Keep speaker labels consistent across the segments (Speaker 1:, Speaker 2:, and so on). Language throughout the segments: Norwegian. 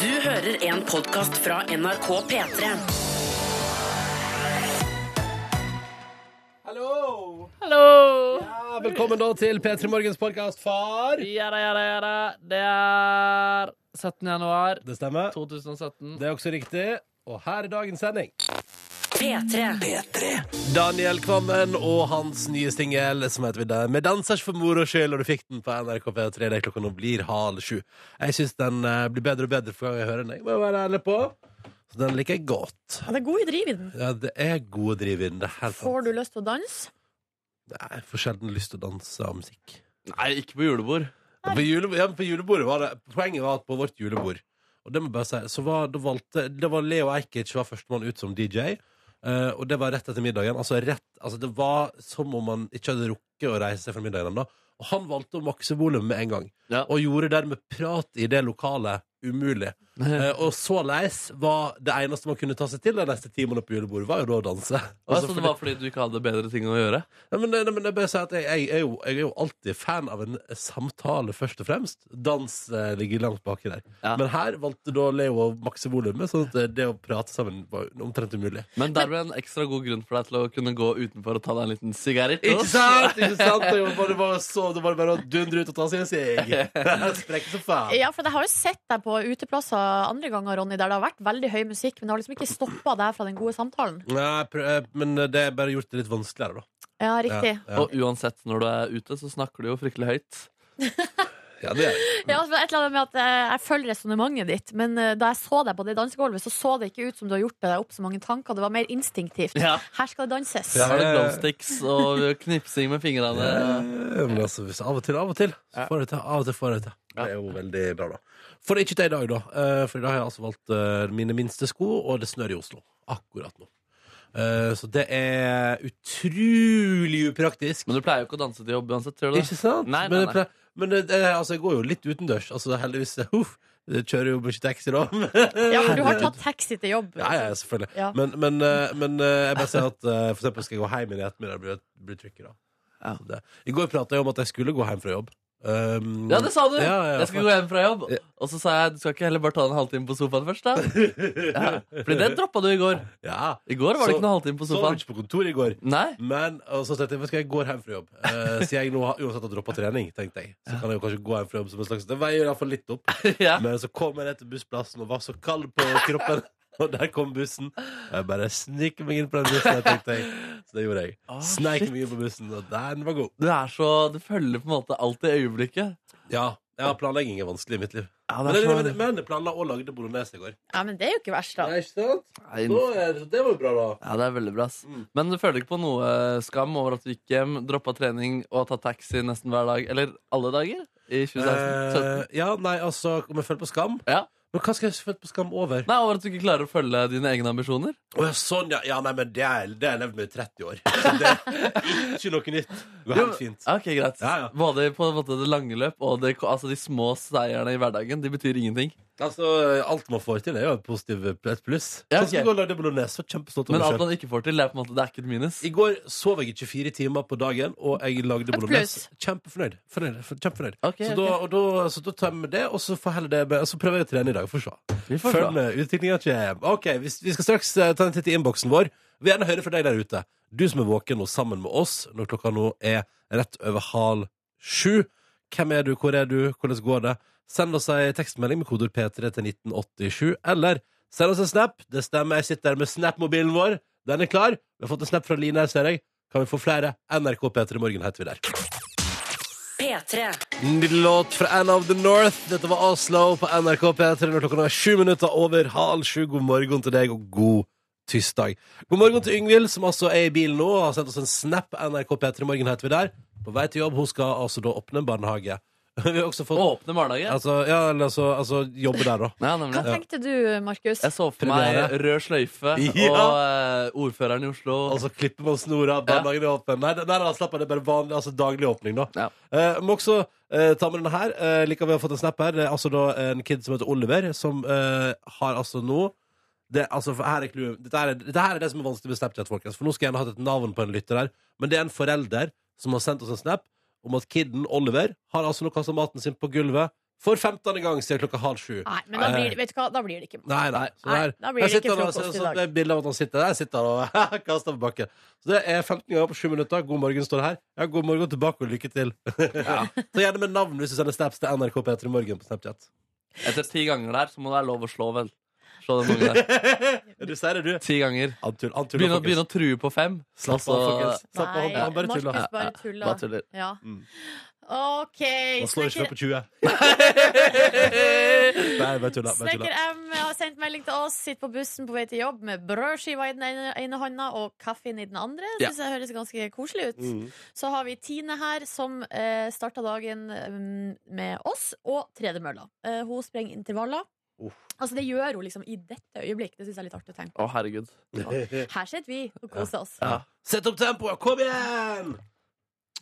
Speaker 1: Du hører en podcast fra NRK P3.
Speaker 2: Hallo!
Speaker 3: Hallo!
Speaker 2: Ja, velkommen da til P3 Morgens podkast, far.
Speaker 3: Ja da, ja da, ja da. Det er 17. januar
Speaker 2: Det stemmer.
Speaker 3: 2017.
Speaker 2: Det er også riktig. Og her er dagens sending.
Speaker 1: P3.
Speaker 2: Daniel Kvammen og hans nye singel som heter vi der, 'Med dansers for moro skyld', og du fikk den på NRK P3. Det er klokka nå blir halv sju. Jeg syns den eh, blir bedre og bedre for hver gang jeg hører den. Jeg må være ærlig på. Så den liker jeg godt.
Speaker 4: Ja, det er god driv i den.
Speaker 2: Ja, det er god driv i den. Det er helt sant.
Speaker 4: Får du lyst til å danse?
Speaker 2: Nei, jeg får sjelden lyst til å danse av musikk.
Speaker 5: Nei, ikke på julebord.
Speaker 2: På, jule, ja, men på julebordet var det Poenget var at på vårt julebord Og det må jeg bare si Så var, da valgte, det var Leo Eikic var førstemann ut som DJ eh, Og det var rett etter middagen altså, rett, altså det var som om han ikke hadde rukket Å reise seg fra middagen enda Og han valgte å makse volum med en gang
Speaker 5: Ja.
Speaker 2: Og gjorde dermed prat i det lokalet Umulig Eh, Og så leis var det eneste man kunne ta seg til De neste timene på julebordet var jo da å danse
Speaker 5: Altså,
Speaker 2: Altså,
Speaker 5: så det
Speaker 2: fordi-
Speaker 5: var fordi du ikke hadde bedre ting å gjøre?
Speaker 2: Nei, men, nei, men jeg, bare sier at jeg, jeg, er jo, jeg er jo alltid fan av en samtale, først og fremst. Dans eh, ligger langt baki der.
Speaker 5: Ja.
Speaker 2: Men her valgte da Leo å makse volumet, sånn at eh, det å prate sammen var omtrent umulig.
Speaker 5: Men der ble en ekstra god grunn for deg til å kunne gå utenfor og ta deg en liten sigarett.
Speaker 2: Ikke sant? Ikke sant? Det var bare, bare så, det var bare å dundre ut og ta seg en seg. Sprekke som faen.
Speaker 4: Ja, for jeg har jo sett deg på uteplasser andre ganger, Ronny, der det har vært veldig høy musikk, men det har liksom ikke stoppa deg fra den gode samtalen.
Speaker 2: Nei, prø- eh, men det er bare gjort det litt vanskeligere, da.
Speaker 4: Ja, riktig.
Speaker 2: Ja, ja.
Speaker 5: Og uansett når du er ute, så snakker du jo fryktelig høyt.
Speaker 2: ja det er det.
Speaker 4: Ja, altså, et eller annet med at eh, Jeg følger resonnementet ditt, men eh, da jeg så deg på det dansegulvet, så så det ikke ut som du har gjort deg opp så mange tanker. Det var mer instinktivt.
Speaker 5: Ja.
Speaker 4: Her skal det danses.
Speaker 2: Ja.
Speaker 5: Så er det glowsticks og knipsing med fingrene.
Speaker 2: Ja, Men altså, Eh, hvis av og til, av og til. Så får jeg det til. Av og til får jeg det til. Det er jo veldig bra, da. For ikke til i dag, da. Eh, For i dag har jeg altså valgt eh, mine minste sko, og det snør i Oslo. Akkurat nå. Eh, Så det er utrolig upraktisk.
Speaker 5: Men du pleier jo ikke å danse til jobb uansett, gjør du det?
Speaker 2: Ikke sant?
Speaker 5: Nei, nei,
Speaker 2: men jeg,
Speaker 5: nei.
Speaker 2: ple- men det, det, altså, jeg går jo litt utendørs. Altså, heldigvis uff, Jeg kjører jo mye taxi, da.
Speaker 4: Ja, for du har tatt taxi til jobb.
Speaker 2: Ja, ja, selvfølgelig.
Speaker 4: Ja.
Speaker 2: Men, men, eh, men eh, jeg bare sier at eh, for eksempel skal jeg gå hjem i ettermiddag, det blir, det blir tricky, da.
Speaker 5: Ja.
Speaker 2: Så Det. I går prata jeg om at jeg skulle gå hjem fra jobb. Um,
Speaker 5: Ja, det sa du!
Speaker 2: Ja, ja,
Speaker 5: Jeg skal gå hjem fra jobb.
Speaker 2: Ja.
Speaker 5: Og så sa jeg du skal ikke heller bare ta en halvtime på sofaen først, da? Ja. Fordi det droppa du i går.
Speaker 2: ja.
Speaker 5: I går var det
Speaker 2: Så-
Speaker 5: ikke noen halvtime på
Speaker 2: Så var
Speaker 5: sofaen.
Speaker 2: jeg ikke på kontoret i går.
Speaker 5: Nei?
Speaker 2: Men og så tenkte jeg, vet du hva, jeg går hjem fra jobb. Eh, siden jeg nå har, uansett har droppa trening, tenkte jeg. Så kan jeg jo kanskje gå hjem fra jobb som en slags Det veier iallfall litt opp.
Speaker 5: Ja.
Speaker 2: Men så kom jeg ned til bussplassen og var så kald på kroppen. Og der kom bussen. Og jeg bare sniker meg inn på den bussen. tenkte jeg Så det gjorde jeg.
Speaker 5: Ah,
Speaker 2: Sneik
Speaker 5: shit.
Speaker 2: meg inn på bussen, og den var god.
Speaker 5: Du er så Du følger på en måte alt i øyeblikket.
Speaker 2: Ja, ja planlegging er vanskelig i mitt liv.
Speaker 5: Ja,
Speaker 2: Men, men, men jeg planla og lagde bolognese i går.
Speaker 4: Ja, men det er jo ikke verst, da.
Speaker 2: Nei, ikke sant?
Speaker 5: Nei,
Speaker 2: Da er, det var jo bra, da.
Speaker 5: Ja, det er veldig bra. ass.
Speaker 2: Mm.
Speaker 5: Men du føler ikke på noe eh, skam over at du gikk hjem, droppa trening og har tatt taxi nesten hver dag? Eller alle dager? I 2016?
Speaker 2: Eh, ja, nei, altså, om jeg føler på skam?
Speaker 5: Ja.
Speaker 2: Men hva skal jeg føle på skam over?
Speaker 5: Nei, over at du ikke klarer å følge dine egne ambisjoner?
Speaker 2: Å ja, sånn, ja. ja nei, men det har jeg- det har jeg levd med i 30 år. Så det er ikke noe nytt. Det går helt fint.
Speaker 5: Ok, greit.
Speaker 2: Ja, ja.
Speaker 5: Både på en måte det lange løp og det, altså de små seierne i hverdagen. De betyr ingenting.
Speaker 2: Altså, alt man får til, er jo et positivt et pluss.
Speaker 5: Ja,
Speaker 2: Sånn som
Speaker 5: ok.
Speaker 2: i går lagde jeg bolognese. var Kjempestolt over
Speaker 5: Men
Speaker 2: meg
Speaker 5: alt
Speaker 2: selv.
Speaker 5: man ikke får til, det er på en måte det er ikke et minus.
Speaker 2: I går sov jeg i 24 timer på dagen, og jeg lagde bolognese. Kjempefornøyd. Fornøyd, for- kjempefornøyd.
Speaker 5: Ok,
Speaker 2: så,
Speaker 5: ok.
Speaker 2: Da, og da, så da tar jeg med det, og så, får heller det, med- og så prøver jeg å trene i dag. Får se.
Speaker 5: Vi får
Speaker 2: Følg
Speaker 5: se.
Speaker 2: med. Utviklinga kommer. Ok, vi, vi skal straks eh, ta en titt i innboksen vår. Vi vil gjerne høre fra deg der ute. Du som er våken og sammen med oss når klokka nå er rett over halv sju. Hvem er du, hvor er du, hvordan går det? Send oss ei tekstmelding med kodord P3 til 1987, eller send oss en snap. Det stemmer, jeg sitter her med Snap-mobilen vår. Den er klar. Vi har fått en snap fra Line her, ser jeg. Kan vi få flere? NRK P3 Morgen heter vi der.
Speaker 1: P3.
Speaker 2: Nydelig låt fra Anne of the North. Dette var Oslo på NRK P3 når klokka nå er sju minutter over halv sju. God morgen til deg, og god tirsdag. God morgen til Yngvild, som altså er i bilen nå og har sendt oss en snap. NRK P3 Morgen heter vi der. På vei til jobb. Hun skal altså da åpne en barnehage. Vi har også fått
Speaker 5: Åpne barnehage.
Speaker 2: Altså, ja, eller altså, altså jobbe der, da.
Speaker 5: Ja,
Speaker 4: Hva
Speaker 5: nemlig.
Speaker 4: tenkte du, Markus?
Speaker 5: Jeg så for meg rød sløyfe
Speaker 2: Ja.
Speaker 5: og eh, ordføreren i Oslo.
Speaker 2: Altså klipper man snora, barnehagen er åpen. Nei, nei, nei slapp av, det er bare vanlig, altså, daglig åpning, da.
Speaker 5: Ja.
Speaker 2: Eh, må også eh, ta med denne her. Eh, Likevel har vi fått en snap her. Det er altså da en kid som heter Oliver, som eh, har altså nå det, altså, for her er clouet. dette, her er, dette her er det som er vanskelig med Snapchat, folkens. For nå skal jeg gjerne hatt et navn på en lytter her. Men det er en forelder som har sendt oss en snap om at kiden Oliver har altså nå kasta maten sin på gulvet For 15. gang siden klokka halv sju.
Speaker 4: Nei, men da blir, det- vet du hva? da blir det ikke
Speaker 2: Nei, nei. Så
Speaker 4: Nei,
Speaker 2: der,
Speaker 4: da blir
Speaker 2: der
Speaker 4: det ikke
Speaker 2: sitter han,
Speaker 4: frokost
Speaker 2: altså,
Speaker 4: i
Speaker 2: så
Speaker 4: dag.
Speaker 2: Det er bilde av at han sitter der, sitter han og kaster på bakken. Så det er 15 ganger på 7 minutter. God morgen står det her. Ja, god morgen tilbake og lykke til. Så gjerne med navn hvis du sender snaps til NRK P3 Morgen på Snapchat.
Speaker 5: Etter ti ganger der, så må det være lov å slå, vel. Slå den ungen der.
Speaker 2: Du sier det, du.
Speaker 5: Ti ganger.
Speaker 2: Antull, antull,
Speaker 5: Begynne, å- begynne å true på fem.
Speaker 2: Slapp av,
Speaker 5: Altså,
Speaker 2: folkens. Slapp av,
Speaker 4: Nei,
Speaker 2: han bare
Speaker 4: Markus
Speaker 2: tuller.
Speaker 4: bare
Speaker 5: Bare
Speaker 4: tuller.
Speaker 5: tuller.
Speaker 4: Ja.
Speaker 2: Mm.
Speaker 4: OK.
Speaker 2: Han slår ikke
Speaker 4: Snekker, Øh,
Speaker 2: meg på 20. Nei, bare tuller. Bare
Speaker 4: Snekker
Speaker 2: tuller.
Speaker 4: M har sendt melding til oss, sitter på bussen på vei til jobb med brødskiva i den ene, ene hånda og kaffen i den andre.
Speaker 5: Ja.
Speaker 4: Synes jeg høres ganske koselig ut.
Speaker 2: Mm.
Speaker 4: Så har vi Tine her, som eh, starta dagen mm, med oss og tredemølla. Eh, hun sprenger intervaller.
Speaker 2: Uff.
Speaker 4: Altså Det gjør hun liksom i dette øyeblikk. Det syns jeg er litt artig å tenke.
Speaker 5: Å, herregud.
Speaker 4: Her sitter vi og koser oss.
Speaker 5: Ja.
Speaker 2: Sett opp tempoet! Kom igjen!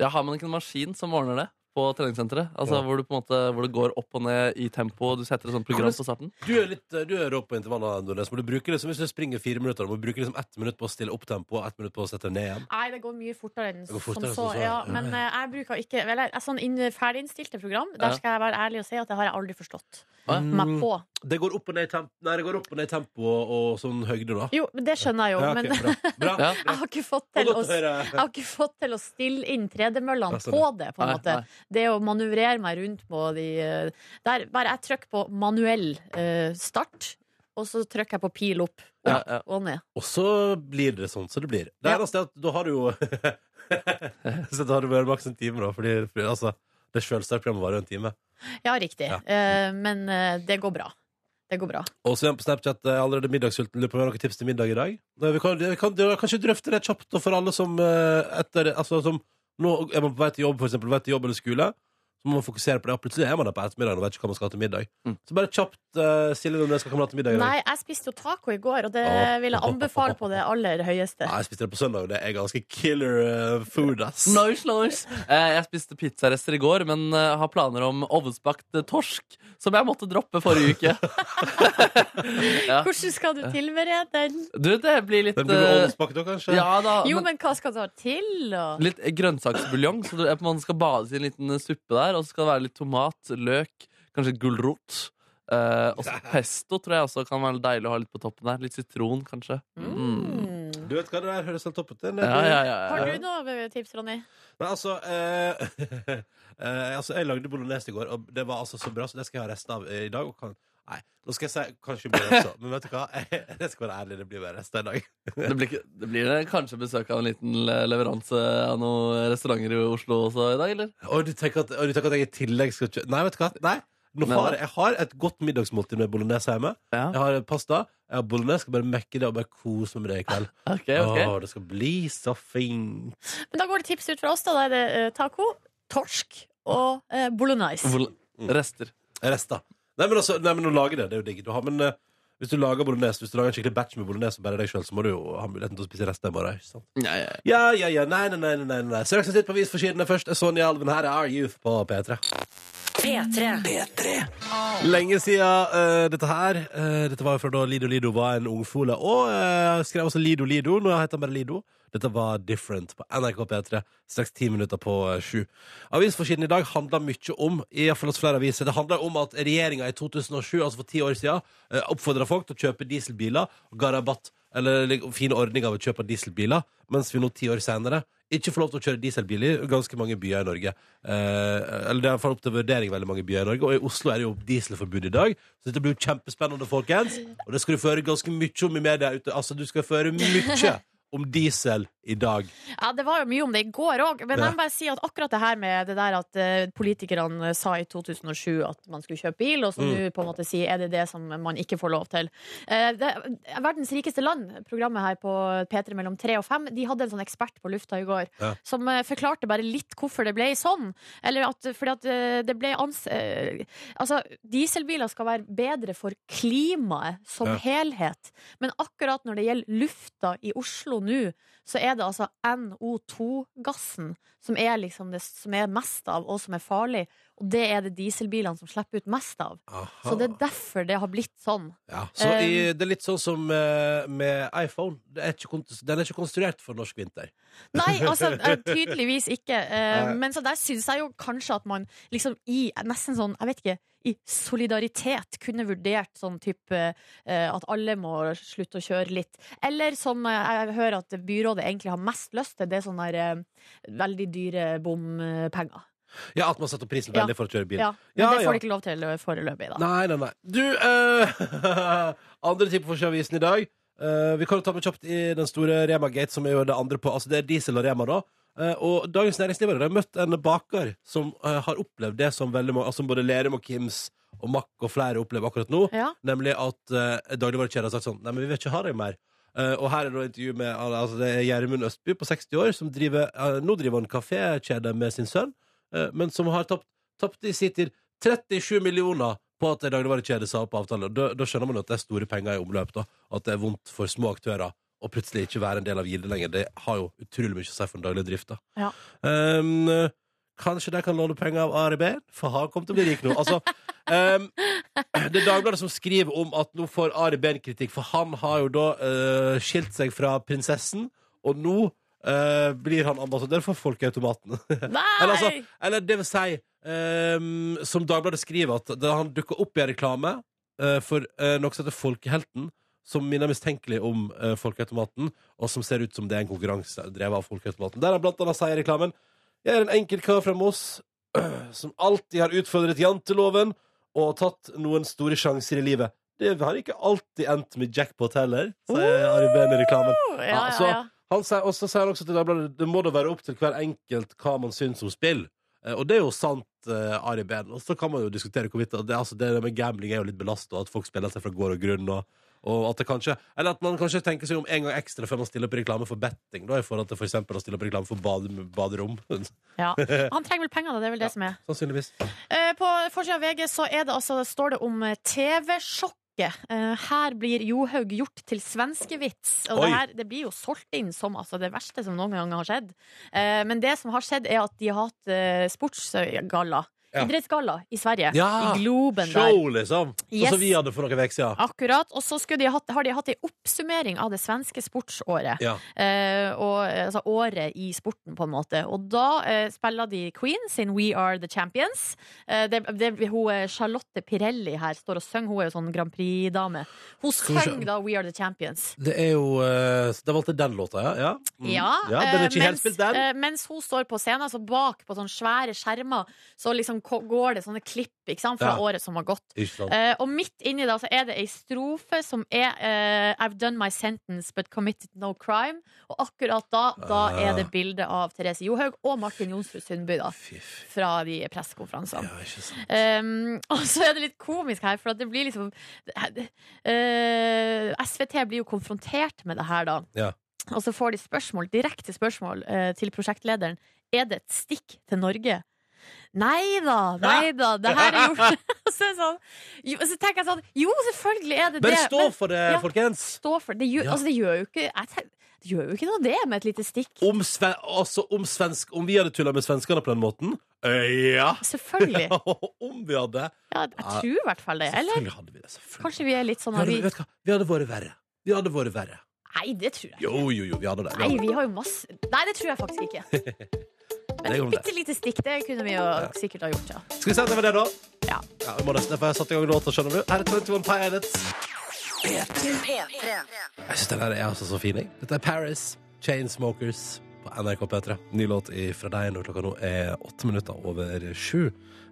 Speaker 5: Ja, har man ikke en maskin som ordner det på treningssenteret? Altså
Speaker 2: Ja.
Speaker 5: hvor, du på en måte, hvor det går opp og ned i tempo, og du setter et sånt program på starten?
Speaker 2: Du er litt du er rå på intervallene, Nordnes. Må du bruke det som hvis du springer fire minutter? Du må bruke liksom ett minutt på å stille opp tempoet, ett minutt på å sette det ned igjen.
Speaker 4: Nei, det går mye fortere enn
Speaker 2: går
Speaker 4: som
Speaker 2: fortere enn
Speaker 4: så.
Speaker 2: som så,
Speaker 4: Ja,
Speaker 2: ja.
Speaker 4: men eh, jeg bruker ikke vel, jeg, Sånn inn, ferdiginnstilte program, der
Speaker 5: Ja.
Speaker 4: skal jeg være ærlig og si at det har jeg aldri forstått
Speaker 5: Å,
Speaker 2: Mm.
Speaker 5: ja.
Speaker 4: meg på.
Speaker 2: Det går opp og ned i temp Nei, det går opp og ned i tempo og, og sånn høyde, da.
Speaker 4: Jo, men det skjønner jeg jo,
Speaker 2: Ja, ok,
Speaker 4: men
Speaker 2: bra. bra.
Speaker 5: Ja.
Speaker 4: jeg har ikke fått
Speaker 2: Det
Speaker 4: til
Speaker 2: var
Speaker 4: å
Speaker 2: godt å høre.
Speaker 4: jeg har ikke fått til å stille inn tredemøllene
Speaker 2: Ja, sånn,
Speaker 4: på det. på en
Speaker 5: Nei,
Speaker 4: måte
Speaker 5: nei.
Speaker 4: Det å manøvrere meg rundt på de eh, der, Bare jeg trykker på manuell eh, start, og så trykker jeg på pil opp
Speaker 5: Ja, ja.
Speaker 4: og ned.
Speaker 2: Og så blir det sånn som det blir. Det
Speaker 4: Ja.
Speaker 2: eneste er at da har du jo Så da har du bare maks en time, da. Fordi, fordi altså, det sjølsterke programmet varer jo en time.
Speaker 4: Ja, riktig.
Speaker 2: Ja.
Speaker 4: Eh, men eh, det går bra. Det går bra.
Speaker 2: Og så igjen på Snapchat eh, allerede middagssulten. Lurer på om vi har noen tips til middag i dag? Nei, Vi kan, vi kan, vi kan kanskje drøfte det kjapt og for alle som eh, etter Altså som Nå er man på vei til jobb, for eksempel. På vei til jobb eller skole. Så må man fokusere på det. og Plutselig er man der på ettermiddagen og vet ikke hva man skal ha til middag.
Speaker 5: Mm.
Speaker 2: Så bare kjapt uh, Silje Nordnes skal komme til middag i dag.
Speaker 4: Nei, jeg spiste jo taco i går, og det
Speaker 2: Åh.
Speaker 4: vil jeg anbefale på det aller høyeste.
Speaker 2: Nei, jeg spiste det på søndag, og det er ganske killer eh, food, ass.
Speaker 5: Nice, nice. Eh, jeg spiste pizzarester i går, men eh, har planer om ovnsbakt eh, torsk, som jeg måtte droppe forrige uke. Ja.
Speaker 4: Hvordan skal du tilberede den?
Speaker 5: Du, det blir litt
Speaker 2: Den blir med
Speaker 5: eh,
Speaker 2: ovnsbakt da, kanskje?
Speaker 5: Ja da.
Speaker 4: Jo,
Speaker 5: men
Speaker 4: men hva skal du ha til? Og...
Speaker 5: Litt grønnsaksbuljong. Så det er på en måte skal bades i en liten eh, suppe der, og så skal det være litt tomat, løk, kanskje gulrot. Eh, og så pesto tror jeg også kan være deilig å ha litt på toppen der. Litt sitron, kanskje. Mm.
Speaker 4: Mm.
Speaker 2: Du vet hva det der høres helt topp ut? det.
Speaker 5: Ja, ja, ja,
Speaker 4: Har
Speaker 5: ja.
Speaker 4: du noe eh, tips, Ronny?
Speaker 2: Nei, altså, eh, eh, altså Jeg lagde bolognese i går, og det var altså så bra, så det skal jeg ha resten av eh, i dag. Og kan, nei, nå skal jeg si kanskje bolognese, men vet du hva? Jeg skal være ærlig, det blir bare resten av i dag.
Speaker 5: Det blir, ikke- det blir eh, kanskje besøk av en liten le- leveranse av noen restauranter i Oslo også i dag, eller?
Speaker 2: Og du tenker at, og du tenker at jeg i tillegg skal kjø- Nei, vet du hva? Nei. Nå
Speaker 5: Nei.
Speaker 2: har jeg, jeg har et godt middagsmåltid med bolognese hjemme.
Speaker 5: Ja.
Speaker 2: Jeg har pasta. Jeg har bolognese, skal bare mekke det og bare kose meg med det i kveld.
Speaker 5: Ok, ok.
Speaker 2: Å, det skal bli så fint.
Speaker 4: Men da går det tips ut fra oss. Da, da er det eh, taco, torsk og eh, bolognese.
Speaker 5: Vol-
Speaker 2: Mm.
Speaker 5: Rester.
Speaker 2: Rester. Nei, men altså, nei, men å lage det, det er jo digg. Du har, men eh, hvis du lager bolognese, hvis du lager en skikkelig batch med bolognese bare deg sjøl, så må du jo ha muligheten til å spise resten i morgen. ikke sant?
Speaker 5: Ja, ja.
Speaker 2: Ja, ja, ja. Nei, nei, nei. nei, nei, nei. Straks en titt på avisforsidene først. er Sonja Alven her er Are Youth på P3.
Speaker 1: P3.
Speaker 2: Lenge siden eh, dette her. Eh, dette var jo fra da Lido Lido var en ungfole. Og eh, skrev også Lido Lido. Nå heter han bare Lido. Dette var Different på NRK P3. Straks ti minutter på eh, sju. Avisforsiden i dag handler mye om i hvert fall hos flere aviser, det handler om at regjeringa i 2007, altså for ti år siden, uh, oppfordra folk til å kjøpe dieselbiler og ga rabatt eller lik- fine ordninger ved kjøp av dieselbiler, mens vi nå ti år senere ikke får lov til å kjøre dieselbiler i ganske mange byer i Norge. Eh, eller det er i hvert fall opp til vurdering i veldig mange byer i Norge, og i Oslo er det jo dieselforbud i dag. Så dette blir jo kjempespennende, folkens. Og det skal du føre ganske mye om i media ute. Altså, du skal føre mye om diesel i dag.
Speaker 4: Ja, det var jo mye om det i går òg, men jeg må bare si at akkurat det her med det der at eh, politikerne sa i 2007 at man skulle kjøpe bil, og så
Speaker 2: Mm.
Speaker 4: nå på en måte sier er det det som man ikke får lov til. Eh, det, Verdens rikeste land, programmet her på P3 mellom 3 og 5, de hadde en sånn ekspert på lufta i går
Speaker 2: Ja.
Speaker 4: som eh, forklarte bare litt hvorfor det ble sånn. Eller at fordi at eh, det ble ans... eh, Altså, dieselbiler skal være bedre for klimaet som
Speaker 2: Ja.
Speaker 4: helhet, men akkurat når det gjelder lufta i Oslo nå, så er det altså NO2-gassen som er liksom det som er mest av, og som er farlig. Og det er det dieselbilene som slipper ut mest av. Så det er derfor det har blitt sånn.
Speaker 2: Ja, så i, det er litt sånn som eh, med iPhone. Det er ikke, kont- den er ikke konstruert for norsk vinter.
Speaker 4: Nei, altså eh, tydeligvis ikke. Eh,
Speaker 2: Nei.
Speaker 4: Men så der syns jeg jo kanskje at man liksom i nesten sånn, jeg vet ikke, i solidaritet kunne vurdert sånn type eh, at alle må slutte å kjøre litt. Eller som eh, jeg hører at byrådet egentlig har mest lyst til, det er sånne der, eh, veldig dyre bompenger.
Speaker 2: Ja, at man setter opp prisen
Speaker 4: Ja.
Speaker 2: veldig for å kjøre bil.
Speaker 4: Ja, men
Speaker 2: Ja,
Speaker 4: det
Speaker 2: ja.
Speaker 4: får de ikke lov til eh, foreløpig, da.
Speaker 2: Nei, nei, nei. Du, eh, andre ting på Forsøavisen i dag. Eh, vi kan jo ta med kjapt i den store Rema Gate, som er jo det andre på Altså, det er diesel og Rema, da. Eh, og Dagens Næringsliv har jeg møtt en baker som eh, har opplevd det som veldig mange Altså, både Lerum og Kims og Mack og flere opplever akkurat nå.
Speaker 4: Ja.
Speaker 2: Nemlig at uh, dagligvarekjeden har sagt sånn Nei, men vi vil ikke ha deg mer. Eh, og her er det et intervju med al- altså, det er Gjermund Østby på 60 år, som driver, eh, nå driver han kafékjede med sin sønn, eh, men som har tapt, tapt i sin tid 37 millioner på at en dagligvarekjede sa opp avtalen. Da, da skjønner man jo at det er store penger i omløp, da. At det er vondt for små aktører å plutselig ikke være en del av gildet lenger. Det har jo utrolig mye å si for den daglige drifta.
Speaker 4: Ja.
Speaker 2: Ehm, kanskje de kan låne penger av Ari Behn, for han kommer til å bli rik nå. Altså, ehm, det er Dagbladet som skriver om at nå får Ari Behn kritikk, for han har jo da eh, skilt seg fra prinsessen, og nå eh, blir han ambassadør for Folkeautomaten. Eller, altså,
Speaker 4: Nei!
Speaker 2: eller det vil si, ehm, som Dagbladet skriver, at da han dukka opp i en reklame eh, for eh, noe som heter Folkehelten, som minner mistenkelig om eh, Folkeautomaten, og som ser ut som det er en konkurranse drevet av Folkeautomaten. Der han blant annet sier i reklamen Jeg er en enkel kar fra Moss øh, som alltid har utfordret janteloven og tatt noen store sjanser i livet. Det har ikke alltid endt med jackpot heller, sier Ari Behn i reklamen.
Speaker 4: Ja,
Speaker 2: altså,
Speaker 4: ja, ja.
Speaker 2: Han sier, og så sier han også til Dagbladet det må da være opp til hver enkelt hva man syns om spill. Eh, Og det er jo sant, eh, Ari Behn. Og så kan man jo diskutere hvorvidt det, altså, det med gambling er jo litt belasta, at folk spiller seg fra gård og grunn. Og, og at det kanskje, eller at man kanskje tenker seg om en gang ekstra før man stiller opp i reklame for betting. Da, I forhold til for eksempel å stille opp i reklame for bade, baderom.
Speaker 4: Ja. Han trenger vel penger, da. Det er vel det som er.
Speaker 2: Sannsynligvis.
Speaker 4: Eh, På forsida av VG så er det altså, står det om eh, TV-sjokket. Eh, Her blir Johaug gjort til svenskevits. Og
Speaker 2: Oi.
Speaker 4: det, her, det blir jo solgt inn som altså, det verste som noen gang har skjedd. Eh, Men det som har skjedd, er at de har hatt eh, sportsgalla.
Speaker 2: Ja.
Speaker 4: Idrettsgalla i Sverige.
Speaker 2: Ja,
Speaker 4: I Globen der.
Speaker 2: Show, liksom! Sånn
Speaker 4: Yes.
Speaker 2: som vi hadde for noen uker siden.
Speaker 4: Akkurat. Og så skulle de hatt, har de hatt en oppsummering av det svenske sportsåret.
Speaker 2: Ja.
Speaker 4: Eh, og, altså året i sporten, på en måte. Og da eh, spiller de Queen sin We Are The Champions. Eh, det, det, hun, eh, Charlotte Pirelli her står og synger, hun er jo sånn Grand Prix-dame. Hun
Speaker 2: Skal vi se.
Speaker 4: sang da We Are The Champions.
Speaker 2: Det er jo eh, så Da valgte jeg den låta, ja? Ja, Mm.
Speaker 4: Ja,
Speaker 2: ja Den er
Speaker 4: eh,
Speaker 2: ikke helt spilt, den.
Speaker 4: eh, mens hun står på scenen, altså bak på sånne svære skjermer, så liksom ko- går det sånne klipp ikke sant, fra
Speaker 2: Ja.
Speaker 4: året som har gått.
Speaker 2: Ikke sant?
Speaker 4: Eh, og midt inni da så er det ei strofe som er eh, I've done my sentence but committed no crime. Og akkurat da da er det bilde av Therese Johaug og Martin Jonsrud Sundby da,
Speaker 2: Fy, fy.
Speaker 4: fra de pressekonferansene.
Speaker 2: Ja, ikke sant.
Speaker 4: Um, og så er det litt komisk her, for at det blir liksom Eh, SVT blir jo konfrontert med det her, da.
Speaker 2: Ja.
Speaker 4: Og så får de spørsmål, direkte spørsmål eh, til prosjektlederen. Er det et stikk til Norge? Nei da, nei da. Det her er gjort Og så, er det sånn, jo, og så tenker jeg sånn Jo, selvfølgelig er det
Speaker 2: Bare
Speaker 4: det.
Speaker 2: stå for det,
Speaker 4: ja.
Speaker 2: folkens!
Speaker 4: stå for det. Det gjør,
Speaker 2: Ja.
Speaker 4: altså, det gjør jo ikke jeg tenk- Det gjør jo ikke noe, det, med et lite stikk.
Speaker 2: Om, sve, altså, om, svensk, om vi hadde tulla med svenskene på den måten? Eh, ja!
Speaker 4: Selvfølgelig.
Speaker 2: om vi hadde
Speaker 4: Ja, jeg tror i hvert fall det. Eller
Speaker 2: Selvfølgelig hadde vi det. selvfølgelig.
Speaker 4: kanskje vi er litt sånn
Speaker 2: vi
Speaker 4: at
Speaker 2: hadde,
Speaker 4: vi
Speaker 2: vet du hva? vi hadde vært verre. Vi hadde vært verre.
Speaker 4: Nei, det tror jeg
Speaker 2: Jo, jo, jo, vi hadde det. Vi
Speaker 4: Nei,
Speaker 2: hadde det.
Speaker 4: vi har jo masse Nei, det tror jeg faktisk ikke. Men
Speaker 2: Det går
Speaker 4: et
Speaker 2: om det.
Speaker 4: bitte lite stikk, det kunne vi jo sikkert ha gjort, ja.
Speaker 2: Skal vi se at det var det, da?
Speaker 4: Ja.
Speaker 2: ja vi må nesten, for jeg satte i gang låta, skjønner du. Her er 21 Pilots.
Speaker 1: P3.
Speaker 2: Jeg synes den her er altså så fin, jeg. Dette er Paris, Chainsmokers på NRK P3. Ny låt i- fra deg når klokka nå er åtte minutter over sju.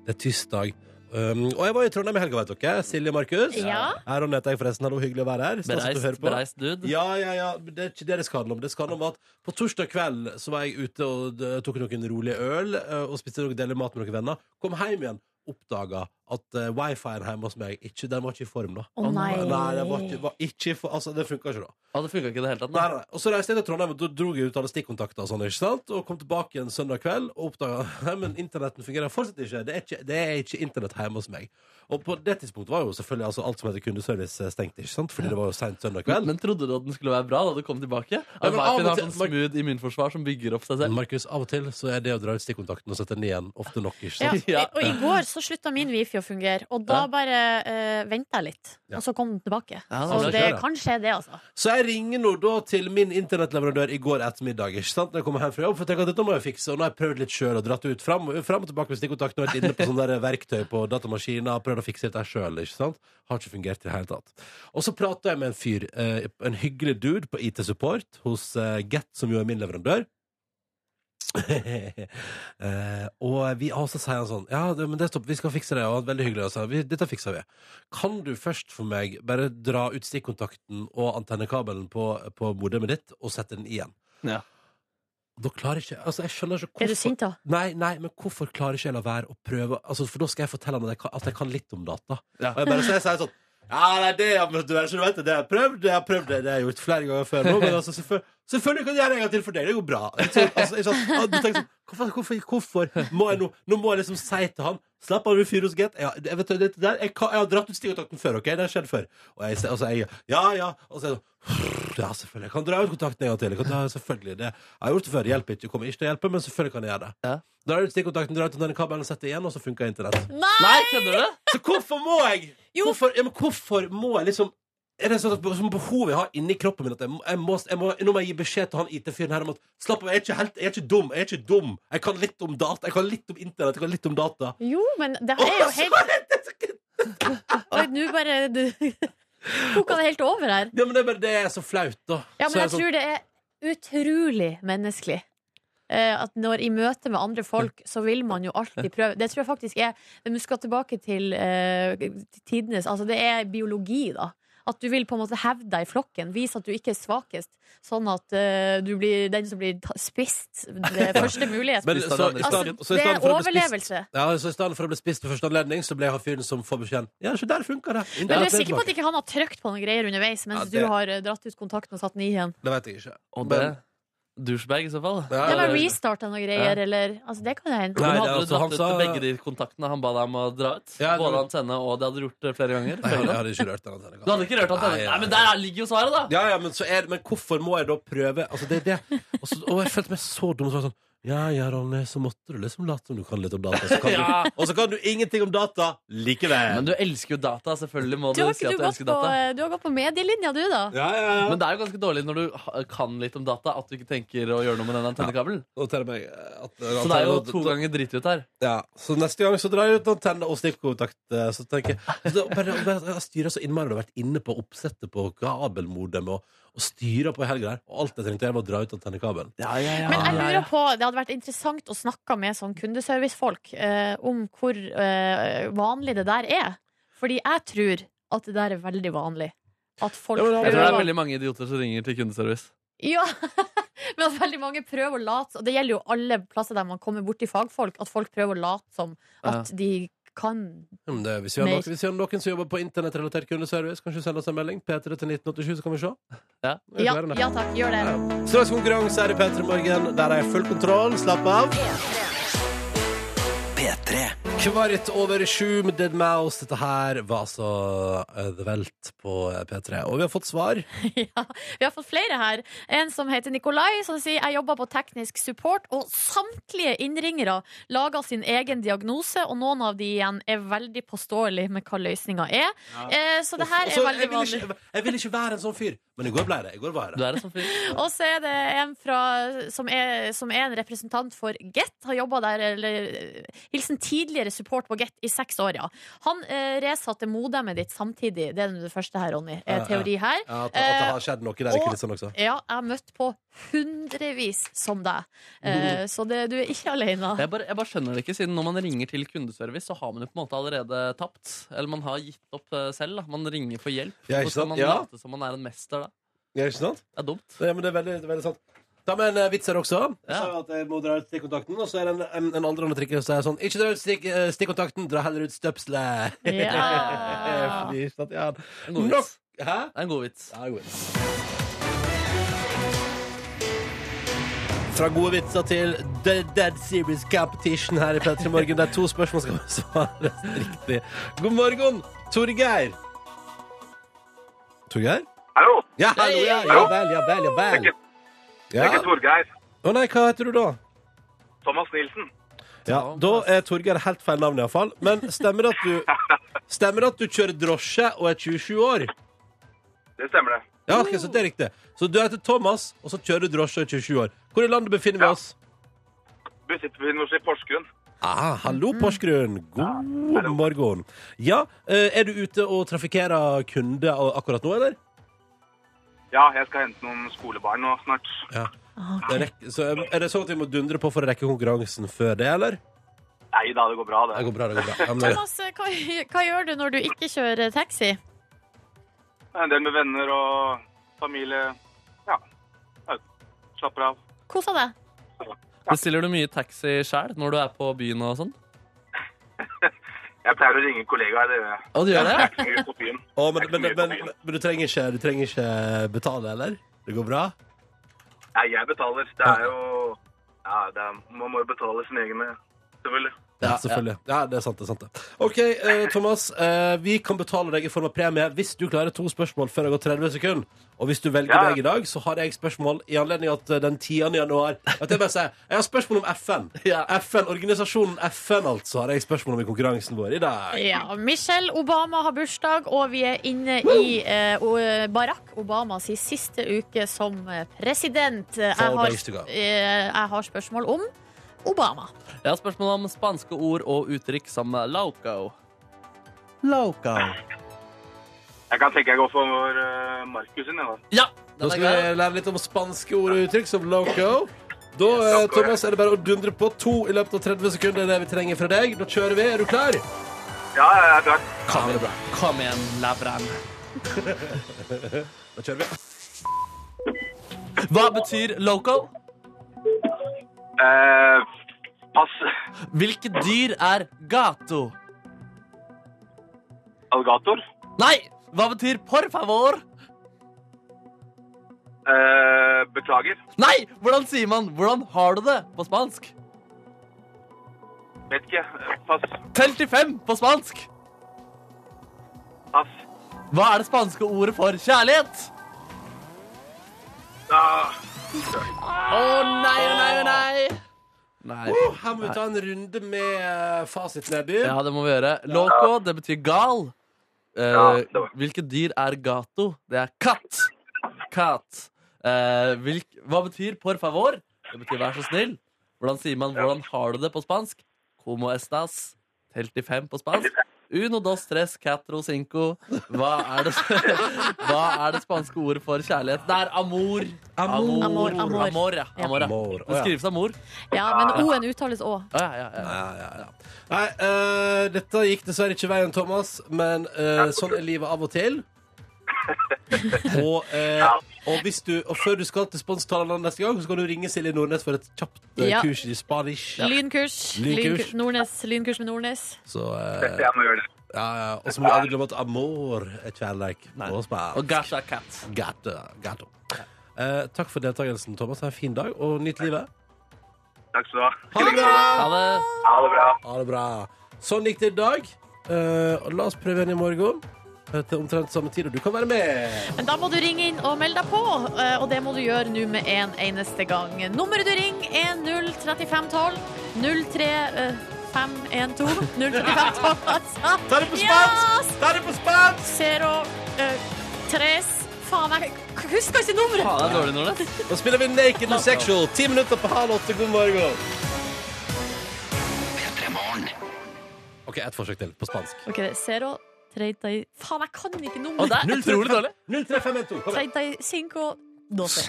Speaker 2: Det er tirsdag. Um, og jeg var i Trondheim i helga, vet dere. Silje og Markus.
Speaker 4: Ja.
Speaker 2: Her og heter jeg forresten. Hallo, hyggelig å være her. Stas at du hører
Speaker 5: Bereist,
Speaker 2: på.
Speaker 5: bereist dude.
Speaker 2: Ja, ja, ja. men Det er ikke det det skal handle om. Det skal handle om at På torsdag kveld så var jeg ute og eh, tok noen rolige øl eh, og spiste noen deler mat med noen venner. Kom hjem igjen, oppdaga at uh, wifi-en hjemme hos meg ikke, den var ikke i form, da.
Speaker 4: Å nei.
Speaker 2: Nei, den var ikke, var ikke i for, altså, det funka ikke, da.
Speaker 5: Ja, det funka ikke i det hele tatt.
Speaker 2: Nei,
Speaker 5: Nei.
Speaker 2: nei. Og så reiste jeg til Trondheim og da dro jeg ut alle stikkontakter og sånn, ikke sant? Og kom tilbake igjen søndag kveld og oppdaga Nei, men internetten fungerer fortsatt ikke. Det er ikke, det er ikke internett hjemme hos meg. Og på det tidspunktet var jo selvfølgelig altså, alt som heter kundeservice, eh, stengt, ikke sant? Fordi det var jo seint søndag kveld.
Speaker 5: Men trodde du at den skulle være bra da du kom tilbake?
Speaker 2: men av og
Speaker 5: Arbeiderpartiet har
Speaker 2: til-
Speaker 5: sånn smooth immunforsvar som bygger opp seg
Speaker 2: Men
Speaker 5: selv.
Speaker 2: Markus, av og til så er det å dra ut stikkontakten og sette den igjen ofte nok, ikke
Speaker 4: Ja,
Speaker 2: sant?
Speaker 5: Ja.
Speaker 4: og i går så slutta min wifi ikke å fungere. Og da
Speaker 5: Ja.
Speaker 4: bare uh, venta jeg litt,
Speaker 2: Ja.
Speaker 4: og så kom den tilbake.
Speaker 5: Ja, det
Speaker 4: så
Speaker 5: var
Speaker 4: det
Speaker 2: kjør, da.
Speaker 4: kan skje, det, altså.
Speaker 2: Så jeg ringer nå da til min internettleverandør i går ettermiddag. ikke sant? Når jeg kommer hjem fra jobb, for jeg tenker at dette må jeg fikse. Og nå har jeg prøvd litt sjøl og dratt ut fram, og- fram og tilbake med stikkontakt. Nå har jeg vært inne på sånne der verktøy på datamaskiner og prøvd å fikse dette sjøl. Har ikke fungert i det hele tatt. Og så prata jeg med en fyr, eh, en hyggelig dude på IT-support hos eh, Get, som jo er min leverandør. Eh, og vi, og så sier han sånn Ja, det, men det er stopp, vi skal fikse det. Og han er veldig hyggelig. og sa, vi, dette fikser vi. Kan du først for meg bare dra ut stikkontakten og antennekabelen på, på modemet ditt og sette den igjen?
Speaker 5: Ja.
Speaker 2: Da klarer jeg ikke Altså, jeg skjønner ikke
Speaker 4: Er du sint, da?
Speaker 2: Nei, nei, men hvorfor klarer ikke jeg la være å prøve Altså, For da skal jeg fortelle han at jeg kan, at jeg kan litt om data.
Speaker 5: Ja.
Speaker 2: Og jeg bare så jeg sier sånn Ja, nei, det har du vet, så du vet det, det har jeg prøvd, det har jeg prøvd, det, det har jeg gjort flere ganger før nå, men altså, selvfølgelig, selvfølgelig kan jeg gjøre det en gang til for deg, det går bra. Så, altså, ikke sant? Og du tenker sånn, hvorfor, hvorfor, hvorfor må jeg nå Nå må jeg liksom si til han Slapp av, du fyr hos Get. Ja, jeg, vet, du, det der, jeg, kan, jeg har dratt ut stikkontakten før, OK? Det har skjedd før. Og jeg, sier- altså, jeg Ja, ja. Og så er jeg sånn Ja, selvfølgelig. Jeg kan dra ut kontakten en gang til. Jeg kan dra, selvfølgelig, det. Jeg har gjort det før. Det hjelper ikke. Du kommer ikke til å hjelpe, men selvfølgelig kan jeg gjøre det.
Speaker 5: Ja.
Speaker 2: Drar ut stikkontakten, drar ut denne kabelen, setter igjen, og så funker internett.
Speaker 5: Nei, kødder du?
Speaker 2: Så hvorfor må jeg?
Speaker 4: Jo.
Speaker 2: Hvorfor, ja, men hvorfor må jeg liksom er det sånn at sånn behov jeg har inni kroppen min at jeg må, jeg må, jeg må, Nå må jeg gi beskjed til han IT-fyren her om at Slapp av, jeg er ikke, helt, jeg er ikke dum. Jeg er ikke dum Jeg kan litt om data. Jeg kan litt om internett. Jeg kan litt om data.
Speaker 4: Jo, men det er jo helt Oi, nå bare du, koka det helt over her.
Speaker 2: Ja, men det, er bare- det er så flaut, da.
Speaker 4: Ja,
Speaker 2: Så
Speaker 4: men jeg
Speaker 2: sånn-
Speaker 4: tror det er utrolig menneskelig. Eh, At når i møte med andre folk, så vil man jo alltid prøve. Det tror jeg faktisk er Men du skal tilbake til eh, til tidenes Altså, det er biologi, da. At du vil på en måte hevde deg i flokken. Vise at du ikke er svakest. Sånn at eh, du blir den som blir ta- spist ved første mulighet.
Speaker 2: Men
Speaker 5: Spist av
Speaker 2: så,
Speaker 5: den
Speaker 2: i
Speaker 5: andre.
Speaker 2: stedet- så i
Speaker 4: altså, det
Speaker 2: stedet
Speaker 4: er
Speaker 2: for å bli spist-
Speaker 4: overlevelse.
Speaker 2: Ja, så i stedet for å bli spist ved første anledning, så ble jeg han fyren som får beskjeden. Ja, så der funka det.
Speaker 4: Men du
Speaker 2: Internett
Speaker 4: er sikker på
Speaker 2: tilbake.
Speaker 4: at ikke han har trykt på noen greier underveis mens
Speaker 2: Ja, det-
Speaker 4: du har eh, dratt ut kontakten og satt den i igjen?
Speaker 2: Det vet jeg ikke.
Speaker 5: Og det Douchebag, i så fall.
Speaker 2: Ja,
Speaker 4: Ja, men
Speaker 2: det-
Speaker 4: restarta noen greier, eller Altså, det kan hende.
Speaker 2: Nei,
Speaker 5: Nei,
Speaker 2: det er
Speaker 5: hadde du
Speaker 2: altså- han
Speaker 5: dratt ut
Speaker 2: sa-
Speaker 5: til begge de kontaktene han ba deg om å dra ut?
Speaker 2: Ja, det-
Speaker 5: Både antenne og det hadde du gjort det flere ganger?
Speaker 2: Nei,
Speaker 5: Flere
Speaker 2: jeg
Speaker 5: ganger.
Speaker 2: hadde ikke rørt den antennekabelen.
Speaker 5: Du hadde ikke rørt antenne?
Speaker 2: Nei,
Speaker 5: Nei,
Speaker 2: ja,
Speaker 5: men der ligger jo svaret, da!
Speaker 2: Ja, ja, men, så er, det- men hvorfor må jeg da prøve? Altså, det er det. Og, så, og jeg følte meg så dum. Så var jeg sånn, ja, ja, Ronny, så måtte du liksom late som du kan litt om data. Så kan du,
Speaker 5: Ja.
Speaker 2: og så kan du ingenting om data likevel.
Speaker 5: Men du elsker jo data. Selvfølgelig må
Speaker 4: Du
Speaker 5: du,
Speaker 4: har,
Speaker 5: si
Speaker 4: ikke
Speaker 5: at
Speaker 4: du,
Speaker 5: du
Speaker 4: gått
Speaker 5: elsker
Speaker 4: på,
Speaker 5: data.
Speaker 4: eh, du har gått på medielinja, du, da?
Speaker 2: Ja, ja, ja.
Speaker 5: Men det er jo ganske dårlig når du ha- kan litt om data, at du ikke tenker å gjøre noe med den antennekabelen.
Speaker 2: Og tell meg eh, at,
Speaker 5: Så det er jo to ganger dritgodt her.
Speaker 2: Ja, så neste gang så drar jeg ut antenne og stikkontakt. eh, Så tenker jeg så da- bare, bare, Jeg styrer så innmari og har vært inne på oppsettet på kabelmodem og, og styrer på i helga der. Og alt jeg trengte, jeg var å dra ut antennekabelen.
Speaker 4: Men jeg lurer på, det hadde vært interessant å snakke med sånn kundeservicefolk eh, om hvor eh, vanlig det der er. Fordi jeg tror at det der er veldig vanlig. At folk
Speaker 2: Ja, men da-
Speaker 5: Jeg tror det er
Speaker 4: prøver
Speaker 5: veldig mange idioter som ringer til kundeservice.
Speaker 4: Ja, men at veldig mange prøver å late Og det gjelder jo alle plasser der man kommer borti fagfolk, at folk prøver å late som at de kan
Speaker 2: Ja, men det, hvis, vi har
Speaker 4: Mer.
Speaker 2: noen, hvis vi har noen som jobber på internettrelatert kundeservice, kan du sende oss en melding? P3 til 1987, så kan vi se.
Speaker 5: Ja.
Speaker 2: Det er
Speaker 4: Ja,
Speaker 2: ikke verre enn det.
Speaker 4: ja takk, gjør det.
Speaker 2: Ja. Straks konkurranse her i P3 Morgen. Der har jeg full kontroll. Slapp av.
Speaker 1: P3.
Speaker 2: Kvart over sju med Dead Mouse. Dette her var altså eh, The Welt på eh, P3. Og vi har fått svar.
Speaker 4: Ja, vi har fått flere her. En som heter Nikolai, som sier jeg jobber på teknisk support, og samtlige innringere lager sin egen diagnose, og noen av de igjen er veldig påståelige med hva løsninga er. Eh, så det her
Speaker 2: Og
Speaker 4: er
Speaker 2: så-
Speaker 4: veldig
Speaker 2: jeg vil
Speaker 4: vanlig.
Speaker 2: ikke, jeg vil ikke være en sånn fyr. Men i går ble jeg det. I går var jeg
Speaker 5: Du
Speaker 2: det.
Speaker 5: er en sånn fyr.
Speaker 4: Og så er det en fra, som, er, som er en representant for Get. Har jobba der, eller hilsen tidligere support på Get i seks år, ja. Han eh, resatte modemet ditt samtidig. Det er det første her, Ronny.
Speaker 2: Ja,
Speaker 4: Er
Speaker 2: ja.
Speaker 4: teori her.
Speaker 2: Ja, at, at det har skjedd noe der.
Speaker 4: Eh,
Speaker 2: Ikke litt sånn også.
Speaker 4: Ja, jeg har møtt på hundrevis som deg. Eh,
Speaker 5: Mm.
Speaker 4: så det, du er ikke alene.
Speaker 5: Jeg bare, jeg bare skjønner det ikke, siden når man ringer til kundeservice, så har man jo på en måte allerede tapt. Eller man har gitt opp eh, selv. Da. Man ringer for hjelp.
Speaker 2: Ja, ikke
Speaker 5: Hvorfor skal
Speaker 2: sant?
Speaker 5: man
Speaker 2: Ja.
Speaker 5: late som man er en mester da?
Speaker 2: Ja, ikke sant?
Speaker 5: Det er dumt.
Speaker 2: Ja, men det er veldig, det er veldig sant. Ta med en eh, vits her også. Jeg
Speaker 5: Ja.
Speaker 2: sa jo at jeg må dra ut stikkontakten, og så er det en, en, en aldrende trikker som er sånn Ikke dra ut stikk, eh, stikkontakten, dra heller ut støpselet.
Speaker 4: Ja.
Speaker 2: Fordi, ikke sant? Ja.
Speaker 5: Ah. En god
Speaker 2: Nok!
Speaker 5: vits.
Speaker 2: Hæ?
Speaker 5: Det er en god vits.
Speaker 2: Ja, god vits. Fra gode vitser til The Dead Series Competition her i P3 Morgen. Det er to spørsmål som skal svares riktig. God morgen, Torgeir. Torgeir?
Speaker 6: Hallo,
Speaker 2: Ja, hallo, ja, ja vel, ja vel, ja vel.
Speaker 6: det er
Speaker 2: Ja.
Speaker 6: ikke Torgeir.
Speaker 2: Å nei, hva heter du da?
Speaker 6: Thomas Nilsen.
Speaker 2: Ja, da er Torgeir helt feil navn, iallfall. Men stemmer det at du Stemmer det at du kjører drosje og er 27 år?
Speaker 6: Det stemmer det.
Speaker 2: Ja, ok, så det er riktig. Så du heter Thomas, og så kjører du drosje og er 27 år. Hvor i landet befinner vi
Speaker 6: Ja.
Speaker 2: oss?
Speaker 6: Vi sitter ved Norsk i Porsgrunn.
Speaker 2: Ah, hallo, Porsgrunn. God morgen. Ja, eh, er du ute og trafikkerer kunder a- akkurat nå, eller?
Speaker 6: Ja, jeg skal hente noen skolebarn nå snart.
Speaker 2: Det rekk- så, eh, er det sånn at vi må dundre på for å rekke konkurransen før det, eller?
Speaker 6: Nei da, det går bra, det.
Speaker 2: Det går bra, det går bra. Ja, men-
Speaker 4: Thomas, hva, hva gjør du når du ikke kjører taxi?
Speaker 6: Det er En del med venner og familie. Ja. ja, Slapper av.
Speaker 4: Kosa deg?
Speaker 5: Bestiller du mye taxi sjæl når du er på byen og sånn?
Speaker 6: Jeg pleier å ringe kollegaer, det gjør jeg.
Speaker 5: Å, du gjør det?
Speaker 6: Jeg er ikke mye på byen.
Speaker 2: Å, men, men, men, men, men du, trenger ikke, du trenger ikke betale, eller? Det går bra?
Speaker 6: Nei, jeg betaler. Det er jo Ja, det er, man må jo betale sine egne, selvfølgelig.
Speaker 2: Ja,
Speaker 5: Ja,
Speaker 2: selvfølgelig. Ja, det er sant, det er sant. det. OK, eh, Thomas. eh, vi kan betale deg i form av premie hvis du klarer to spørsmål før det går 30 sekunder. Og hvis du velger
Speaker 6: Ja.
Speaker 2: meg i dag, så har jeg spørsmål i anledning at eh, den 10. januar at jeg, bare sier, jeg har spørsmål om FN.
Speaker 5: Ja.
Speaker 2: FN, Organisasjonen FN, altså, har jeg spørsmål om i konkurransen vår i dag.
Speaker 4: Ja, Michelle Obama har bursdag, og vi er inne i eh, o- Barack Obamas siste uke som eh, president. Jeg har,
Speaker 2: days to go.
Speaker 4: eh, jeg har spørsmål om Obama.
Speaker 5: Jeg har spørsmål om spanske ord og uttrykk som loco. Loco.
Speaker 6: Jeg kan tenke jeg går for vår eh, Markus sin, jeg, da.
Speaker 5: Ja,
Speaker 2: Nå
Speaker 5: den er
Speaker 2: skal
Speaker 5: grei.
Speaker 2: vi lære litt om spanske ord og uttrykk, som loco. Da eh,
Speaker 6: Loco, ja.
Speaker 2: Thomas, er det bare å dundre på to i løpet av 30 sekunder. Det er det vi trenger fra deg. Da kjører vi. Er du klar?
Speaker 6: Ja, jeg er klar.
Speaker 5: Kom, kom igjen, Lavran.
Speaker 2: Da kjører vi.
Speaker 5: Hva betyr loco?
Speaker 6: Eh, pass.
Speaker 5: Hvilke dyr er gato?
Speaker 6: Alligator.
Speaker 5: Nei! Hva betyr por favor?
Speaker 6: Eh, beklager.
Speaker 5: Nei! Hvordan sier man 'hvordan har du det' på spansk?
Speaker 6: Vet ikke. Eh, Pass.
Speaker 5: Tell til fem på spansk.
Speaker 6: Pass.
Speaker 5: Hva er det spanske ordet for kjærlighet?
Speaker 6: Da-
Speaker 5: Å nei, å nei, å nei. Nei.
Speaker 2: Oh, Her må vi ta en runde med eh, fasit, Neby.
Speaker 5: Ja, det må vi gjøre. Loco, det betyr gal. Eh,
Speaker 6: Ja, det var-
Speaker 5: hvilke dyr er gato? Det er katt. Katt. Eh, hvilk, hva betyr por favor? Det betyr vær så snill. Hvordan sier man 'hvordan har du det' på spansk? Como estas? Telt til fem på spansk. Uno, dos, tres, catro, cinco. Hva er det, hva er det spanske ordet for kjærlighet? Det er amor.
Speaker 2: Amor.
Speaker 4: Amor, amor.
Speaker 5: Amor, ja. Amor, ja.
Speaker 2: Amor, å,
Speaker 5: Det
Speaker 2: ja.
Speaker 5: skrives amor.
Speaker 4: Ja, men O-en uttales Å.
Speaker 5: Å, ja, ja, ja.
Speaker 2: Ja, ja, ja. Nei, eh, dette gikk dessverre ikke veien, Thomas, men eh, sånn er livet av og til. og, eh, og, hvis du, og før du skal til sponsortalene neste gang, så kan du ringe Silje Nordnes for et kjapt eh,
Speaker 4: Ja.
Speaker 2: kurs i spanish.
Speaker 4: Lynkurs.
Speaker 2: Lynkurs.
Speaker 4: Lynkurs. Nordnes. Lynkurs med Nordnes.
Speaker 2: Så, eh,
Speaker 6: Jeg må gjøre det.
Speaker 2: ja, ja. Og så må du aldri glemme at amor er kjærleik. Og spansk.
Speaker 5: Og gato er katt.
Speaker 2: Gato. Gato. Eh, takk for deltakelsen, Thomas. Ha en fin dag, og nyt livet.
Speaker 6: Takk skal du ha.
Speaker 2: Ha det bra!
Speaker 5: Ha det.
Speaker 6: Ha det bra.
Speaker 2: Ha det bra. Sånn gikk det i dag. Eh, og la oss prøve igjen i morgen. eh, Til omtrent samme tid, og du kan være med.
Speaker 4: Men da må du ringe inn og melde deg på, eh, og det må du gjøre nå med en eneste gang. Nummeret du ringer er 03512 eh, 03512 03512, altså.
Speaker 2: Ta det på
Speaker 4: Ja,
Speaker 2: spansk! Ta det på spansk!
Speaker 4: Zero eh, tres Faen, jeg k- husker ikke nummeret!
Speaker 5: Faen, det er dårlig, Nordnes.
Speaker 2: Nå spiller vi Naked and Sexual. Ti minutter på halv åtte. God morgen. OK, ett forsøk til på spansk.
Speaker 4: Ok, det er zero treinta i Faen, jeg kan ikke
Speaker 5: Og det
Speaker 4: nummeret!
Speaker 5: er utrolig dårlig.
Speaker 2: 03512. Kom igjen.
Speaker 4: Treinta i cinco doce.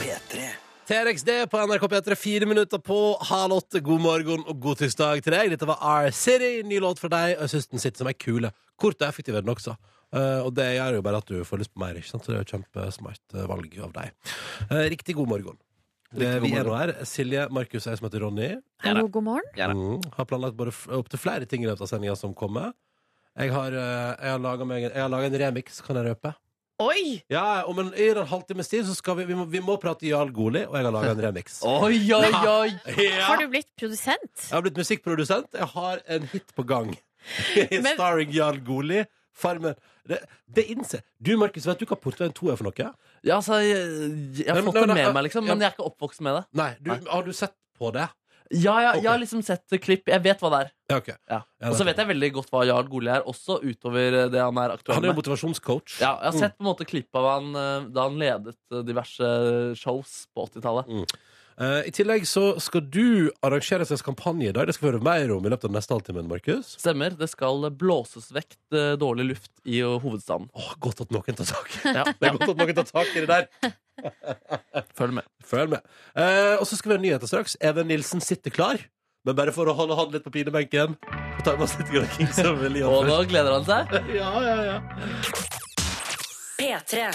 Speaker 1: P3.
Speaker 2: TRXD på NRK P3, fire minutter på halv åtte. God morgen og god tirsdag til deg. Dette var R City, ny låt fra deg. Og jeg syns den sitter som ei kule. Kort og effektiv er den også. Eh, og det gjør jo bare at du får lyst på mer, ikke sant? så det er jo et kjempesmart eh, valg av deg. Eh, riktig god morgen. Det,
Speaker 5: Riktig god
Speaker 2: vi er nå her. Silje, Markus og jeg som heter Ronny,
Speaker 4: Hallo, god morgen.
Speaker 5: Ja da.
Speaker 2: mm, har planlagt både f- opp til flere ting i løpet av sendinga som kommer. Jeg har, eh, jeg har laga meg en- jeg har laget en remix, kan jeg røpe.
Speaker 4: Oi!
Speaker 2: Ja, om en, I en halvtimes tid så skal vi, vi, må, vi må prate Jarl Goli, og jeg har laga en remix.
Speaker 5: Oi, oi, oi.
Speaker 2: Ja.
Speaker 4: Har du blitt produsent?
Speaker 2: Jeg har blitt musikkprodusent. Jeg har en hit på gang.
Speaker 4: Men-
Speaker 2: Starring Jarl Goli Farmen. Det, det innser Du, Markus, vet du hva Portveien 2 er for noe?
Speaker 5: Ja, altså, jeg, jeg har
Speaker 2: Men-
Speaker 5: fått
Speaker 2: nei,
Speaker 5: det
Speaker 2: nei,
Speaker 5: med
Speaker 2: jeg-
Speaker 5: meg, liksom,
Speaker 2: ja.
Speaker 5: men jeg er ikke oppvokst med det.
Speaker 2: Nei, du,
Speaker 5: Nei.
Speaker 2: har du sett på det?
Speaker 5: Ja, jeg,
Speaker 2: Ok.
Speaker 5: jeg har liksom sett eh, klipp. Jeg vet hva det er.
Speaker 2: Ja, ok.
Speaker 5: Ja.
Speaker 2: Ja,
Speaker 5: Og så vet jeg veldig godt hva Jarl Goli er, også utover eh, det han er Mm. aktuell
Speaker 2: Han er jo
Speaker 5: med.
Speaker 2: motivasjonscoach.
Speaker 5: Ja, jeg har sett på en måte klipp av han eh, da han ledet eh, diverse shows på 80-tallet.
Speaker 2: Eh, I tillegg så skal du arrangere en slags kampanje i dag. Det skal vi høre mer om i løpet av den neste halvtimen, Markus.
Speaker 5: Stemmer. Det skal blåses vekk eh, dårlig luft i eh, hovedstaden.
Speaker 2: Åh, godt at noen tar tak.
Speaker 5: Ja,
Speaker 2: Det er godt at noen tar tak i det der.
Speaker 5: følg med.
Speaker 2: Følg med. Eh, og så skal vi ha nyheter straks. Even Nilsen sitter klar. Men bare for å holde han litt på pinebenken. Så tar vi oss litt Grand Kings of Leon
Speaker 5: Og
Speaker 2: først.
Speaker 5: nå gleder han seg.
Speaker 7: P3.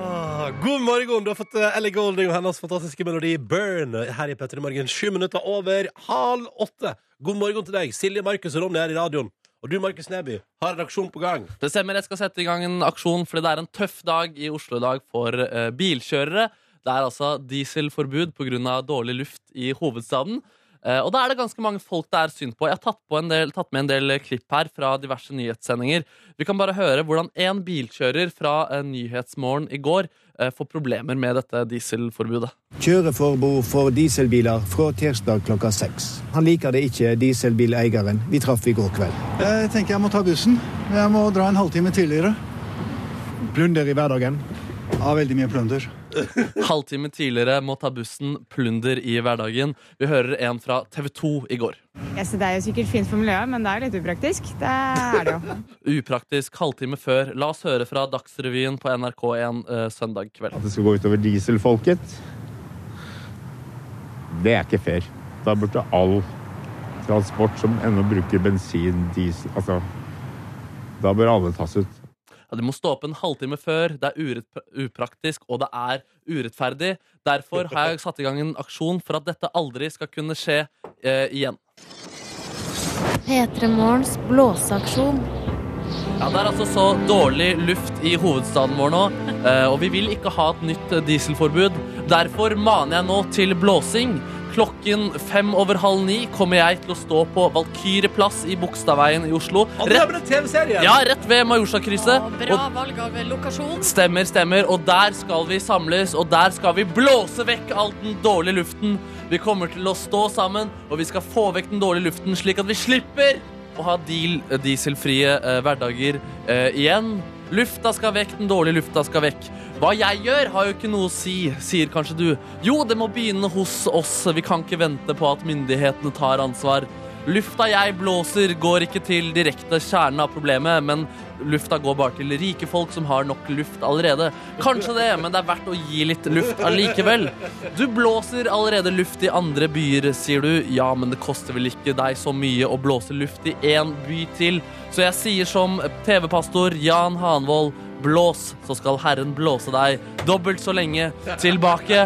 Speaker 2: Ah, God morgen! Du har fått eh, Ellie Golding og hennes fantastiske melodi Burn her i Petter i morgen. Sju minutter over halv åtte. God morgen til deg, Silje, Markus og Ronny her i radioen. Og du, Markus Neby, har en aksjon på gang.
Speaker 5: Det stemmer, jeg skal sette i gang en aksjon Fordi det er en tøff dag i Oslo i dag for eh, bilkjørere Det er altså dieselforbud på grunn av dårlig luft i hovedstaden Eh, Og da er det ganske mange folk det er synd på Jeg har tatt, på en del, tatt med en del eh, klipp her fra diverse nyhetssendinger Vi kan bare høre hvordan en bilkjører fra eh, Nyhetsmorgen i går eh, Får problemer med dette dieselforbudet
Speaker 8: Kjøreforbud for dieselbiler fra tirsdag klokka seks. Han liker det ikke, dieselbileieren vi traff i går kveld.
Speaker 9: Jeg tenker jeg må ta bussen. Jeg må dra en halvtime tidligere.
Speaker 8: Blunder i hverdagen.
Speaker 9: Ja, veldig mye plunder.
Speaker 5: Halvtime tidligere må ta bussen plunder i hverdagen Vi hører en fra TV 2 i går
Speaker 10: Jeg synes det er jo sikkert fint for miljøet, men det er jo litt upraktisk. Det er det jo.
Speaker 5: Upraktisk halvtime før. La oss høre fra Dagsrevyen på NRK1 eh, søndag kveld.
Speaker 8: At det skal gå utover dieselfolket, det er ikke fair. Da burde all transport som ennå bruker bensin, diesel Altså, da bør alle tas ut.
Speaker 5: Ja, du må stå opp en halvtime før. Det er uretp- upraktisk, og det er urettferdig. Derfor har jeg satt i gang en aksjon for at dette aldri skal kunne skje eh, igjen.
Speaker 11: P3 Morgens blåseaksjon.
Speaker 5: Ja, Det er altså så dårlig luft i hovedstaden vår nå, eh, og vi vil ikke ha et nytt eh, dieselforbud. Derfor maner jeg nå til blåsing. Klokken fem over halv ni kommer jeg til å stå på Valkyrjeplass i Bogstadveien i Oslo.
Speaker 2: Han
Speaker 5: Rett,
Speaker 2: er med den TV-serien!
Speaker 5: ja, rett ved Majorstua-krysset.
Speaker 4: Å,
Speaker 5: Og
Speaker 4: bra valg av lokasjon.
Speaker 5: Stemmer, stemmer. Og der skal vi samles, og der skal vi blåse vekk all den dårlige luften. Vi kommer til å stå sammen, og vi skal få vekk den dårlige luften, slik at vi slipper å ha deal, dieselfrie eh, hverdager eh, igjen. Lufta skal vekk, den dårlige lufta skal vekk. Hva jeg gjør, har jo ikke noe å si, sier kanskje du. Jo, det må begynne hos oss. Vi kan ikke vente på at myndighetene tar ansvar. Lufta jeg blåser, går ikke til direkte kjernen av problemet, men lufta går bare til rike folk som har nok luft allerede. Kanskje det, men det er verdt å gi litt luft allikevel. Du blåser allerede luft i andre byer, sier du. Ja, men det koster vel ikke deg så mye å blåse luft i én by til. Så jeg sier som TV-pastor Jan Hanvold. Blås, så skal Herren blåse deg dobbelt så lenge tilbake.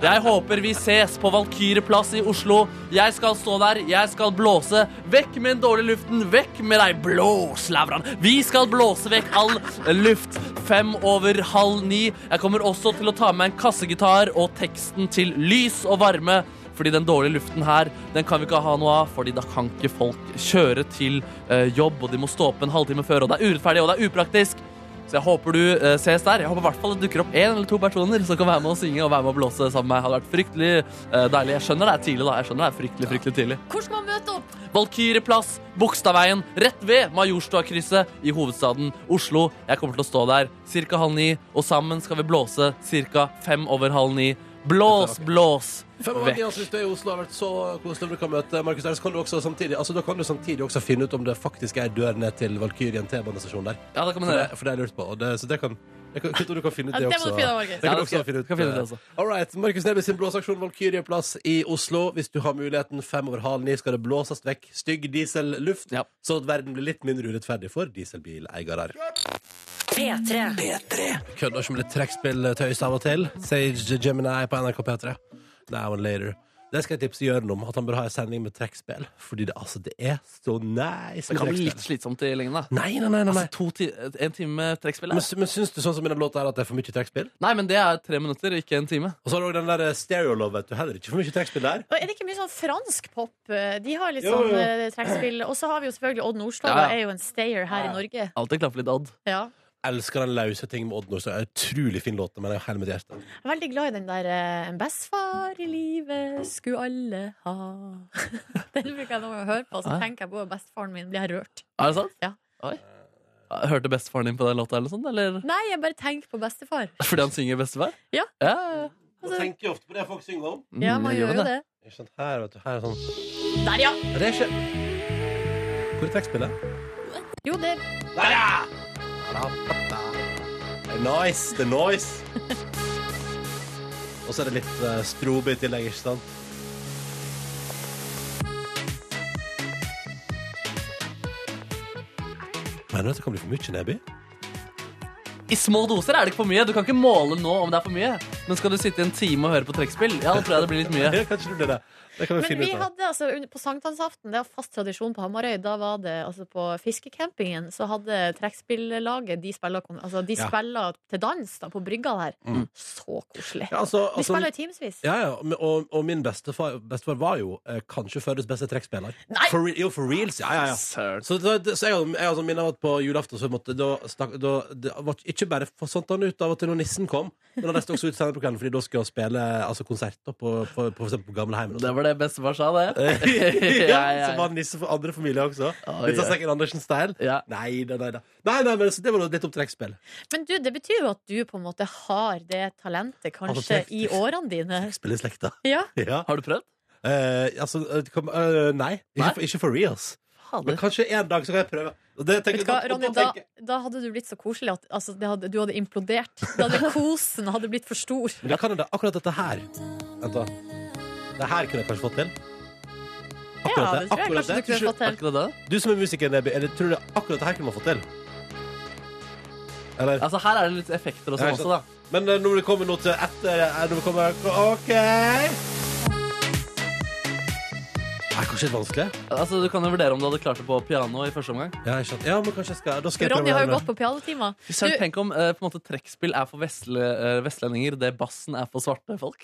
Speaker 5: Jeg håper vi ses på Valkyrjeplass i Oslo. Jeg skal stå der, jeg skal blåse. Vekk med den dårlige luften, vekk med deg, blås, Lavran. Vi skal blåse vekk all luft. Fem over halv ni. Jeg kommer også til å ta med en kassegitar og teksten til Lys og varme. Fordi den dårlige luften her, den kan vi ikke ha noe av, fordi da kan ikke folk kjøre til eh, jobb, og de må stå opp en halvtime før, og det er urettferdig, og det er upraktisk. Så jeg håper du eh, ses der. Jeg håper i hvert fall det dukker opp én eller to personer som kan være med å synge og være med å blåse sammen med meg. Hadde vært fryktelig eh, deilig. Jeg skjønner det er tidlig, da. Jeg skjønner det er fryktelig, fryktelig tidlig.
Speaker 4: Hvor skal man møte opp?
Speaker 5: Valkyrjeplass, Bogstadveien, rett ved Majorstuakrysset i hovedstaden Oslo. Jeg kommer til å stå der ca. halv ni, og sammen skal vi blåse ca. fem over halv ni. Blås, blås
Speaker 2: Fem av
Speaker 5: vekk.
Speaker 2: ti altså, hvis du er i Oslo har vært så koselig om du kan møte Markus der, så kan du også samtidig, altså, da kan du samtidig også finne ut om det faktisk er ei dør ned til Valkyrien T-banestasjon der.
Speaker 5: Ja, det kan
Speaker 2: For
Speaker 5: man
Speaker 2: det, for
Speaker 5: gjøre.
Speaker 2: det har jeg lurt på. Og det, så det kan, jeg kan, jeg tror du kan finne ut
Speaker 4: Ja,
Speaker 2: det
Speaker 4: det må
Speaker 2: også.
Speaker 4: du finne ut,
Speaker 2: Det
Speaker 4: Markus.
Speaker 2: kan du
Speaker 5: Ja, det skal
Speaker 2: også
Speaker 5: jeg-
Speaker 2: finne ut.
Speaker 5: skal finne ut, altså.
Speaker 2: All right. Markus Neby sin blåseaksjon Valkyrjeplass i Oslo. Hvis du har muligheten, fem over halv ni skal det blåses vekk stygg dieselluft,
Speaker 5: Ja.
Speaker 2: så at verden blir litt mindre urettferdig for dieselbileiere.
Speaker 7: P3.
Speaker 1: P3.
Speaker 2: Kødder ikke med litt trekkspilltøys av og til. Sage Gemini på NRK P3. Now and later. Det skal jeg tipse Jørn om, at han bør ha en sending med trekkspill. Fordi det, altså, det er så nice
Speaker 5: Det
Speaker 2: med
Speaker 5: kan bli
Speaker 2: trekkspill.
Speaker 5: litt
Speaker 2: Mm.
Speaker 5: slitsomt i lengden, da.
Speaker 2: Nei, nei, nei, nei, nei.
Speaker 5: Altså, to ti en time med trekkspill?
Speaker 2: Men,
Speaker 5: er-
Speaker 2: sy- men syns du sånn som i den låta her at det er for mye trekkspill?
Speaker 5: Nei, men det er tre minutter, ikke en time.
Speaker 2: Og så har du også den der eh, Stereo Love, vet du. Heller ikke for mye trekkspill der.
Speaker 4: Og er det ikke mye sånn fransk pop? De har litt
Speaker 2: Jo, jo.
Speaker 4: sånn eh, trekkspill. Og så har vi jo selvfølgelig Odd Nordstoga,
Speaker 2: Ja, ja.
Speaker 4: er jo en stayer her i Norge.
Speaker 5: Alltid klaffer litt Odd.
Speaker 4: Ja.
Speaker 2: Elsker den lause ting med Odd Nordstoga. Utrolig fin låt, men jeg er hele mitt hjerte.
Speaker 4: Jeg er veldig glad i den der eh, En bestefar i livet skulle alle ha. Den bruker jeg nå å høre på, og så
Speaker 5: Ja.
Speaker 4: tenker jeg på bestefaren min. Blir jeg rørt?
Speaker 5: Er det sant?
Speaker 4: Ja.
Speaker 5: Oi. Hørte bestefaren din på den låta, eller sånn? Eller?
Speaker 4: Nei, jeg bare tenker på bestefar.
Speaker 5: Fordi han synger bestefar?
Speaker 4: Ja.
Speaker 5: ja. ja.
Speaker 4: Altså-
Speaker 2: Man tenker jo ofte på det folk synger om.
Speaker 5: Mm,
Speaker 4: Ja, man
Speaker 5: jeg
Speaker 4: gjør jo det.
Speaker 2: Ikke sant? Her, vet du. Her er sånn.
Speaker 4: Der,
Speaker 2: Ja,
Speaker 4: ja!
Speaker 2: Det er ikke Hvor er trekkspillet?
Speaker 4: Jo, det
Speaker 2: Der, ja! Det er nice. Det er nice. Og så er det litt eh, strobe i tillegg, ikke sant? Mener du at det kan bli for mye Neby?
Speaker 5: I små doser er det ikke for mye. Du kan ikke måle nå om det er for mye. Men skal du sitte en time og høre på trekkspill, ja, da tror jeg det blir litt mye.
Speaker 2: Ja, kanskje det blir det. Det kan vi
Speaker 4: Men
Speaker 2: finne
Speaker 4: vi
Speaker 2: ut av.
Speaker 4: hadde altså under- på sankthansaften, det var fast tradisjon på Hamarøy, da var det altså på fiskecampingen, så hadde trekkspillaget De spiller, kon- altså, de
Speaker 2: Ja.
Speaker 4: spiller til dans da, på brygga der.
Speaker 2: Mm.
Speaker 4: Så koselig.
Speaker 2: Ja, altså,
Speaker 4: de
Speaker 2: altså-
Speaker 4: spiller i timevis.
Speaker 2: Ja, ja, men- og, og min bestefar, bestefar var jo eh, kanskje fødtes beste trekkspiller.
Speaker 4: Nei!
Speaker 2: For, re- jo, for reals. Ja, ja, ja.
Speaker 5: Søren.
Speaker 2: Så, da- det- så jeg, hadde- jeg hadde minnet av at på julaften så måtte, da, snak- da, det var Ikke bare forsvant han ut av og til når nissen kom, men han reiste også ut senere på kvelden fordi da skulle han spille altså, konsert da, på, på, på, for eksempel på gamleheimen. og
Speaker 5: Det
Speaker 2: sånn.
Speaker 5: var det bestefar sa, det.
Speaker 2: Eh. ja,
Speaker 5: ja, ja.
Speaker 2: Så var han nisse for andre familier også.
Speaker 5: Å,
Speaker 2: Litt
Speaker 5: ja.
Speaker 2: sånn Stekken Andersen-style.
Speaker 5: Ja.
Speaker 2: Nei, nei, nei, nei. nei, nei men, så det var jo litt om trekkspill.
Speaker 4: Men du, det betyr jo at du på en måte har det talentet,
Speaker 2: Altså,
Speaker 4: kanskje,
Speaker 2: trekk-
Speaker 4: i årene dine.
Speaker 2: Spille i slekta.
Speaker 4: Ja.
Speaker 2: Ja.
Speaker 5: Har du prøvd?
Speaker 2: Eh, altså, eh, det kom, eh, nei. Ikke,
Speaker 5: Nei?
Speaker 2: for- ikke for reals. Men
Speaker 5: Fader.
Speaker 2: kanskje en dag så kan jeg prøve. Og det tenker
Speaker 4: Vet
Speaker 2: jeg-
Speaker 4: du hva,
Speaker 2: og
Speaker 4: Ronny,
Speaker 2: da
Speaker 4: da,
Speaker 2: tenker jeg-
Speaker 4: da hadde du blitt så koselig at altså, det hadde, du hadde implodert. Da hadde kosen hadde blitt for stor.
Speaker 2: Men det kan hende akkurat dette her Vent da Det her kunne jeg kanskje fått til
Speaker 4: Ja, det tror jeg
Speaker 2: akkurat
Speaker 4: kanskje du kunne fått til.
Speaker 5: Akkurat det?
Speaker 2: Du som er musiker, Neby Eller tror du det akkurat dette her kunne man fått til? Eller?
Speaker 5: Altså, her er det litt effekter og
Speaker 2: Ja,
Speaker 5: sånn
Speaker 2: ikke
Speaker 5: også, da.
Speaker 2: Men eh, når vi kommer nå til etter eh, Når vi kommer Ok Det er kanskje litt vanskelig
Speaker 5: Altså, Du kan jo vurdere om du hadde klart det på piano i første omgang.
Speaker 2: Ja, ikke sant Ja, men kanskje jeg skal Da skal jeg
Speaker 4: Ronny har jo
Speaker 2: det.
Speaker 4: gått på pianotimer.
Speaker 5: Søren,
Speaker 4: Du-
Speaker 5: tenk om eh, på en måte trekkspill er for vestle, eh, vestlendinger det bassen er for svarte folk.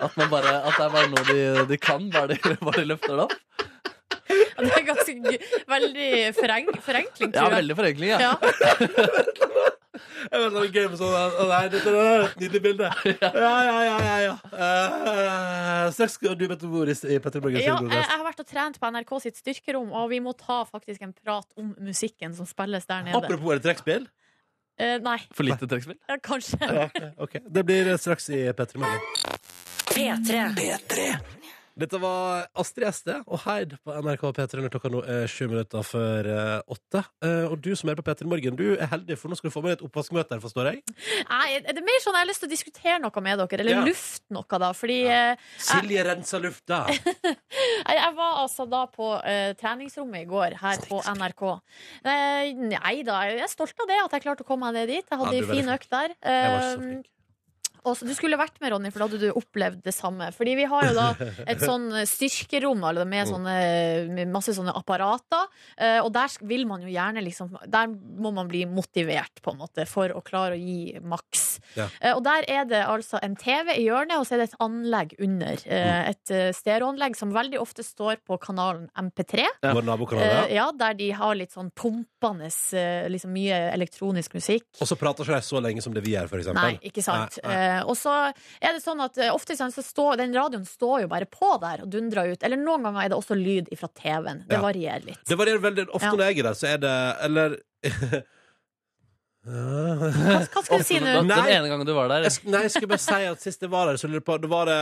Speaker 5: At, man bare, at det er bare noe de, de kan, bare de, bare de løfter det opp.
Speaker 4: Ja, Det er ganske gøy. veldig foreng forenkling,
Speaker 5: Ja,
Speaker 4: tror jeg.
Speaker 5: veldig forenkling, ja.
Speaker 4: Ja.
Speaker 2: Jeg vet det er gøy med sånn Å nei, dette er et nydelig bilde Ja, ja, ja, ja, ja. Eh, Straks skal du møte Boris i Petter Borgens
Speaker 4: Ja, jeg, jeg har vært og trent på NRK sitt styrkerom, og vi må ta faktisk en prat om musikken som spilles der nede.
Speaker 2: Apropos er det trekkspill
Speaker 4: Eh, nei,
Speaker 5: For lite trekkspill.
Speaker 4: ja, kanskje.
Speaker 2: Ok, Det blir straks i P3 Morgen.
Speaker 7: P3.
Speaker 2: Dette var Astrid Este og Heid på NRK P3 når klokka nå er sju minutter før eh, åtte. Eh, Og du som er på P3 Morgen, du er heldig, for nå skal du få med et oppvaskmøte her, forstår jeg.
Speaker 4: Nei, er det mer sånn jeg har lyst til å diskutere noe med dere, eller
Speaker 2: Ja.
Speaker 4: lufte noe, da? Fordi eh,
Speaker 2: Silje renser lufta.
Speaker 4: jeg, jeg var altså da på eh, treningsrommet i går her på NRK. Eh, nei da, jeg er stolt av det, at jeg klarte å komme meg ned dit. Jeg
Speaker 2: Ja,
Speaker 4: hadde ei
Speaker 2: du er
Speaker 4: fin
Speaker 2: veldig
Speaker 4: økt der.
Speaker 2: Jeg var så
Speaker 4: Eh,
Speaker 2: flink.
Speaker 4: Og så- du skulle vært med, Ronny, for da hadde du opplevd det samme. Fordi vi har jo da et sånn styrkerom eller med, sånne, med masse sånne apparater. eh, Og der sk- vil man jo gjerne liksom Der må man bli motivert, på en måte, for å klare å gi maks.
Speaker 2: Ja.
Speaker 4: Eh, Og der er det altså en TV i hjørnet, og så er det et anlegg under. eh, Et eh, stereoanlegg som veldig ofte står på kanalen MP3.
Speaker 2: Vår nabokanal.
Speaker 4: eh,
Speaker 2: ja.
Speaker 4: Ja, der de har litt sånn pumpende eh, liksom mye elektronisk musikk.
Speaker 2: Og så prater ikke de så lenge som det vi gjør, for eksempel.
Speaker 4: Nei, ikke sant.
Speaker 2: Nei, nei.
Speaker 4: Eh, og så er det sånn at eh, ofte sånn, så står den radioen står jo bare på der og dundrer ut. Eller noen ganger er det også lyd fra TV-en. Det
Speaker 2: Ja.
Speaker 4: varierer litt.
Speaker 2: Det varierer veldig ofte
Speaker 4: Ja.
Speaker 2: når jeg er der, så er det Eller
Speaker 4: Hva, hva skulle du si nå?
Speaker 5: Den
Speaker 2: Nei.
Speaker 5: ene gangen du var der.
Speaker 2: jeg, sk- nei, jeg skulle bare si at sist jeg var der, så lurer jeg på det var det,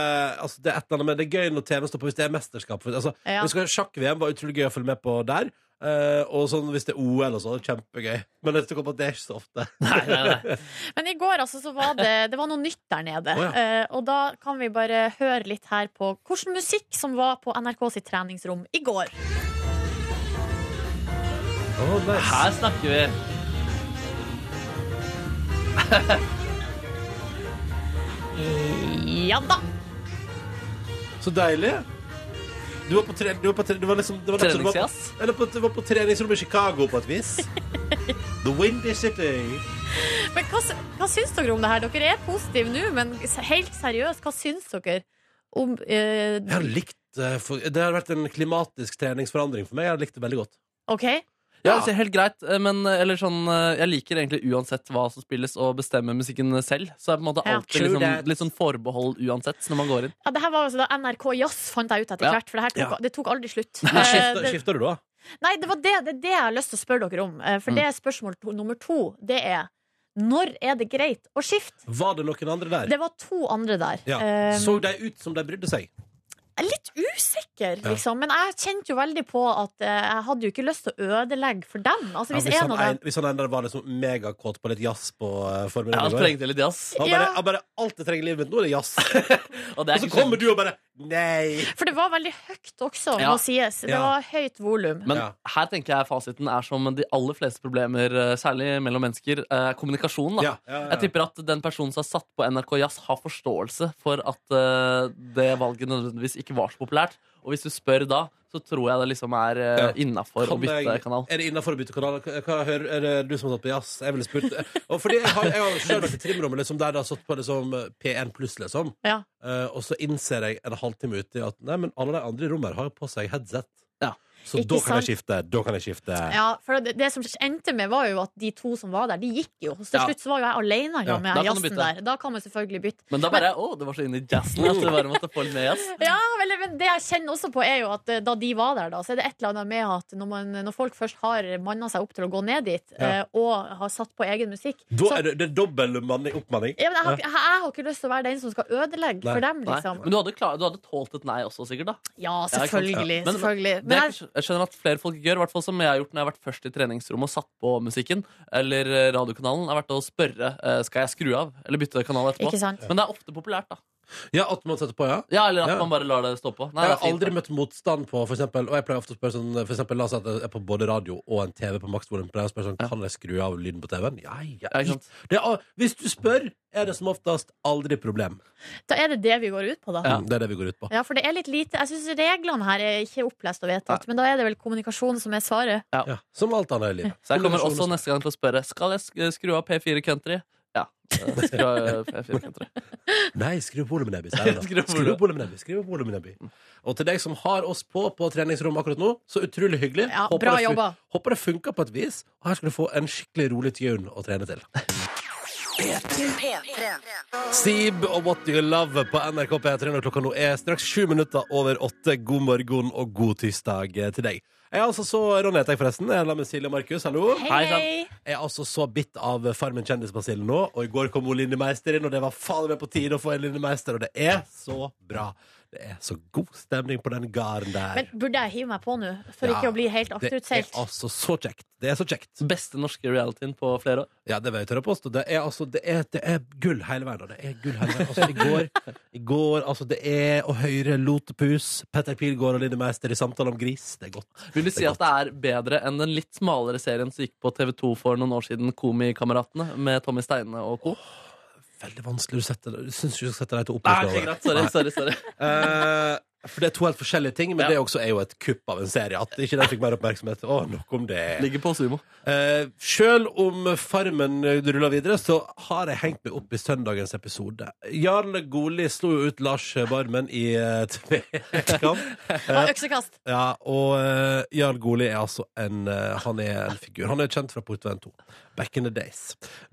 Speaker 2: altså, det, er et eller annet, men det er gøy når TV-en står på hvis det er mesterskap. For, altså,
Speaker 4: Ja.
Speaker 2: jeg husker Sjakk-VM var utrolig gøy å følge med på der. eh, og sånn hvis det er OL og sånn, kjempegøy. Men jeg tenker på at det er ikke så ofte.
Speaker 5: Nei, nei, nei.
Speaker 4: Men i går altså, så var det, det var noe nytt der nede.
Speaker 2: Å, ja.
Speaker 4: Eh, og da kan vi bare høre litt her på hvilken musikk som var på NRK sitt treningsrom i går.
Speaker 5: Her snakker vi.
Speaker 4: Ja da!
Speaker 2: Så deilig. Du var på, tre, du var på tre, du var liksom, det var nettopp- du var på-
Speaker 5: Treningsjazz?
Speaker 2: Eller på, du var på treningsrommet i Chicago på et vis. The Windy City.
Speaker 4: Men hva, sy- hva syns dere om det her? Dere er positive nå, men s- helt seriøst, hva syns dere om eh,
Speaker 2: Jeg har likt eh, for, Det har vært en klimatisk treningsforandring for meg. Jeg har likt det veldig godt.
Speaker 4: OK?
Speaker 5: Ja, altså, helt greit, eh, men eh, eller sånn, eh, jeg liker egentlig uansett hva som spilles, å bestemme musikken selv. Så det er på en måte
Speaker 4: Ja.
Speaker 5: alltid
Speaker 4: True
Speaker 5: liksom,
Speaker 4: that.
Speaker 5: litt sånn forbehold uansett når man går inn.
Speaker 4: Ja, det her var altså da NRK Jazz fant jeg ut etter
Speaker 5: Ja.
Speaker 4: hvert, for det, her tok,
Speaker 5: Ja.
Speaker 4: det tok aldri slutt.
Speaker 2: Men
Speaker 4: Eh,
Speaker 2: skifter,
Speaker 4: det-
Speaker 2: skifter du da?
Speaker 4: Nei, det, var det, det er det jeg har lyst til å spørre dere om. Eh, For
Speaker 2: Mm.
Speaker 4: det er spørsmål to, nummer to. Det er når er det greit å skifte?
Speaker 2: Var det noen andre der?
Speaker 4: Det var to andre der.
Speaker 2: ja.
Speaker 4: Eh,
Speaker 2: Så de ut som de brydde seg?
Speaker 4: jeg er litt usikker,
Speaker 2: Ja.
Speaker 4: liksom. Men jeg kjente jo veldig på at eh, jeg hadde jo ikke lyst til å ødelegge for dem. Altså,
Speaker 2: Ja,
Speaker 4: hvis,
Speaker 2: hvis,
Speaker 4: en
Speaker 2: han
Speaker 4: av
Speaker 2: en,
Speaker 4: dem
Speaker 2: hvis han enda var liksom megakåt på litt jazz på uh, formiddagen
Speaker 5: Ja,
Speaker 2: i går.
Speaker 5: trengte litt jazz.
Speaker 2: Han bare,
Speaker 4: Ja.
Speaker 2: han bare Alt jeg trenger i livet mitt nå, er det jazz.
Speaker 5: og,
Speaker 2: så kommer du og bare Nei!
Speaker 4: For det var veldig høyt også,
Speaker 5: Ja.
Speaker 4: må sies. Det
Speaker 5: Ja.
Speaker 4: var høyt volum.
Speaker 5: Men her tenker jeg fasiten er som de aller fleste problemer, eh, særlig mellom mennesker, er kommunikasjon. Da.
Speaker 2: ja, ja.
Speaker 5: Jeg tipper at den personen som er satt på NRK Jazz, har forståelse for at eh, det valget nødvendigvis ikke var så populært. Og hvis du spør da, så tror jeg det liksom er uh,
Speaker 2: Ja.
Speaker 5: innafor å
Speaker 2: Kan
Speaker 5: bytte
Speaker 2: jeg-
Speaker 5: kanal.
Speaker 2: Er det innafor å bytte kanal? Hva- Hva hører, er det du som har tatt på jazz? Jeg ville spurt og fordi Jeg har, jeg har selv vært i trimrommet liksom, der det har stått på liksom, P1 pluss, liksom.
Speaker 4: Ja.
Speaker 2: Eh, og så innser jeg en halvtime uti at nei, men alle de andre i rommet her har jo på seg headset. Så
Speaker 4: Ikke
Speaker 2: da kan jeg
Speaker 4: sant?
Speaker 2: skifte. Da kan jeg skifte.
Speaker 4: Ja, for det, det som endte med, var jo at de to som var der, de gikk jo. Så til
Speaker 5: Ja.
Speaker 4: slutt så var jo jeg alene
Speaker 5: Ja,
Speaker 4: ja. med
Speaker 5: da kan du
Speaker 4: jazzen
Speaker 5: bytte.
Speaker 4: der. Da kan man selvfølgelig bytte.
Speaker 5: Men da bare Å, det var så inne i jazzen at du bare måtte få litt mer jazz.
Speaker 4: Ja, vel, men det jeg kjenner også på er jo at eh, da de var der, da, så er det et eller annet med at når, man, når folk først har manna seg opp til å gå ned dit,
Speaker 2: Ja.
Speaker 4: eh, og har satt på egen musikk
Speaker 2: Da er det, det er dobbel manning- oppmanning.
Speaker 4: ja, men jeg, har, ikke- jeg har ikke lyst til å være den som skal ødelegge for dem,
Speaker 5: Nei.
Speaker 4: liksom.
Speaker 5: Men du hadde, klar, du hadde tålt et nei også, sikkert? da
Speaker 4: Ja,
Speaker 5: ikke sant?
Speaker 4: selvfølgelig.
Speaker 5: Men-
Speaker 4: selvfølgelig.
Speaker 5: det
Speaker 4: Men
Speaker 5: er,
Speaker 4: jeg,
Speaker 5: kanskje- jeg skjønner at flere folk gjør, i hvert fall som jeg har gjort når jeg har vært først i treningsrommet og satt på musikken, eller eh, radiokanalen, har vært å spørre eh, skal jeg skru av, eller bytte kanal etterpå.
Speaker 2: Ikke sant?
Speaker 5: Men det er ofte populært, da.
Speaker 2: Ja, at man setter på, ja?
Speaker 5: Ja, eller at man bare lar det stå på. Nei,
Speaker 2: jeg
Speaker 5: det er
Speaker 2: har
Speaker 5: fint,
Speaker 2: aldri
Speaker 5: da.
Speaker 2: møtt motstand på for eksempel, Og jeg pleier ofte å spørre sånn for eksempel, La oss si at jeg er på både radio og en TV på maksvolum. Pleier jeg å spørre sånn, Kan jeg skru av lyden på TV-en? Ja, ja. Det er, al- hvis du spør, er det som oftest aldri problem.
Speaker 4: da er det det vi går ut på, da.
Speaker 2: Mm, Det er det vi går ut på.
Speaker 4: Ja, for det er litt lite Jeg syns reglene her er ikke opplest og vedtatt, men da er det vel kommunikasjon som er svaret.
Speaker 2: Ja, Som alt annet i livet.
Speaker 5: Så jeg kommer også neste gang til å spørre Skal jeg sk- skru av P4 Country. Ja. eh, Skru av eh, P4 Country.
Speaker 2: Nei, skru opp volumet, Nebby. sier jeg da.
Speaker 5: Skru opp
Speaker 2: Skru opp volumet, Nebby. Skru opp volumet, Nebby. Og til deg som har oss på på treningsrommet akkurat nå, så utrolig hyggelig.
Speaker 4: Ja, bra
Speaker 2: det, fun-
Speaker 4: jobba.
Speaker 2: håper det funker på et vis. Og her skal du få en skikkelig rolig tune å trene til. Sib og What You Love på NRK P3 når klokka nå er straks sju minutter over åtte. God morgen og god tirsdag til deg. Jeg er altså så, Ronny heter jeg forresten. Jeg er sammen med Silje og Markus. Hallo.
Speaker 12: Hei, hei.
Speaker 2: Jeg er altså så bitt av Farmen kjendisbasillen nå, og i går kom hun Linni Meister inn, og det var faen meg på tide å få en Linni Meister, og det er så bra. Det er så god stemning på den garden der.
Speaker 4: Men burde jeg hive meg på nå, for
Speaker 2: Ja,
Speaker 4: ikke å bli helt
Speaker 2: Det
Speaker 4: akterutseilt?
Speaker 2: er altså så kjekt. Det er så kjekt.
Speaker 5: Beste norske realityen på flere år.
Speaker 2: Ja, det vil jeg tørre å påstå. Det er, altså, det er, det er gull hele veien. og Det er gull hele veien. Altså, i går, i går altså, det er å høre Lotepus, Petter Pilgaard og Linni Meister i samtale om gris. Det er godt.
Speaker 5: Vil du si at det er bedre enn den litt smalere serien som gikk på TV2 for noen år siden, Komikameratene, med Tommy Steine og co.?
Speaker 2: Veldig vanskelig å sette det. Du syns ikke du skal sette deg til å
Speaker 5: Nei,
Speaker 2: oppleve
Speaker 5: ok, greit. Sorry, sorry, sorry.
Speaker 2: Eh, for det er to helt forskjellige ting, men det er også er jo et kupp av en serie. At ikke den fikk mer oppmerksomhet. Å, nok om det.
Speaker 5: Ligger på sumo.
Speaker 2: Eh, Sjøl om Farmen ruller videre, så har jeg hengt meg opp i søndagens episode. Jarl Goli slo jo ut Lars Barmen i eh, tvekamp.
Speaker 4: Ah, Øksekast.
Speaker 2: Ja, og eh, Jarl Goli er altså en eh, Han er en figur. Han er kjent fra Portveien 2. Back in the days.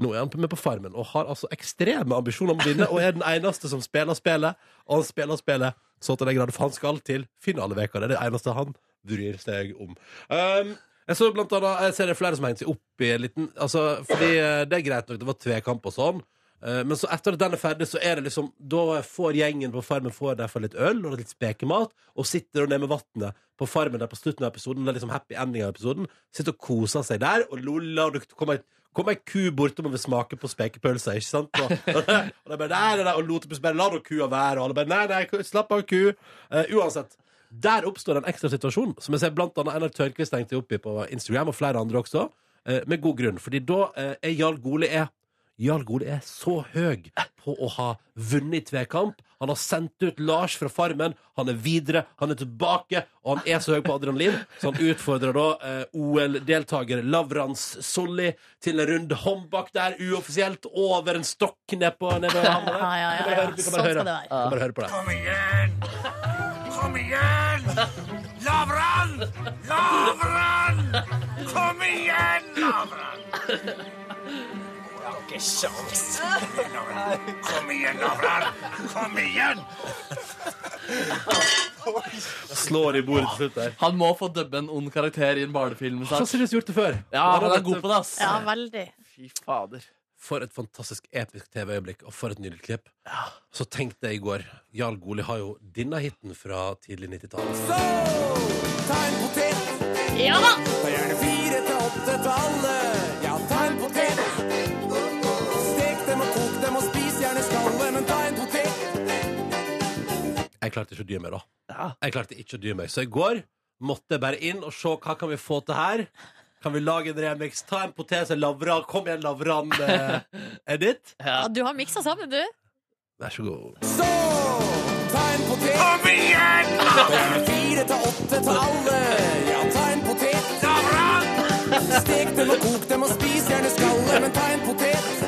Speaker 2: Nå er han med på Farmen og har altså ekstreme ambisjoner om å vinne, og er den eneste som spiller spillet. Og han spiller spillet så til den grad, for han skal til finaleveka. Det er det eneste han bryr seg om. Um, jeg så blant annet, jeg ser det er flere som har hengt seg opp i en liten altså, Fordi eh, det er greit nok, det var tvekamp og sånn. Eh, Men så etter at den er ferdig, så er det liksom Da får gjengen på Farmen får derfor litt øl og litt spekemat, og sitter og ned med vannet på Farmen der på slutten av episoden. Det er liksom happy ending av episoden Sitter og koser seg der og loller, og det kommer Kom ei ku bortom og vil smake på spekepølsa, ikke sant? Og, og, de bare nei, nei, nei, og Lotepus bare la da kua være, og alle bare nei, nei, ku- slapp av, ku. Eh, uansett. Der oppstår en ekstra situasjon, som jeg ser blant annet Einar Tørkvist hengte opp i på Instagram, og flere andre også, eh, med god grunn. Fordi da eh, er Jarl Goli er Jarl Goli er så høy på å ha vunnet i tvekamp. Han har sendt ut Lars fra Farmen. Han er videre, han er tilbake, og han er så høy på adrenalin. Så han utfordrer da eh, OL-deltaker Lavrans Solli til en runde håndbak der, uoffisielt, over en stokk ned på ned ved havna der.
Speaker 4: Ja, ja, ja,
Speaker 2: Du kan bare høre- du
Speaker 4: ja.
Speaker 2: kan bare høre.
Speaker 4: Sånn skal
Speaker 2: Du kan bare
Speaker 4: det være.
Speaker 2: høre på det.
Speaker 1: Kom igjen! Kom igjen! Lavran! Lavran! Kom igjen, Lavran! Jeg har ikke sjans. Kom igjen, Lavran. Kom igjen, Lavran! Kom igjen!
Speaker 2: Slår i bordet til slutt der.
Speaker 5: Han må få dubbe en ond karakter i en barnefilm.
Speaker 2: Han har seriøst gjort det før.
Speaker 5: Ja, han er god på det, ass.
Speaker 4: Ja, veldig.
Speaker 5: Fy fader.
Speaker 2: For et fantastisk episk TV-øyeblikk, og for et nydelig klipp. Så tenkte jeg i går Jarl Goli har jo denne hiten fra tidlig 90-tall.
Speaker 12: Ta en potet.
Speaker 4: Ja da!
Speaker 12: Ta gjerne fire til åtte til alle. Ja, ta en potet. Stek dem og kok dem og spis gjerne skallet, men ta en potet.
Speaker 2: Jeg klarte ikke å dy meg, da. Jeg klarte ikke å dy meg. Så i går måtte jeg bare inn og se hva kan vi få til her. Kan vi lage en remix? Ta en potet, en lavran. Kom igjen, lavran. Eh, edit.
Speaker 4: Ja, du har miksa sammen, du.
Speaker 2: Vær så god.
Speaker 12: Så, ta en potet.
Speaker 1: Kom igjen!
Speaker 12: Ta gjerne fire til åtte til alle. Ja, ta en potet. Stek dem og kok dem og spis gjerne skallet, men ta en potet.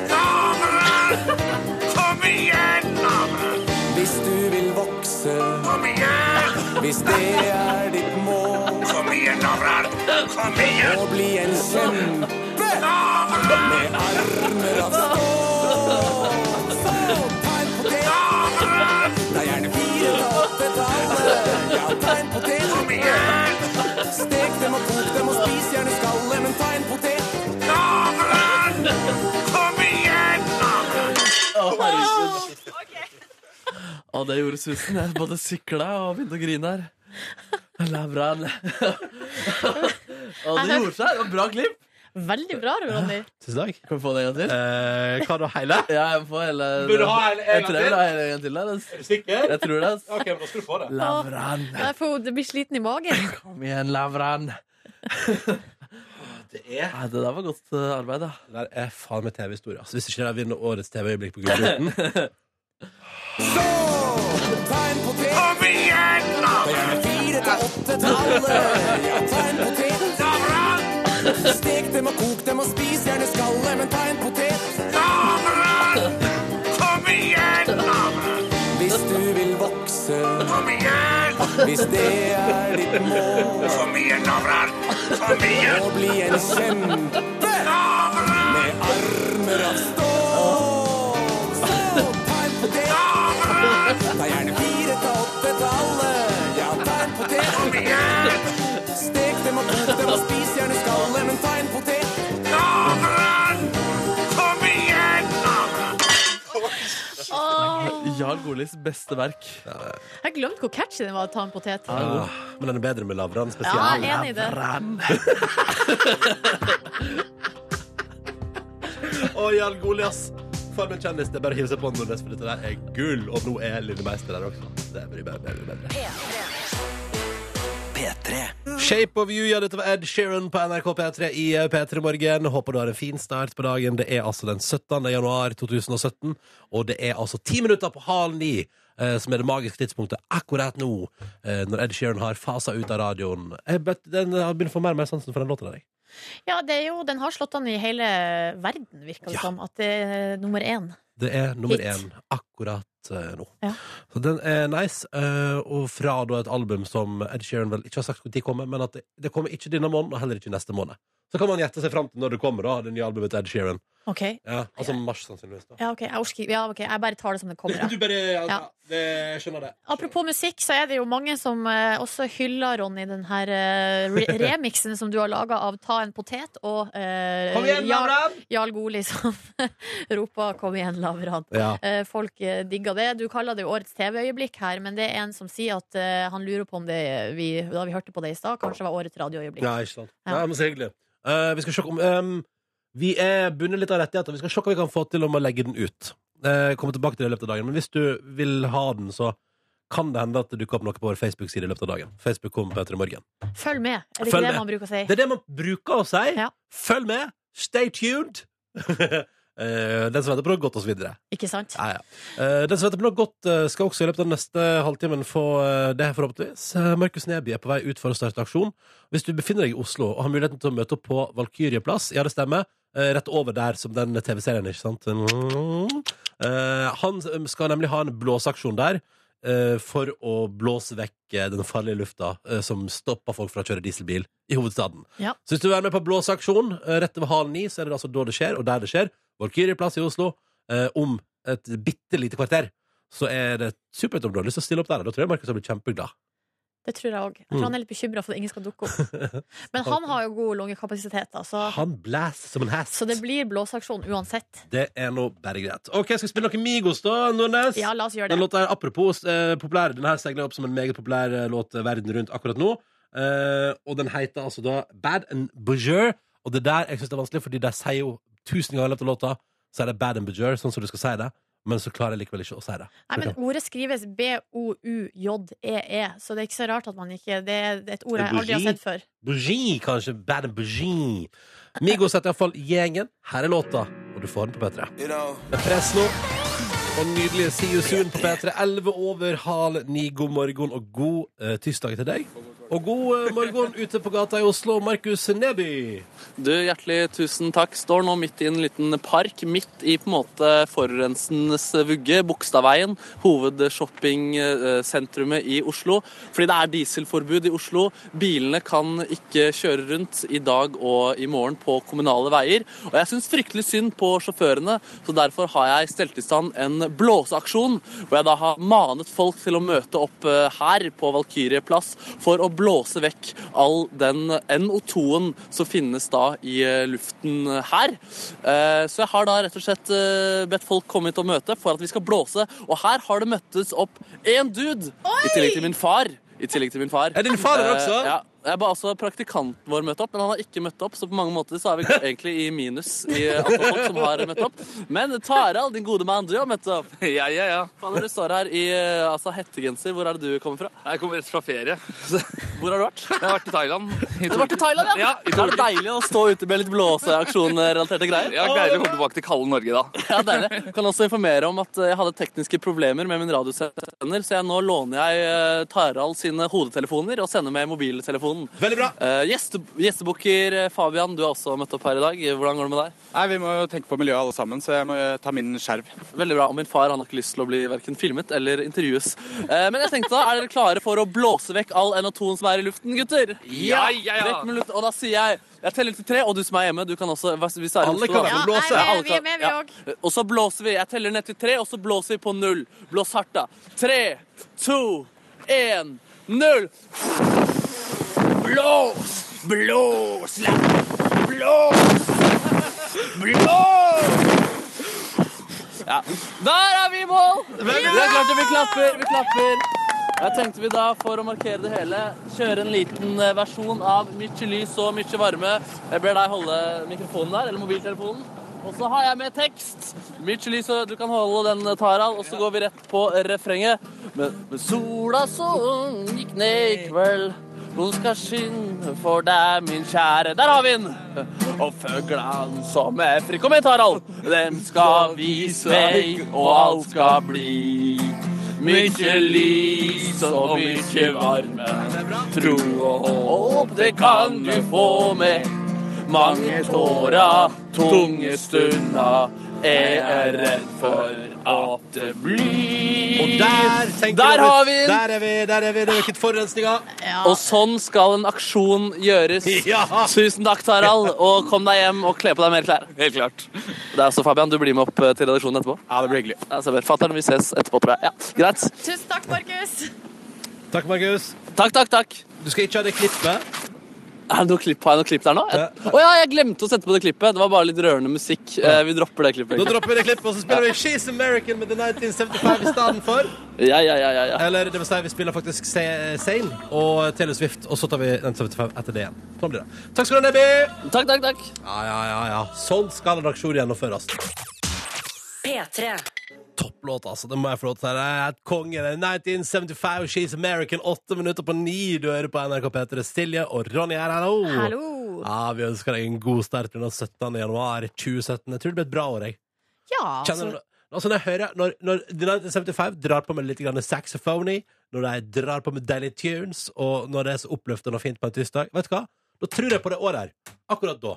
Speaker 1: Kom igjen, Lavran!
Speaker 12: Hvis du vil vokse,
Speaker 1: Kom igjen!
Speaker 12: hvis det er ditt mål.
Speaker 1: Kom igjen, Lavran! Kom igjen!
Speaker 12: Å bli en kjempe med armer av stål. Så ta en potet. Det er gjerne fire til åtte til alle. Ja, ta en potet. Stek dem og kok dem og spis gjerne skallet, men ta en potet.
Speaker 1: Kom igjen, Lavran!
Speaker 5: Å, herregud. Å, det gjorde susen. Jeg både sikla og begynte å grine her. Lavran. Å, det gjorde seg. Det var Bra klipp.
Speaker 4: Veldig bra, du, Ronny.
Speaker 2: Tusen takk. Eh,
Speaker 5: Kan vi få det en gang til?
Speaker 2: hva da, hele?
Speaker 5: Ja, jeg får hele
Speaker 2: Bør du ha hele- en
Speaker 5: Jeg
Speaker 2: gang
Speaker 5: tror
Speaker 2: til?
Speaker 5: jeg vil ha hele en gang til. der, ass.
Speaker 2: Er du sikker?
Speaker 5: Jeg tror det. ass.
Speaker 2: Ok, men da skal du få det.
Speaker 5: Lavran.
Speaker 4: Jeg får, det blir sliten i magen.
Speaker 5: Kom igjen, Lavran.
Speaker 2: Det er
Speaker 5: Nei, Det der var godt eh, arbeid, ja.
Speaker 2: Det der er faen meg TV-historie. Altså, hvis ikke det vinner årets TV-øyeblikk på Gullruten
Speaker 12: Så ta en potet.
Speaker 1: Kom igjen,
Speaker 12: Det er
Speaker 1: Lavran!
Speaker 12: gjerne fire til åtte til alle. Ja, ta en potet.
Speaker 1: Lavran!
Speaker 12: Stek dem og kok dem og spis gjerne skallet, men ta en potet.
Speaker 1: Lavran! Kom igjen, Lavran!
Speaker 12: Hvis du vil vokse,
Speaker 1: Kom igjen!
Speaker 12: hvis det er ditt mål.
Speaker 1: Kom igjen, Lavran! Kom igjen,
Speaker 12: å bli en kjempe
Speaker 1: Lavran!
Speaker 12: med armer av stål. Så ta en potet,
Speaker 1: Lavran!
Speaker 12: ta gjerne fire til åtte til alle. Ja, ta en
Speaker 1: Kom
Speaker 12: potet,
Speaker 1: igjen,
Speaker 12: stek dem og kok dem og spis gjerne skallet, men ta en potet.
Speaker 1: Lavran! Kom igjen, Lavran!
Speaker 4: Åh,
Speaker 5: Jarl Golis beste verk.
Speaker 4: jeg glemte hvor catchy den var å ta en potet.
Speaker 2: Ah, Men den er bedre med Lavran
Speaker 4: Ja,
Speaker 2: spesielt.
Speaker 4: jeg er enig i det.
Speaker 2: Å, Jarl Goli, ass! For en kjendis. Det er bare å hive seg på Nordnes, for dette der er gull. Og nå er Lille Meister der også. Det blir bare bedre og bedre.
Speaker 1: P3.
Speaker 2: Shape of you, ja, dette var Ed Sheeran på NRK P3 i eh, P3 Morgen. Håper du har en fin start på dagen. Det er altså den 17. januar 2017, og det er altså ti minutter på halv ni. eh, Som er det magiske tidspunktet akkurat nå, eh, når Ed Sheeran har fasa ut av radioen. Jeg bet, den har begynt å få mer og mer sansen for den låta der. jeg.
Speaker 4: Ja, det er jo, den har slått an i hele verden, virker det
Speaker 2: Ja.
Speaker 4: som. At det er nummer én.
Speaker 2: Det er nummer
Speaker 4: Hit.
Speaker 2: én akkurat eh, nå.
Speaker 4: Ja.
Speaker 2: Så den er nice. eh, og fra da et album som Ed Sheeran vel ikke har sagt når kommer, men at det, det kommer ikke denne måneden, og heller ikke neste måned. Så kan man gjette seg fram til når det kommer, da, det nye albumet til Ed Sheeran.
Speaker 4: OK.
Speaker 2: Ja, altså mars sannsynligvis da.
Speaker 4: Ja, ok, jeg orsker ikke. Ja, ok, jeg bare tar det som det kommer. Jeg.
Speaker 2: Du bare, ja,
Speaker 4: Ja.
Speaker 2: det, jeg skjønner det
Speaker 4: Apropos musikk, så er det jo mange som eh, også hyller Ronny den her eh, re remixen som du har laga av Ta en potet og eh, Jarl, Jarl Goli som roper 'Kom igjen, Lavran'.
Speaker 2: Ja,
Speaker 4: Eh, folk eh, digger det. Du kaller det jo årets TV-øyeblikk her, men det er en som sier at eh, han lurer på om det vi, da vi hørte på det i stad, kanskje var årets radioøyeblikk.
Speaker 2: ja ikke sant
Speaker 4: Ja.
Speaker 2: Nei, men så hyggelig Eh, Vi skal sjokke om ehm, Vi er bunnet litt av rettigheter Vi skal sjokke hva vi kan få til om å legge den ut Eh, Komme tilbake til det i løpet av dagen Men hvis du vil ha den så kan det hende at det dukker opp noe på vår Facebook-side i løpet av dagen Facebook kommer på etter i morgen
Speaker 4: Følg med, er det
Speaker 2: Følg
Speaker 4: ikke
Speaker 2: med.
Speaker 4: det man bruker å si?
Speaker 2: Det er det man bruker å si
Speaker 4: Ja.
Speaker 2: Følg med, stay tuned Eh, den som venter på noe godt, og så videre.
Speaker 4: Ikke sant?
Speaker 2: Ja, ja. Eh, den som venter på noe godt, eh, skal også i løpet av den neste halvtimen få eh, det, forhåpentligvis. Eh, Markus Neby er på vei ut for å starte aksjon. Hvis du befinner deg i Oslo og har muligheten til å møte opp på Valkyrjeplass, ja, det stemmer, eh, rett over der som den TV-serien, ikke sant? Mm. Eh, han eh, skal nemlig ha en blåseaksjon der. eh, For å blåse vekk eh, den farlige lufta eh, som stopper folk fra å kjøre dieselbil i hovedstaden.
Speaker 4: Ja.
Speaker 2: Så hvis du vil være med på blåseaksjon eh, rett over halv ni, så er det altså da det skjer, og der det skjer. Valkyrjeplass i Oslo. Eh, om et bitte lite kvarter så er det supert om du har lyst til å stille opp der. Da tror jeg Markus har blitt kjempeglad.
Speaker 4: Det tror jeg òg. Jeg tror
Speaker 2: Mm.
Speaker 4: han er litt bekymra for at ingen skal dukke opp. Men han har jo god lungekapasitet, altså.
Speaker 2: Han blæser som en hest.
Speaker 4: Så det blir blåseaksjon uansett.
Speaker 2: Det er nå bare greit. OK, skal vi spille noe Migos, da, Nordnes?
Speaker 4: Ja, la oss gjøre det.
Speaker 2: Den låta er apropos eh, populær. Den her seiler opp som en meget populær eh, låt verden rundt akkurat nå. Eh, og den heter altså da Bad and Bourgeois. Og det der jeg synes det er vanskelig, fordi de sier jo tusen ganger i løpet av låta så er det Bad and Bourgeois, sånn som du skal si det. Men så klarer jeg likevel ikke å si det.
Speaker 4: Nei, men Ordet skrives B-O-U-J-E-E, E så det er ikke så rart at man ikke Det er et ord jeg aldri har sett før.
Speaker 2: Bourgeois, kanskje. Bad and Bourgeois. Migos heter iallfall Gjengen. Her er låta, og du får den på P3. Det er press nå. Og nydelig See you soon på P3. 11 over halv ni. God morgen og god eh, tirsdag til deg. Og god eh, morgen ute på gata i Oslo, Markus Neby.
Speaker 5: Du, hjertelig tusen takk. Står nå midt i en liten park, midt i på en måte forurensendes vugge, Bogstadveien, hovedshopping-sentrumet i Oslo. Fordi det er dieselforbud i Oslo. Bilene kan ikke kjøre rundt i dag og i morgen på kommunale veier. Og jeg syns fryktelig synd på sjåførene, så derfor har jeg stelt i stand en blåseaksjon, hvor jeg da har manet folk til å møte opp eh, her på Valkyrieplass for å blåse vekk all den NO2-en som finnes da i eh, luften her. Eh, Så jeg har da rett og slett eh, bedt folk komme hit og møte for at vi skal blåse, og her har det møttes opp én dude, i tillegg til min far. I tillegg til min far.
Speaker 2: Er din far her
Speaker 5: Eh,
Speaker 2: også?
Speaker 5: Ja. Jeg ba altså praktikanten vår møte opp, men han har ikke møtt opp, så på mange måter så er vi egentlig i minus i antall folk som har møtt opp. Men Tarald, din gode mann, du har møtt opp. Ja, ja, ja. Faen, du står her i eh, altså, hettegenser. Hvor er det du kommer fra? Jeg kommer rett fra ferie. Hvor har du vært? Jeg har vært i Thailand. Du har vært i Thailand, ja?
Speaker 13: Ja, i
Speaker 5: er det deilig å stå ute med litt blåseaksjon-relaterte greier?
Speaker 13: Ja, deilig å komme tilbake til kalde Norge, da.
Speaker 5: Ja, deilig. Kan også informere om at eh, jeg hadde tekniske problemer med min radiosender, så jeg nå låner jeg eh, Tarald sine hodetelefoner og sender med mobiltelefonen.
Speaker 2: Veldig bra.
Speaker 5: Gjestebukker eh, Fabian, du har også møtt opp her i dag. Hvordan går det med deg?
Speaker 13: Nei, Vi må jo tenke på miljøet alle sammen, så jeg må eh, ta min skjerv.
Speaker 5: Veldig bra. Og min far han har ikke lyst til å bli hverken filmet eller intervjues. Eh, Men jeg tenkte da, er dere klare for å blåse vekk all NO2-en som er i luften, gutter?
Speaker 13: Ja, ja, ja.
Speaker 5: Vekk med luften. Og da sier jeg jeg teller til tre, og du som er hjemme, du kan også hvis du er i
Speaker 13: Alle
Speaker 5: Oslo,
Speaker 13: kan
Speaker 5: da.
Speaker 13: være med og blåse.
Speaker 5: Ja,
Speaker 13: Ja,
Speaker 5: alle
Speaker 13: vi er med, vi
Speaker 5: kan- ja. Eh, Og så blåser vi. Jeg teller ned til tre, og så blåser vi på null. Blås hardt, da. Tre, to, én, null. Blås! Blås! La Blås! Blås! Ja. Der er vi i mål! Vi er klart det, vi klapper, vi klapper. Jeg tenkte vi da, for å markere det hele, kjøre en liten eh, versjon av mykje lys og mykje varme. Jeg ber deg holde mikrofonen der, eller mobiltelefonen. Og så har jeg med tekst. Mykje lys, og du kan holde den, eh, Tarald. Og så går vi rett på refrenget. Men, men sola som gikk ned i kveld, hun skal skinne for deg, min kjære. Der har vi den! Og føglan som er fri. Kom igjen, Tarald! Dem skal vise vei, og alt skal bli. Mykje lys og mykje varme. Tro og håp, det kan du få med. Mange tåra, tunge stunda. Jeg er redd for at det blir
Speaker 2: Og der tenker du-
Speaker 5: Der har vi den!
Speaker 2: Der er vi, der er vi. Det er ikke forurensninga.
Speaker 5: Og sånn skal en aksjon gjøres. Tusen takk, Tarald. Og kom deg hjem og kle på deg mer klær. Helt klart. Det er også Fabian, du blir med opp eh, til redaksjonen etterpå? Ja, det blir hyggelig. Fatter'n, vi ses etterpå, tror jeg. Ja, greit.
Speaker 4: Tusen takk, Markus!
Speaker 2: Takk, Markus.
Speaker 5: Takk, takk, takk.
Speaker 2: Du skal ikke ha det klippet?
Speaker 5: Er det noe klipp, har jeg noe klipp der nå? Å ja, jeg glemte å sette på det klippet. Det var bare litt rørende musikk. Eh, Vi dropper det klippet.
Speaker 2: Da dropper vi det klippet, og så spiller vi She's American med The 1975 i stedet for.
Speaker 5: Ja, ja, ja, ja, ja.
Speaker 2: Eller det vil si, vi spiller faktisk Se- Zayn og Taylor Swift, og så tar vi 1975 etter det igjen. Sånn blir det. Takk skal du ha, Nebby.
Speaker 5: Takk, takk, takk.
Speaker 2: Ja, ja, ja, ja. Sånn skal en aksjon gjennomføres.
Speaker 7: P3.
Speaker 2: Topplåt, altså. Det må jeg få lov til å si. Det er et konge. Det er 1975 og She's American. Åtte minutter på ni. Du hører på NRK P3. Silje og Ronny er her nå.
Speaker 4: Hallo.
Speaker 2: Ja, vi ønsker deg en god start på den 17. januar 2017. Jeg tror det blir et bra år, jeg.
Speaker 4: Ja,
Speaker 2: Kjenner
Speaker 4: altså,
Speaker 2: du Altså når jeg hører Når, når The 1975 drar på med litt grann saxophony, når de drar på med deilige tunes, og når det er så oppløftende og fint på en tirsdag Vet du hva? Da tror jeg på det året her. Akkurat da.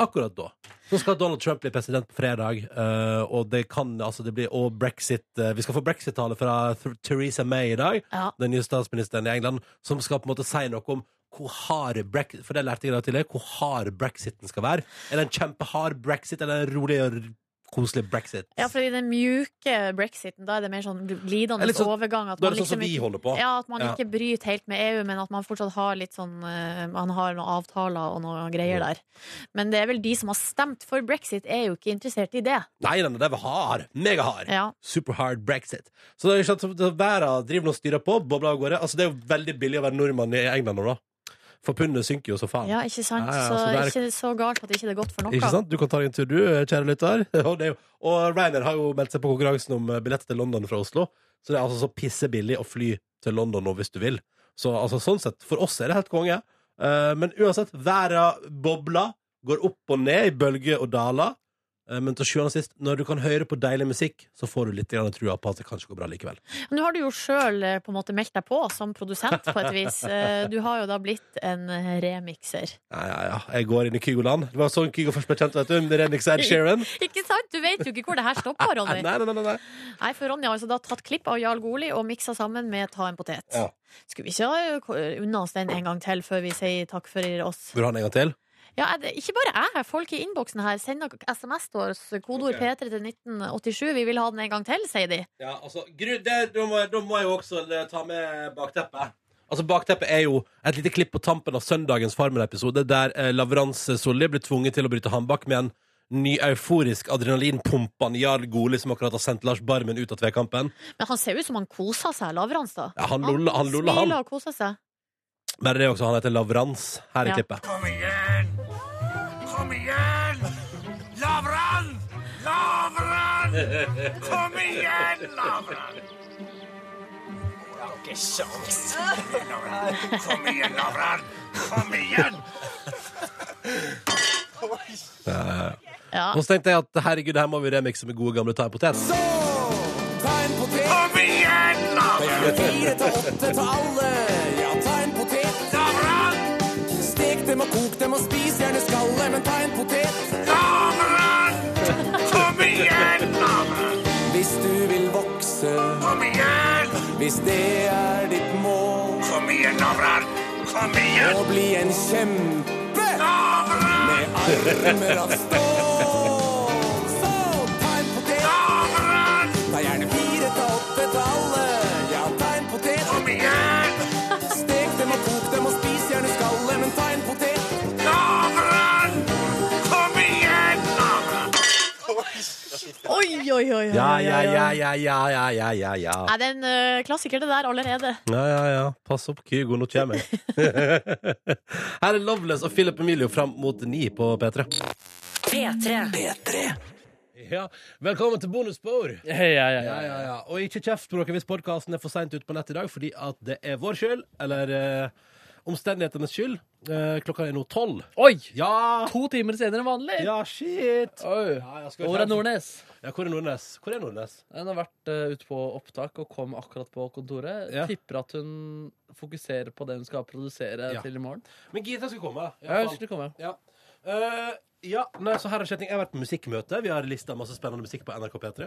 Speaker 2: Akkurat da. Så skal Donald Trump bli president på fredag, eh, og det kan altså det blir Og brexit eh, Vi skal få brexit-tale fra Th Theresa May i dag, den nye statsministeren i England, som skal på en måte si noe om hvor hard brexit For det lærte jeg i dag tidlig. Hvor hard brexiten skal være. Er det en kjempehard brexit, eller en rolig og r- koselig brexit?
Speaker 4: ja, for i den mjuke brexiten, da er det mer sånn glidende
Speaker 2: Det er litt sånn-
Speaker 4: overgang. At
Speaker 2: da er
Speaker 4: man
Speaker 2: det sånn som
Speaker 4: liksom
Speaker 2: vi
Speaker 4: ikke-
Speaker 2: holder på.
Speaker 4: Ja, at man
Speaker 2: Ja.
Speaker 4: ikke bryter helt med EU, men at man fortsatt har litt sånn eh, Man har noen avtaler og noen greier der. Men det er vel de som har stemt for brexit, er jo ikke interessert i det.
Speaker 2: Nei, nei, nei, den var hard. Megahard.
Speaker 4: Ja.
Speaker 2: Superhard brexit. Så det er ikke sant, så verden driver nå og styrer på, bobler av gårde. Altså, det er jo veldig billig å være nordmann i England nå, da. For pundet synker jo så faen.
Speaker 4: Ja, ikke sant?
Speaker 2: Ja, ja,
Speaker 4: så
Speaker 2: så det er-
Speaker 4: ikke så galt at ikke det er godt for noe.
Speaker 2: Ikke sant? Du kan ta deg en tur, du, kjære lytter. Og, det er jo, og Ryanair har jo meldt seg på konkurransen om eh, billett til London fra Oslo. Så det er altså så pissebillig å fly til London nå hvis du vil. Så altså, sånn sett, for oss er det helt konge. Eh, men uansett, verden bobler, går opp og ned i bølger og daler. Eh, men til sjuende og sist, når du kan høre på deilig musikk, så får du litt grann trua på at det kanskje går bra likevel.
Speaker 4: Nå har du jo sjøl på en måte meldt deg på som produsent, på et vis. Eh, Du har jo da blitt en eh, remikser.
Speaker 2: Ja, ja, ja. Jeg går inn i Kygoland. Det var sånn Kygo først ble kjent, vet du. Med Renix Ed Sheeran.
Speaker 4: Ikke sant? Du vet jo ikke hvor det her stopper, Ronny.
Speaker 2: Nei, nei, nei, nei.
Speaker 4: Nei, for Ronny har altså da tatt klipp av Jarl Goli og miksa sammen med Ta en potet.
Speaker 2: Ja.
Speaker 4: Skulle vi ikke ha eh, unna oss den en gang til før vi sier takk for oss?
Speaker 2: Vil du ha den en gang til?
Speaker 4: Ja, er det, ikke bare jeg, folk i innboksen her sender SMS til oss,
Speaker 2: Ok.
Speaker 4: kodeord P3 til 1987. Vi vil ha den en gang til, sier de.
Speaker 2: Ja, altså, gru, det, da, må, jeg- da må jeg jo også eh, ta med bakteppet. Altså, Bakteppet er jo et lite klipp på tampen av søndagens Farmen-episode, der eh, Lavrans Solli blir tvunget til å bryte håndbak med en ny euforisk adrenalinpumpende Jarl Goli som akkurat har sendt Lars Barmen ut av tvekampen.
Speaker 4: Men han ser jo ut som han koser seg, Lavrans, da.
Speaker 2: Ja, han luller, han luller,
Speaker 4: Smiler
Speaker 2: han.
Speaker 4: og koser seg.
Speaker 2: Bare det også, han heter Lavrans her i
Speaker 4: Ja.
Speaker 2: klippet.
Speaker 1: Kom igjen! Kom igjen! Lavran! Lavran! Kom igjen, Lavran! Jeg har ikke sjans. Kom igjen, Lavran! Kom igjen!
Speaker 2: Eh,
Speaker 4: Ja.
Speaker 2: Og så tenkte jeg at herregud, her må vi remikse med gode gamle Ta en potet.
Speaker 1: Kom igjen,
Speaker 12: Det er
Speaker 1: Lavran!
Speaker 12: fire til åtte til alle. Ja, ta en potet. Stek dem og kok dem og spis gjerne skallet, men ta en potet.
Speaker 1: Kom igjen, Lavran!
Speaker 12: Hvis du vil vokse.
Speaker 1: Kom igjen!
Speaker 12: Hvis det er ditt mål.
Speaker 1: Kom igjen, Lavran! Kom igjen!
Speaker 12: Å bli en kjempe. Med armer av stål. Så ta en potet. Ta gjerne fire til åtte til alle. Ja, ta en potet. Kom igjen! Stek dem og kok dem og spis gjerne skallet, men ta en potet.
Speaker 1: Lavran! Kom igjen, Lavran!
Speaker 4: Oi, oi, oi. oi,
Speaker 2: Ja, ja,
Speaker 4: oi, oi.
Speaker 2: ja, ja, ja, ja, ja, ja, ja.
Speaker 4: Nei, det er en eh, klassiker, det der, allerede.
Speaker 2: Ja, ja, ja. Pass opp, Kygo, nå kommer jeg. Her er Loveless og Philip Emilio fram mot ni på P3.
Speaker 7: P3.
Speaker 2: Ja, Velkommen til bonusspor.
Speaker 5: ja, ja,
Speaker 2: ja, ja, ja. Og ikke kjeft på dere hvis podkasten er for seint ute på nett i dag, fordi at det er vår skyld, eller eh, omstendighetenes skyld. Eh, klokka er nå tolv.
Speaker 5: Oi!
Speaker 2: Ja.
Speaker 5: To timer senere enn vanlig.
Speaker 2: Ja, shit.
Speaker 5: Oi.
Speaker 2: skal vi
Speaker 5: Hvor
Speaker 2: ta-
Speaker 5: er Nordnes?
Speaker 2: Ja, hvor er Nordnes? Hvor er Nordnes?
Speaker 5: Hun har vært eh, ute på opptak og kom akkurat på kontoret.
Speaker 2: Ja.
Speaker 5: Tipper at hun fokuserer på det hun skal produsere
Speaker 2: Ja.
Speaker 5: til i morgen.
Speaker 2: Men Gita skulle komme.
Speaker 5: Ja, hun skulle komme.
Speaker 2: Ja. Eh, ja, nei, så her har skjedd ting. Jeg har vært på musikkmøte. Vi har lista masse spennende musikk på NRK P3.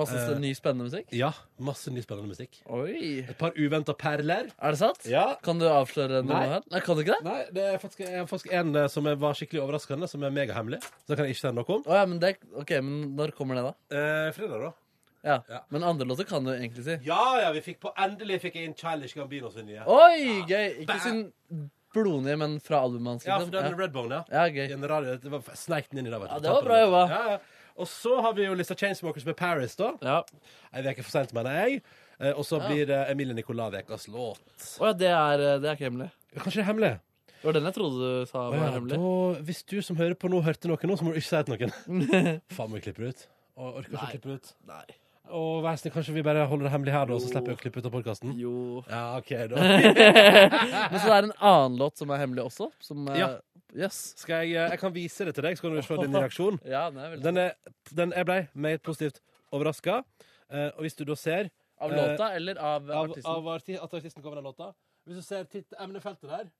Speaker 5: Masse
Speaker 2: Eh,
Speaker 5: ny, spennende musikk?
Speaker 2: Ja, masse ny spennende musikk.
Speaker 5: Oi.
Speaker 2: Et par uventa perler.
Speaker 5: Er det sant?
Speaker 2: Ja.
Speaker 5: Kan du avsløre noe
Speaker 2: Nei.
Speaker 5: her? Nei, kan du ikke det?
Speaker 2: Nei, det er faktisk, jeg har faktisk en eh, som er- var skikkelig overraskende, som er megahemmelig. Så det kan jeg ikke si noe om. Eh,
Speaker 5: Å ja, men det, ok, men når kommer det, da?
Speaker 2: fredag, da.
Speaker 5: Ja. Men andre låter kan du egentlig si.
Speaker 2: Ja, ja, vi fikk på Endelig fikk jeg inn Childish Gambino sin nye.
Speaker 5: Oi, gøy! Ikke sin blodnye, men fra albumet hans.
Speaker 2: Ja, for
Speaker 5: liksom.
Speaker 2: den
Speaker 5: Ja.
Speaker 2: Redbone, ja.
Speaker 5: Ja, gøy.
Speaker 2: Den radio, det var sneik den inn i dag, vet du.
Speaker 5: Ja, det var bra jobba.
Speaker 2: Ja, ja. Og så har vi jo lista Chainsmokers med Paris, da.
Speaker 5: Ja.
Speaker 2: Ei uke for seint, mener jeg. Eh, Og så
Speaker 5: Ja.
Speaker 2: blir det Emilie Nicolas Vekas låt.
Speaker 5: Å ja, det er, eh, det er ikke hemmelig.
Speaker 2: Kanskje det er hemmelig?
Speaker 5: Det var den jeg trodde du sa
Speaker 2: Å
Speaker 5: var
Speaker 2: ja,
Speaker 5: hemmelig.
Speaker 2: da, hvis du som hører på nå, hørte noe nå, så må du ikke si det til noen. Faen, må vi klippe det ut? Og orker ikke å klippe det ut?
Speaker 5: Nei.
Speaker 2: Og vær snill, kanskje vi bare holder det hemmelig her, da, så slipper jeg å klippe ut av podkasten?
Speaker 5: Jo.
Speaker 2: Ja, OK, da.
Speaker 5: Men så det er en annen låt som eh, er hemmelig også? Som er,
Speaker 2: Ja. Skal jeg, eh, jeg kan vise det til deg, så kan du se din reaksjon.
Speaker 5: Ja, den er veldig
Speaker 2: Den er, den jeg ble meget positivt overraska. og hvis du da ser
Speaker 5: Av
Speaker 2: eh,
Speaker 5: låta eller av
Speaker 2: av,
Speaker 5: artisten?
Speaker 2: av arti at artisten kommer den låta Hvis du ser titt emnefeltet der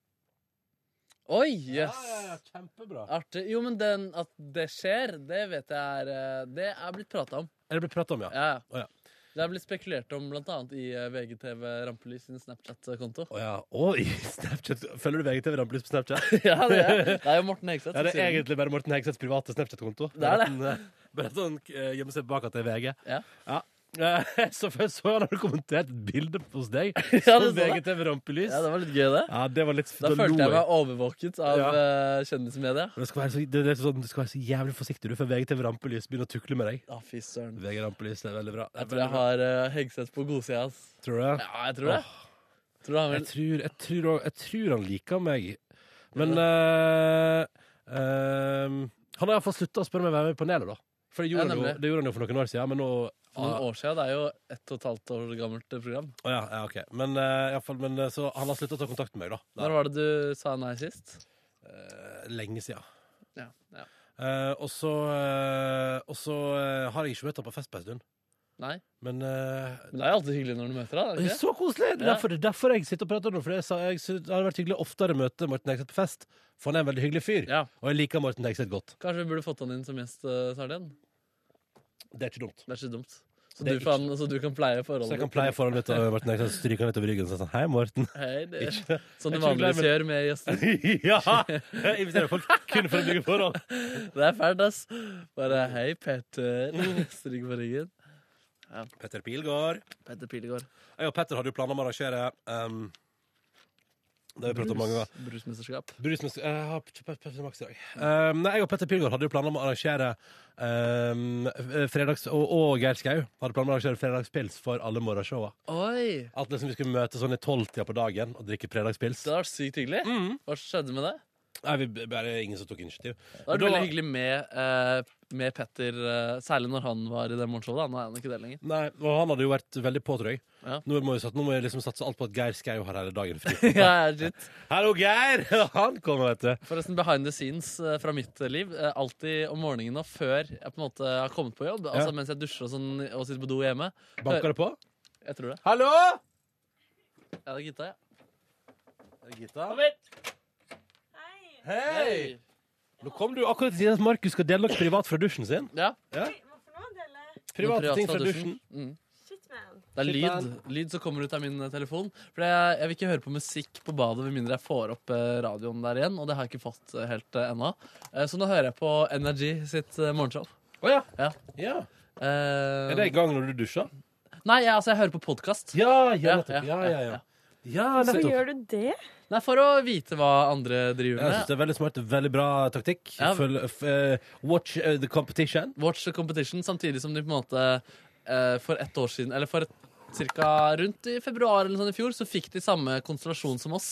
Speaker 5: Oi, jøss.
Speaker 2: Ja, ja, ja, kjempebra.
Speaker 5: Artig. Jo, men den, at det skjer, det vet jeg er eh, Det er blitt prata om.
Speaker 2: Er det blitt pratet om, ja?
Speaker 5: Ja.
Speaker 2: Å, ja.
Speaker 5: Det er blitt spekulert om blant annet i eh, VGTV Rampelys sin Snapchat-konto.
Speaker 2: Å ja. Oi, Snapchat. Følger du VGTV Rampelys på Snapchat?
Speaker 5: ja, det er, det er jo Morten Hegseth.
Speaker 2: Ja, det er
Speaker 5: som sier
Speaker 2: egentlig bare Morten Hegseths private Snapchat-konto.
Speaker 5: Det er det.
Speaker 2: Bare at han, eh, Bare at han eh, gjemmer seg bak at det er VG.
Speaker 5: Ja.
Speaker 2: Eh, Så først så han hadde kommentert et bilde hos deg
Speaker 5: Ja,
Speaker 2: som
Speaker 5: det så jeg.
Speaker 2: VGTV Rampelys.
Speaker 5: Ja, det var litt gøy, det.
Speaker 2: Ja, det var litt
Speaker 5: Da
Speaker 2: lo
Speaker 5: følte jeg meg overvåket av
Speaker 2: Ja.
Speaker 5: eh, kjendismedia.
Speaker 2: Men Du skal, være så, det er sånn, du skal være så jævlig forsiktig du, før VGTV Rampelys begynner å tukle med deg.
Speaker 5: Ja, fy søren.
Speaker 2: VG Rampelys, det er veldig bra. Det er
Speaker 5: Jeg tror jeg
Speaker 2: veldig bra.
Speaker 5: har uh, Hegseth på godsida. ass.
Speaker 2: Tror du det?
Speaker 5: Ja, jeg tror det.
Speaker 2: Åh.
Speaker 5: Tror du han
Speaker 2: Jeg
Speaker 5: vil
Speaker 2: tror, jeg, tror, også- jeg tror han liker meg. Men eh, eh, han har iallfall slutta å spørre meg om jeg er med i panelet, da. For det
Speaker 5: Ja,
Speaker 2: gjorde, han, jo,
Speaker 5: nemlig.
Speaker 2: det gjorde han jo for noen år siden. Men nå
Speaker 5: For noen år siden, det er jo ett og et halvt år gammelt eh, program.
Speaker 2: Å ja, ja, ok. Men, eh, i alle fall, men eh, så han har slutta å ta kontakt med meg, da.
Speaker 5: Når var det du sa nei sist?
Speaker 2: Eh, lenge siden.
Speaker 5: Ja, ja.
Speaker 2: Eh, og så eh, og så eh, har jeg ikke møtt ham på fest på en stund.
Speaker 5: Nei?
Speaker 2: Men, eh,
Speaker 5: Men det er jo alltid hyggelig når du møter deg. er det
Speaker 2: det
Speaker 5: ikke
Speaker 2: er
Speaker 5: det?
Speaker 2: så koselig! Det er
Speaker 5: Ja.
Speaker 2: derfor, det er derfor jeg sitter og prater nå. For jeg, sa- jeg, sy- det hadde vært hyggelig oftere å møte Morten Hegseth på fest. For han er en veldig hyggelig fyr. Og jeg liker Morten Hegseth godt.
Speaker 5: Kanskje vi burde fått han inn som gjest, eh, Sarlien?
Speaker 2: Det er ikke dumt.
Speaker 5: Det er ikke dumt. Så,
Speaker 2: Det er
Speaker 5: du, kan, så du kan pleie
Speaker 2: Så
Speaker 5: forholdet?
Speaker 2: jeg kan pleie forholdet mitt og Morten Hegseth stryker han litt over ryggen og sånn Hei, Morten.
Speaker 5: Hei, det
Speaker 2: Ikke-
Speaker 5: Som
Speaker 2: jeg
Speaker 5: du
Speaker 2: er ikke glad i-
Speaker 5: vanligvis gjør med gjester.
Speaker 2: ja! Jeg inviterer folk kun for å bygge forhold.
Speaker 5: Det er fælt, ass. Bare 'hei, Peter'. Stryk på ryggen. Ja.
Speaker 2: Petter Pilgaard.
Speaker 5: Petter Pilgaard.
Speaker 2: Jeg og Petter hadde jo planer om å arrangere um, Det har vi pratet om mange ganger.
Speaker 5: Brusmesterskap.
Speaker 2: Brusmus- liksom Jeg har ikke Pep- Pepsi Max i dag. Um, nei, jeg og Petter Pilgaard hadde jo planer om å arrangere um, f- fredags... Og, og Geir Skau hadde planer om å arrangere fredagspils for alle morgenshowa.
Speaker 5: Oi!
Speaker 2: At liksom vi skulle møtes sånn i tolvtida på dagen og drikke fredagspils.
Speaker 5: Det hadde vært sykt hyggelig.
Speaker 2: Mm.
Speaker 5: Hva skjedde med det?
Speaker 2: Nei, vi, bare ingen som tok initiativ.
Speaker 5: Det hadde vært
Speaker 2: Da-
Speaker 5: veldig hyggelig med, eh, med Petter, eh, særlig når han var i det morgenshowet. da. Nå er han ikke det lenger.
Speaker 2: Nei, og han hadde jo vært veldig påtrøy.
Speaker 5: Ja.
Speaker 2: Nå, må vi, sat- nå må jeg liksom satse alt på at Geir Skau har hele dagen fri.
Speaker 5: ja, ja, shit.
Speaker 2: Hallo, Geir! Han kommer, vet du.
Speaker 5: Forresten, behind the scenes eh, fra mitt eh, liv. eh, Alltid om morgenen og før jeg på en måte har kommet på jobb, altså mens jeg dusjer og, sånn, og sitter på do hjemme
Speaker 2: Banker det på?
Speaker 5: Jeg tror det.
Speaker 2: Hallo!
Speaker 5: Ja, det er Gitta, ja.
Speaker 2: Kom hit! Hei! Nå kom du akkurat til siden at Markus skal dele noe privat fra dusjen sin.
Speaker 5: Ja.
Speaker 2: Private
Speaker 5: Noe privat
Speaker 2: ting fra
Speaker 5: Mm.
Speaker 14: Shit, man.
Speaker 5: Det er
Speaker 2: Shit,
Speaker 5: lyd, lyd som kommer ut av min eh, telefon. For jeg, jeg vil ikke høre på musikk på badet med mindre jeg får opp eh, radioen der igjen. Og det har jeg ikke fått eh, helt eh, ennå. Eh, Så nå hører jeg på Energy sitt eh, morgenshow.
Speaker 2: Oh, ja.
Speaker 5: Ja.
Speaker 2: Er det i gang når du dusjer?
Speaker 5: Nei, jeg, altså, jeg hører på podkast.
Speaker 2: Ja, ja, nettopp. Ja, ja, ja. Ja,
Speaker 14: Hvorfor
Speaker 2: nettopp.
Speaker 14: gjør du det?
Speaker 5: Nei, for å vite hva andre driver
Speaker 2: Jeg
Speaker 5: med.
Speaker 2: synes det er veldig smart, veldig bra taktikk.
Speaker 5: Ja.
Speaker 2: Følg, f, eh, watch eh, the competition.
Speaker 5: Watch the Competition, samtidig som de på en måte eh, for ett år siden, eller for et, cirka rundt i februar eller sånn i fjor, så fikk de samme konstellasjon som oss.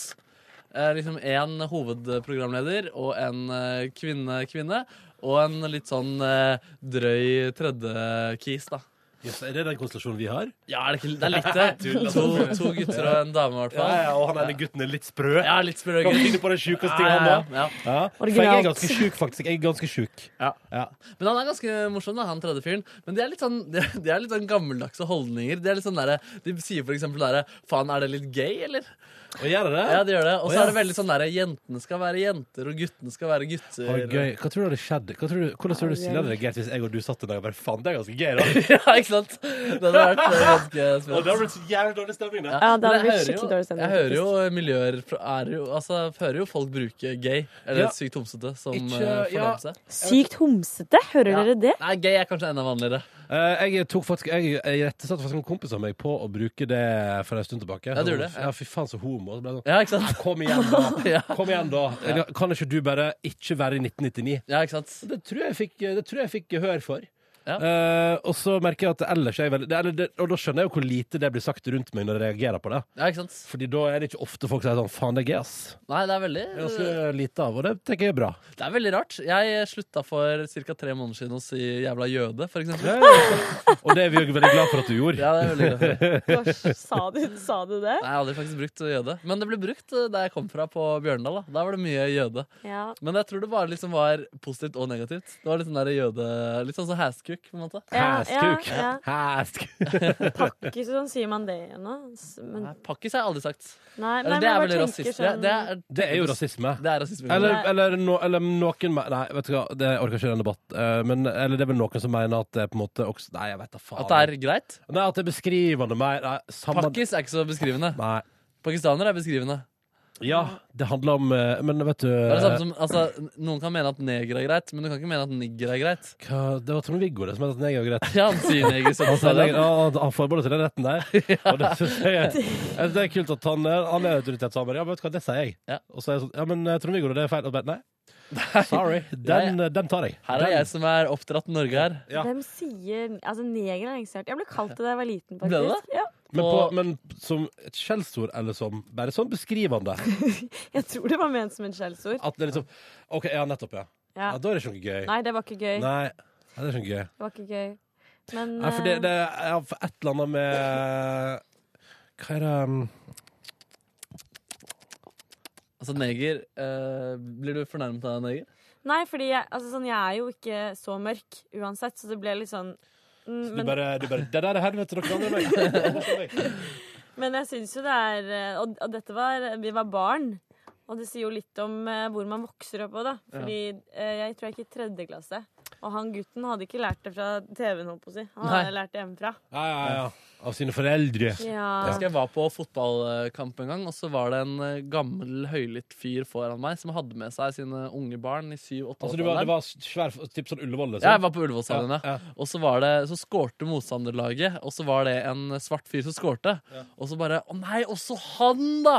Speaker 5: Eh, liksom en hovedprogramleder og en eh, kvinne, kvinne, og en litt sånn eh, drøy tredje-kis, da.
Speaker 2: Jøss, er det den konstellasjonen vi har?
Speaker 5: Ja, er det, ikke, det er litt det.
Speaker 2: Tull, altså.
Speaker 5: To, to gutter og en dame, i hvert fall.
Speaker 2: Ja, ja, og han ene gutten er litt sprø.
Speaker 5: Ja, litt sprø
Speaker 2: Kan
Speaker 5: gutt.
Speaker 2: finne på det sjukeste
Speaker 5: Ja,
Speaker 2: han
Speaker 5: ja,
Speaker 2: da.
Speaker 5: ja.
Speaker 2: Ja. For jeg er ganske sjuk, faktisk. Jeg er ganske sjuk. Ja.
Speaker 5: Men han er ganske morsom, da, han tredje fyren. Men de er litt sånn, de, de er litt sånn gammeldagse holdninger. De, er litt sånn derre- de sier for eksempel derre Faen, er det litt gay, eller?
Speaker 2: Og gjør det det?
Speaker 5: Ja, de gjør det. Og
Speaker 2: Å,
Speaker 5: så
Speaker 2: ja.
Speaker 5: er det veldig sånn derre Jentene skal være jenter, og guttene skal være gutter.
Speaker 2: Å, gøy. Hva tror du hadde skjedd? Hva tror du, hvordan tror du Silje hadde reagert hvis jeg og du satt en dag og bare faen, det er ganske gøy, da?
Speaker 5: ja, ikke sant? Det hadde vært eh, ganske
Speaker 2: Og det
Speaker 5: spennende.
Speaker 2: hadde blitt så jævlig dårlig stemning, da.
Speaker 5: Men jeg hører jo- Jeg hører jo miljøer fra- er jo, altså, jeg hører jo folk bruke gay, eller
Speaker 14: Ja.
Speaker 5: sykt homsete, som
Speaker 14: Ikke-
Speaker 5: eh,
Speaker 14: ja.
Speaker 5: fornærmelse.
Speaker 14: Sykt homsete, hører
Speaker 5: Ja.
Speaker 14: dere det?
Speaker 5: Nei, gay er kanskje enda vanligere.
Speaker 2: Eh, jeg tok faktisk Jeg, jeg rettesatte faktisk en kompis av meg på å bruke det for en stund tilbake.
Speaker 5: Ja, du gjorde det,
Speaker 2: Ja, fy faen, så homo. Så ble jeg sånn,
Speaker 5: Ja, ikke sant?
Speaker 2: Kom igjen, da. Kom igjen da. Eller, Kan ikke du bare ikke være i 1999?
Speaker 5: Ja, ikke sant?
Speaker 2: Det tror jeg fikk, det tror jeg fikk hør for. Eh, og så merker jeg at det ellers er jeg veldig det, eller det, Og da skjønner jeg jo hvor lite det blir sagt rundt meg når jeg reagerer på det.
Speaker 5: Ja, ikke sant?
Speaker 2: Fordi da er det ikke ofte folk sier sånn 'faen, det er gøy', ass.
Speaker 5: Nei, det er veldig
Speaker 2: Det er ganske lite av, og det tenker jeg er bra.
Speaker 5: Det er veldig rart. Jeg slutta for ca. tre måneder siden å si 'jævla jøde', for eksempel.
Speaker 2: Og det er vi jo veldig glad for at du gjorde.
Speaker 5: Ja, det er veldig glad for.
Speaker 14: Hva Sa du, sa du det?
Speaker 5: Nei, jeg har aldri faktisk brukt jøde. Men det ble brukt eh, der jeg kom fra, på Bjørndal. da Der var det mye jøde.
Speaker 14: Ja.
Speaker 5: Men jeg tror det bare liksom var positivt og negativt. Det var Litt sånn der jøde Litt sånn som hæskuk, på en måte.
Speaker 14: Ja, ja, Hæskuk. ja.
Speaker 5: Hæskuk.
Speaker 14: Ikke sånn sier man det ennå. s- Men,
Speaker 5: Pakkis har jeg aldri sagt.
Speaker 14: Mm. nei,
Speaker 5: Eller
Speaker 14: nei, men
Speaker 5: det er
Speaker 14: jeg
Speaker 5: vel
Speaker 14: bare
Speaker 5: rasist.
Speaker 14: tenker
Speaker 5: Det er-
Speaker 14: sånn
Speaker 5: det er-
Speaker 2: Det er jo rasisme.
Speaker 5: Det er rasisme.
Speaker 2: Eller,
Speaker 14: Nei.
Speaker 2: eller, no, eller noen me- Nei, vet du hva, det orker jeg ikke den debatt. eh, Men, eller det er vel noen som mener at det er på en måte også, Nei, jeg vet da faen.
Speaker 5: At det er greit?
Speaker 2: Nei, at det er beskrivende mer. Nei, samme-
Speaker 5: Pakkis er ikke så beskrivende.
Speaker 2: Nei.
Speaker 5: Pakistanere er beskrivende.
Speaker 2: Ja, det handler om eh, Men vet du
Speaker 5: Det er det samme
Speaker 2: Eh.
Speaker 5: som, altså, noen kan mene at neger er greit, men du kan ikke mene at nigger er greit.
Speaker 2: eh, hva, Det var Trond-Viggo det som het neger og greit.
Speaker 5: Ja, han sier neger, så
Speaker 2: Han sier
Speaker 5: sa det.
Speaker 2: neger, ja, han- han forbeholder seg den retten der. Og det synes jeg, er- jeg synes det er kult at han er, han er autoritetshamer. Ja, men vet du hva, det sier jeg. Og så er jeg sånn Ja, men eh, Trond-Viggo, det er feil. Og bare, nei. Sorry. Den, eh, den tar jeg.
Speaker 5: Her er
Speaker 2: Den-
Speaker 5: jeg som er oppdratt i Norge her.
Speaker 14: Hvem sier Altså, neger er engstelig. Jeg ble kalt det da jeg var liten,
Speaker 5: Ble du
Speaker 14: faktisk.
Speaker 5: det?
Speaker 14: Ja,
Speaker 2: Men, på, men som et skjellsord, eller som bare sånn beskrivende?
Speaker 14: jeg tror det var ment som et skjellsord.
Speaker 2: At det er liksom OK, ja, nettopp, ja. ja.
Speaker 14: Ja.
Speaker 2: Da er det ikke noe gøy.
Speaker 14: Nei, det var ikke gøy.
Speaker 2: Nei, ja, det er ikke noe gøy.
Speaker 14: Det var ikke gøy. Men eh,
Speaker 2: Nei, for det, det er ja, for et eller annet med Hva er det um,
Speaker 5: Altså, neger eh, Blir du fornærmet av en neger?
Speaker 14: Nei, fordi jeg, altså, sånn, jeg er jo ikke så mørk uansett, så det ble litt sånn mm,
Speaker 2: Du
Speaker 14: men,
Speaker 2: bare, du bare Det der er helvete, dere andre meg!
Speaker 14: men jeg syns jo det er eh, Og, og dette var Vi var barn. Og det sier jo litt om eh, hvor man vokser opp òg, da.
Speaker 5: Ja.
Speaker 14: Fordi eh, jeg tror jeg gikk i tredje klasse. Og han gutten hadde ikke lært det fra TV-en, holdt på å si. Han
Speaker 5: Nei.
Speaker 14: hadde lært det hjemmefra.
Speaker 2: Ja, ja, ja. Av sine foreldre.
Speaker 14: Ja.
Speaker 5: Jeg husker jeg var på fotballkamp en gang, og så var det en eh, gammel, høylytt fyr foran meg som hadde med seg sine unge barn i
Speaker 2: Altså, du var, det
Speaker 5: 7-8-årsalderen.
Speaker 2: var svær Typ sånn Ullevål? liksom?
Speaker 5: Ja, jeg var på Ullevålstadion,
Speaker 2: Ja,
Speaker 5: ja. Og så var det, så skårte motstanderlaget, og så var det en svart fyr som skårte. Og så bare Å nei, også han, da!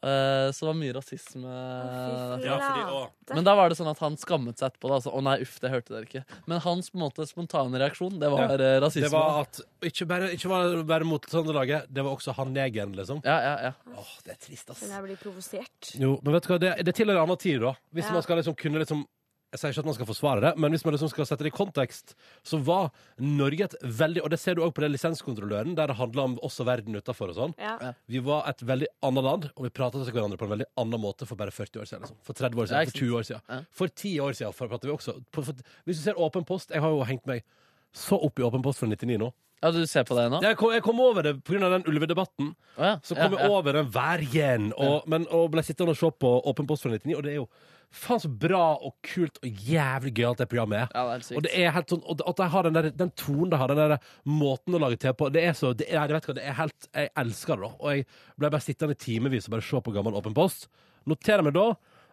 Speaker 5: Eh, så det var mye rasisme.
Speaker 2: fy Ja, fordi- flate. å.
Speaker 5: Men da var det sånn at han skammet seg etterpå. Da, altså, å nei, uff, det hørte dere ikke. Men hans på en måte spontane reaksjon, det var eh, rasisme.
Speaker 2: Det var at Ikke bare, ikke bare, bare mot Trøndelaget, det var også han negeren, liksom.
Speaker 5: Ja, ja, ja.
Speaker 2: Åh, det er trist, ass.
Speaker 14: Men jeg blir provosert.
Speaker 2: Jo, men vet du hva, det, det tilhører en annen tid, da. Hvis
Speaker 14: Ja.
Speaker 2: man skal liksom kunne liksom jeg sier ikke at man skal forsvare det, men hvis man liksom skal sette det i kontekst, så var Norge et veldig Og det ser du også på den lisenskontrolløren, der det handler om oss og verden utafor og sånn.
Speaker 14: Ja. Ja.
Speaker 2: Vi var et veldig annet land, og vi prata til hverandre på en veldig annen måte for bare 40 år siden. Liksom. For 30 år
Speaker 5: Ja,
Speaker 2: siden,
Speaker 5: ikke
Speaker 2: for 20 år
Speaker 5: sant?
Speaker 2: siden. For 10 år siden for, prater vi også. På, for, hvis du ser Åpen post Jeg har jo hengt meg så opp i Åpen post fra 99 nå.
Speaker 5: Ja, du ser på det nå?
Speaker 2: Jeg kom, jeg kom over det pga. den ulvedebatten. så kom
Speaker 5: ja,
Speaker 2: jeg
Speaker 5: ja.
Speaker 2: over den vergen og, men, og ble sittende og se på Åpen post fra 99, og det er jo faen så bra og kult og jævlig gøyalt det programmet er. og det er helt sånn, og det- at de har den, der, den tonen de har, den der måten å lage TV på Det er så, det er, jeg vet hva, det er helt, jeg elsker det da. Og jeg ble bare sittende i timevis og bare se på gammel Åpen post. Noterer meg da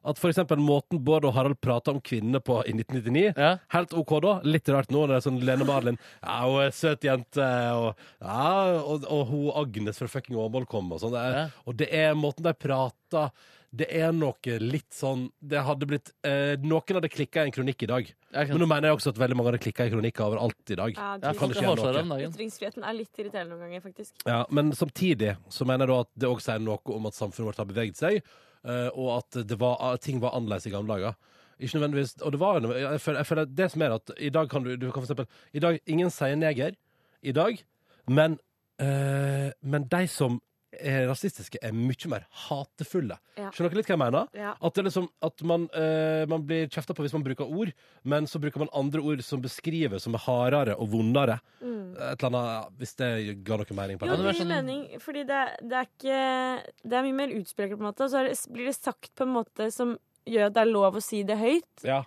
Speaker 2: at for eksempel måten Bård og Harald prata om kvinnene på i 1999, helt OK da. Litt rart nå når det er sånn Lene Marlin Ja, hun er en søt jente, og, ja, og, og hun Agnes fra fucking Åmål kom, og sånn. Det er- Og det er måten de prater Det er noe litt sånn Det hadde blitt eh, Noen hadde klikka i en kronikk i dag.
Speaker 5: sant.
Speaker 2: Men nå mener jeg også at veldig mange hadde klikka i kronikker overalt i dag.
Speaker 14: Ja,
Speaker 2: Det kan ikke gjøre noe.
Speaker 14: Ytringsfriheten er litt irriterende noen ganger, faktisk.
Speaker 2: Ja, men samtidig så mener jeg da at det òg sier noe om at samfunnet vårt har beveget seg, eh, og at det var, at ting var annerledes i gamle dager. Ikke nødvendigvis, og det var jeg føler, jeg føler det som er at i dag kan du, du kan for eksempel, i dag, Ingen sier neger i dag, men, eh, men de som er rasistiske, er mye mer hatefulle.
Speaker 12: Ja.
Speaker 2: Skjønner dere litt hva jeg mener?
Speaker 12: Ja.
Speaker 2: At, det er liksom, at man, eh, man blir kjefta på hvis man bruker ord, men så bruker man andre ord som beskriver, som er hardere og vondere.
Speaker 14: Mm.
Speaker 2: Et eller annet, hvis det ga noe mening på
Speaker 14: Jo,
Speaker 2: det. sånn-
Speaker 14: det gir mening, fordi det, det er ikke Det er mye mer utspekulert, på en måte. Og så er det, blir det sagt på en måte som gjør at det er lov å si det høyt.
Speaker 2: Ja.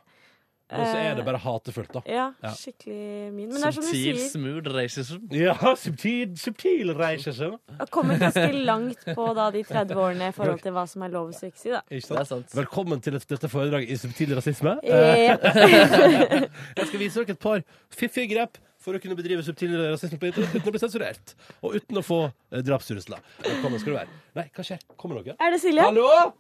Speaker 2: Og så er det bare hatefullt, da.
Speaker 14: Ja, skikkelig min. Men det er som du
Speaker 5: Subtil,
Speaker 14: sier,
Speaker 5: smooth racism.
Speaker 2: Ja, subtil, subtil racism.
Speaker 14: jeg kommer ganske langt på da de 30 årene i forhold til hva som er lov å ikke si, da.
Speaker 2: Ikke sant? Velkommen til et- dette foredraget i subtil rasisme.
Speaker 14: Ja.
Speaker 2: Eh, Jeg skal vise dere et par fiffige grep for å kunne bedrive subtil rasisme på internett uten å bli sensurert. Og uten å få eh, drapstrusler. Velkommen skal du være. Nei, hva skjer? Kommer dere?
Speaker 14: Er det Silje?
Speaker 2: Hallo?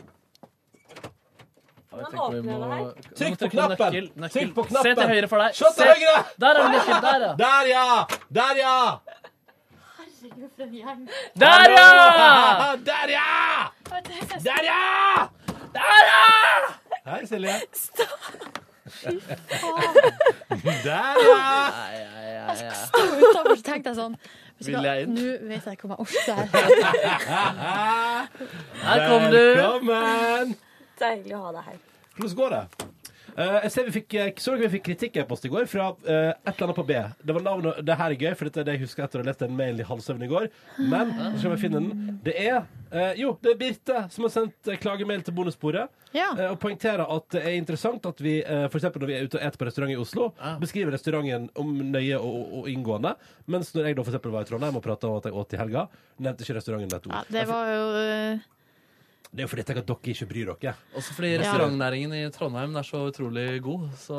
Speaker 14: Hvordan åpner jeg det her?
Speaker 2: Trykk på
Speaker 3: trykke på
Speaker 2: knappen!
Speaker 3: nøkkel, nøkkel.
Speaker 2: Trykk på
Speaker 3: Se
Speaker 2: knappen!
Speaker 3: til høyre for deg.
Speaker 2: Se til
Speaker 3: Se-
Speaker 2: høyre!
Speaker 3: Der er det nøkkel, der, ja.
Speaker 2: Der, ja! Der, ja!
Speaker 4: Herregud, for en gjeng.
Speaker 3: Der, ja!
Speaker 2: Der, ja! Der, ja!
Speaker 3: Der, ja!
Speaker 2: Her, Silje.
Speaker 12: Der,
Speaker 4: Jeg sk- sto utenfor, så tenkte jeg sånn vet du
Speaker 2: Vil
Speaker 4: hva,
Speaker 2: jeg inn?
Speaker 4: Nå vet jeg ikke om jeg orker det her.
Speaker 2: Her
Speaker 4: kom du.
Speaker 2: Velkommen!
Speaker 14: Deilig å ha deg her.
Speaker 2: Hvordan går det? Eh, jeg ser vi fikk, eh, så dere vi fikk kritikk-e-post i går fra eh, et eller annet på B. Det var navnet, det her er gøy, for dette er det jeg husker etter å ha lest en mail i halvsøvn i går. Men så skal vi finne den. Det er eh, Jo, det er Birte som har sendt eh, klagemail til bonussporet. eh, og poengterer at det er interessant at vi eh, for eksempel når vi er ute og eter på restaurant i Oslo, beskriver restauranten om nøye og, og, og inngående. Mens når jeg da for eksempel var i Trondheim og prata om at jeg åt i helga, nevnte ikke restauranten med et ord.
Speaker 4: Ja, det var jo eh,
Speaker 2: Det er jo fordi jeg tenker at dere ikke bryr dere.
Speaker 5: Også fordi
Speaker 2: Ja.
Speaker 5: restaurantnæringen i Trondheim er så utrolig god, så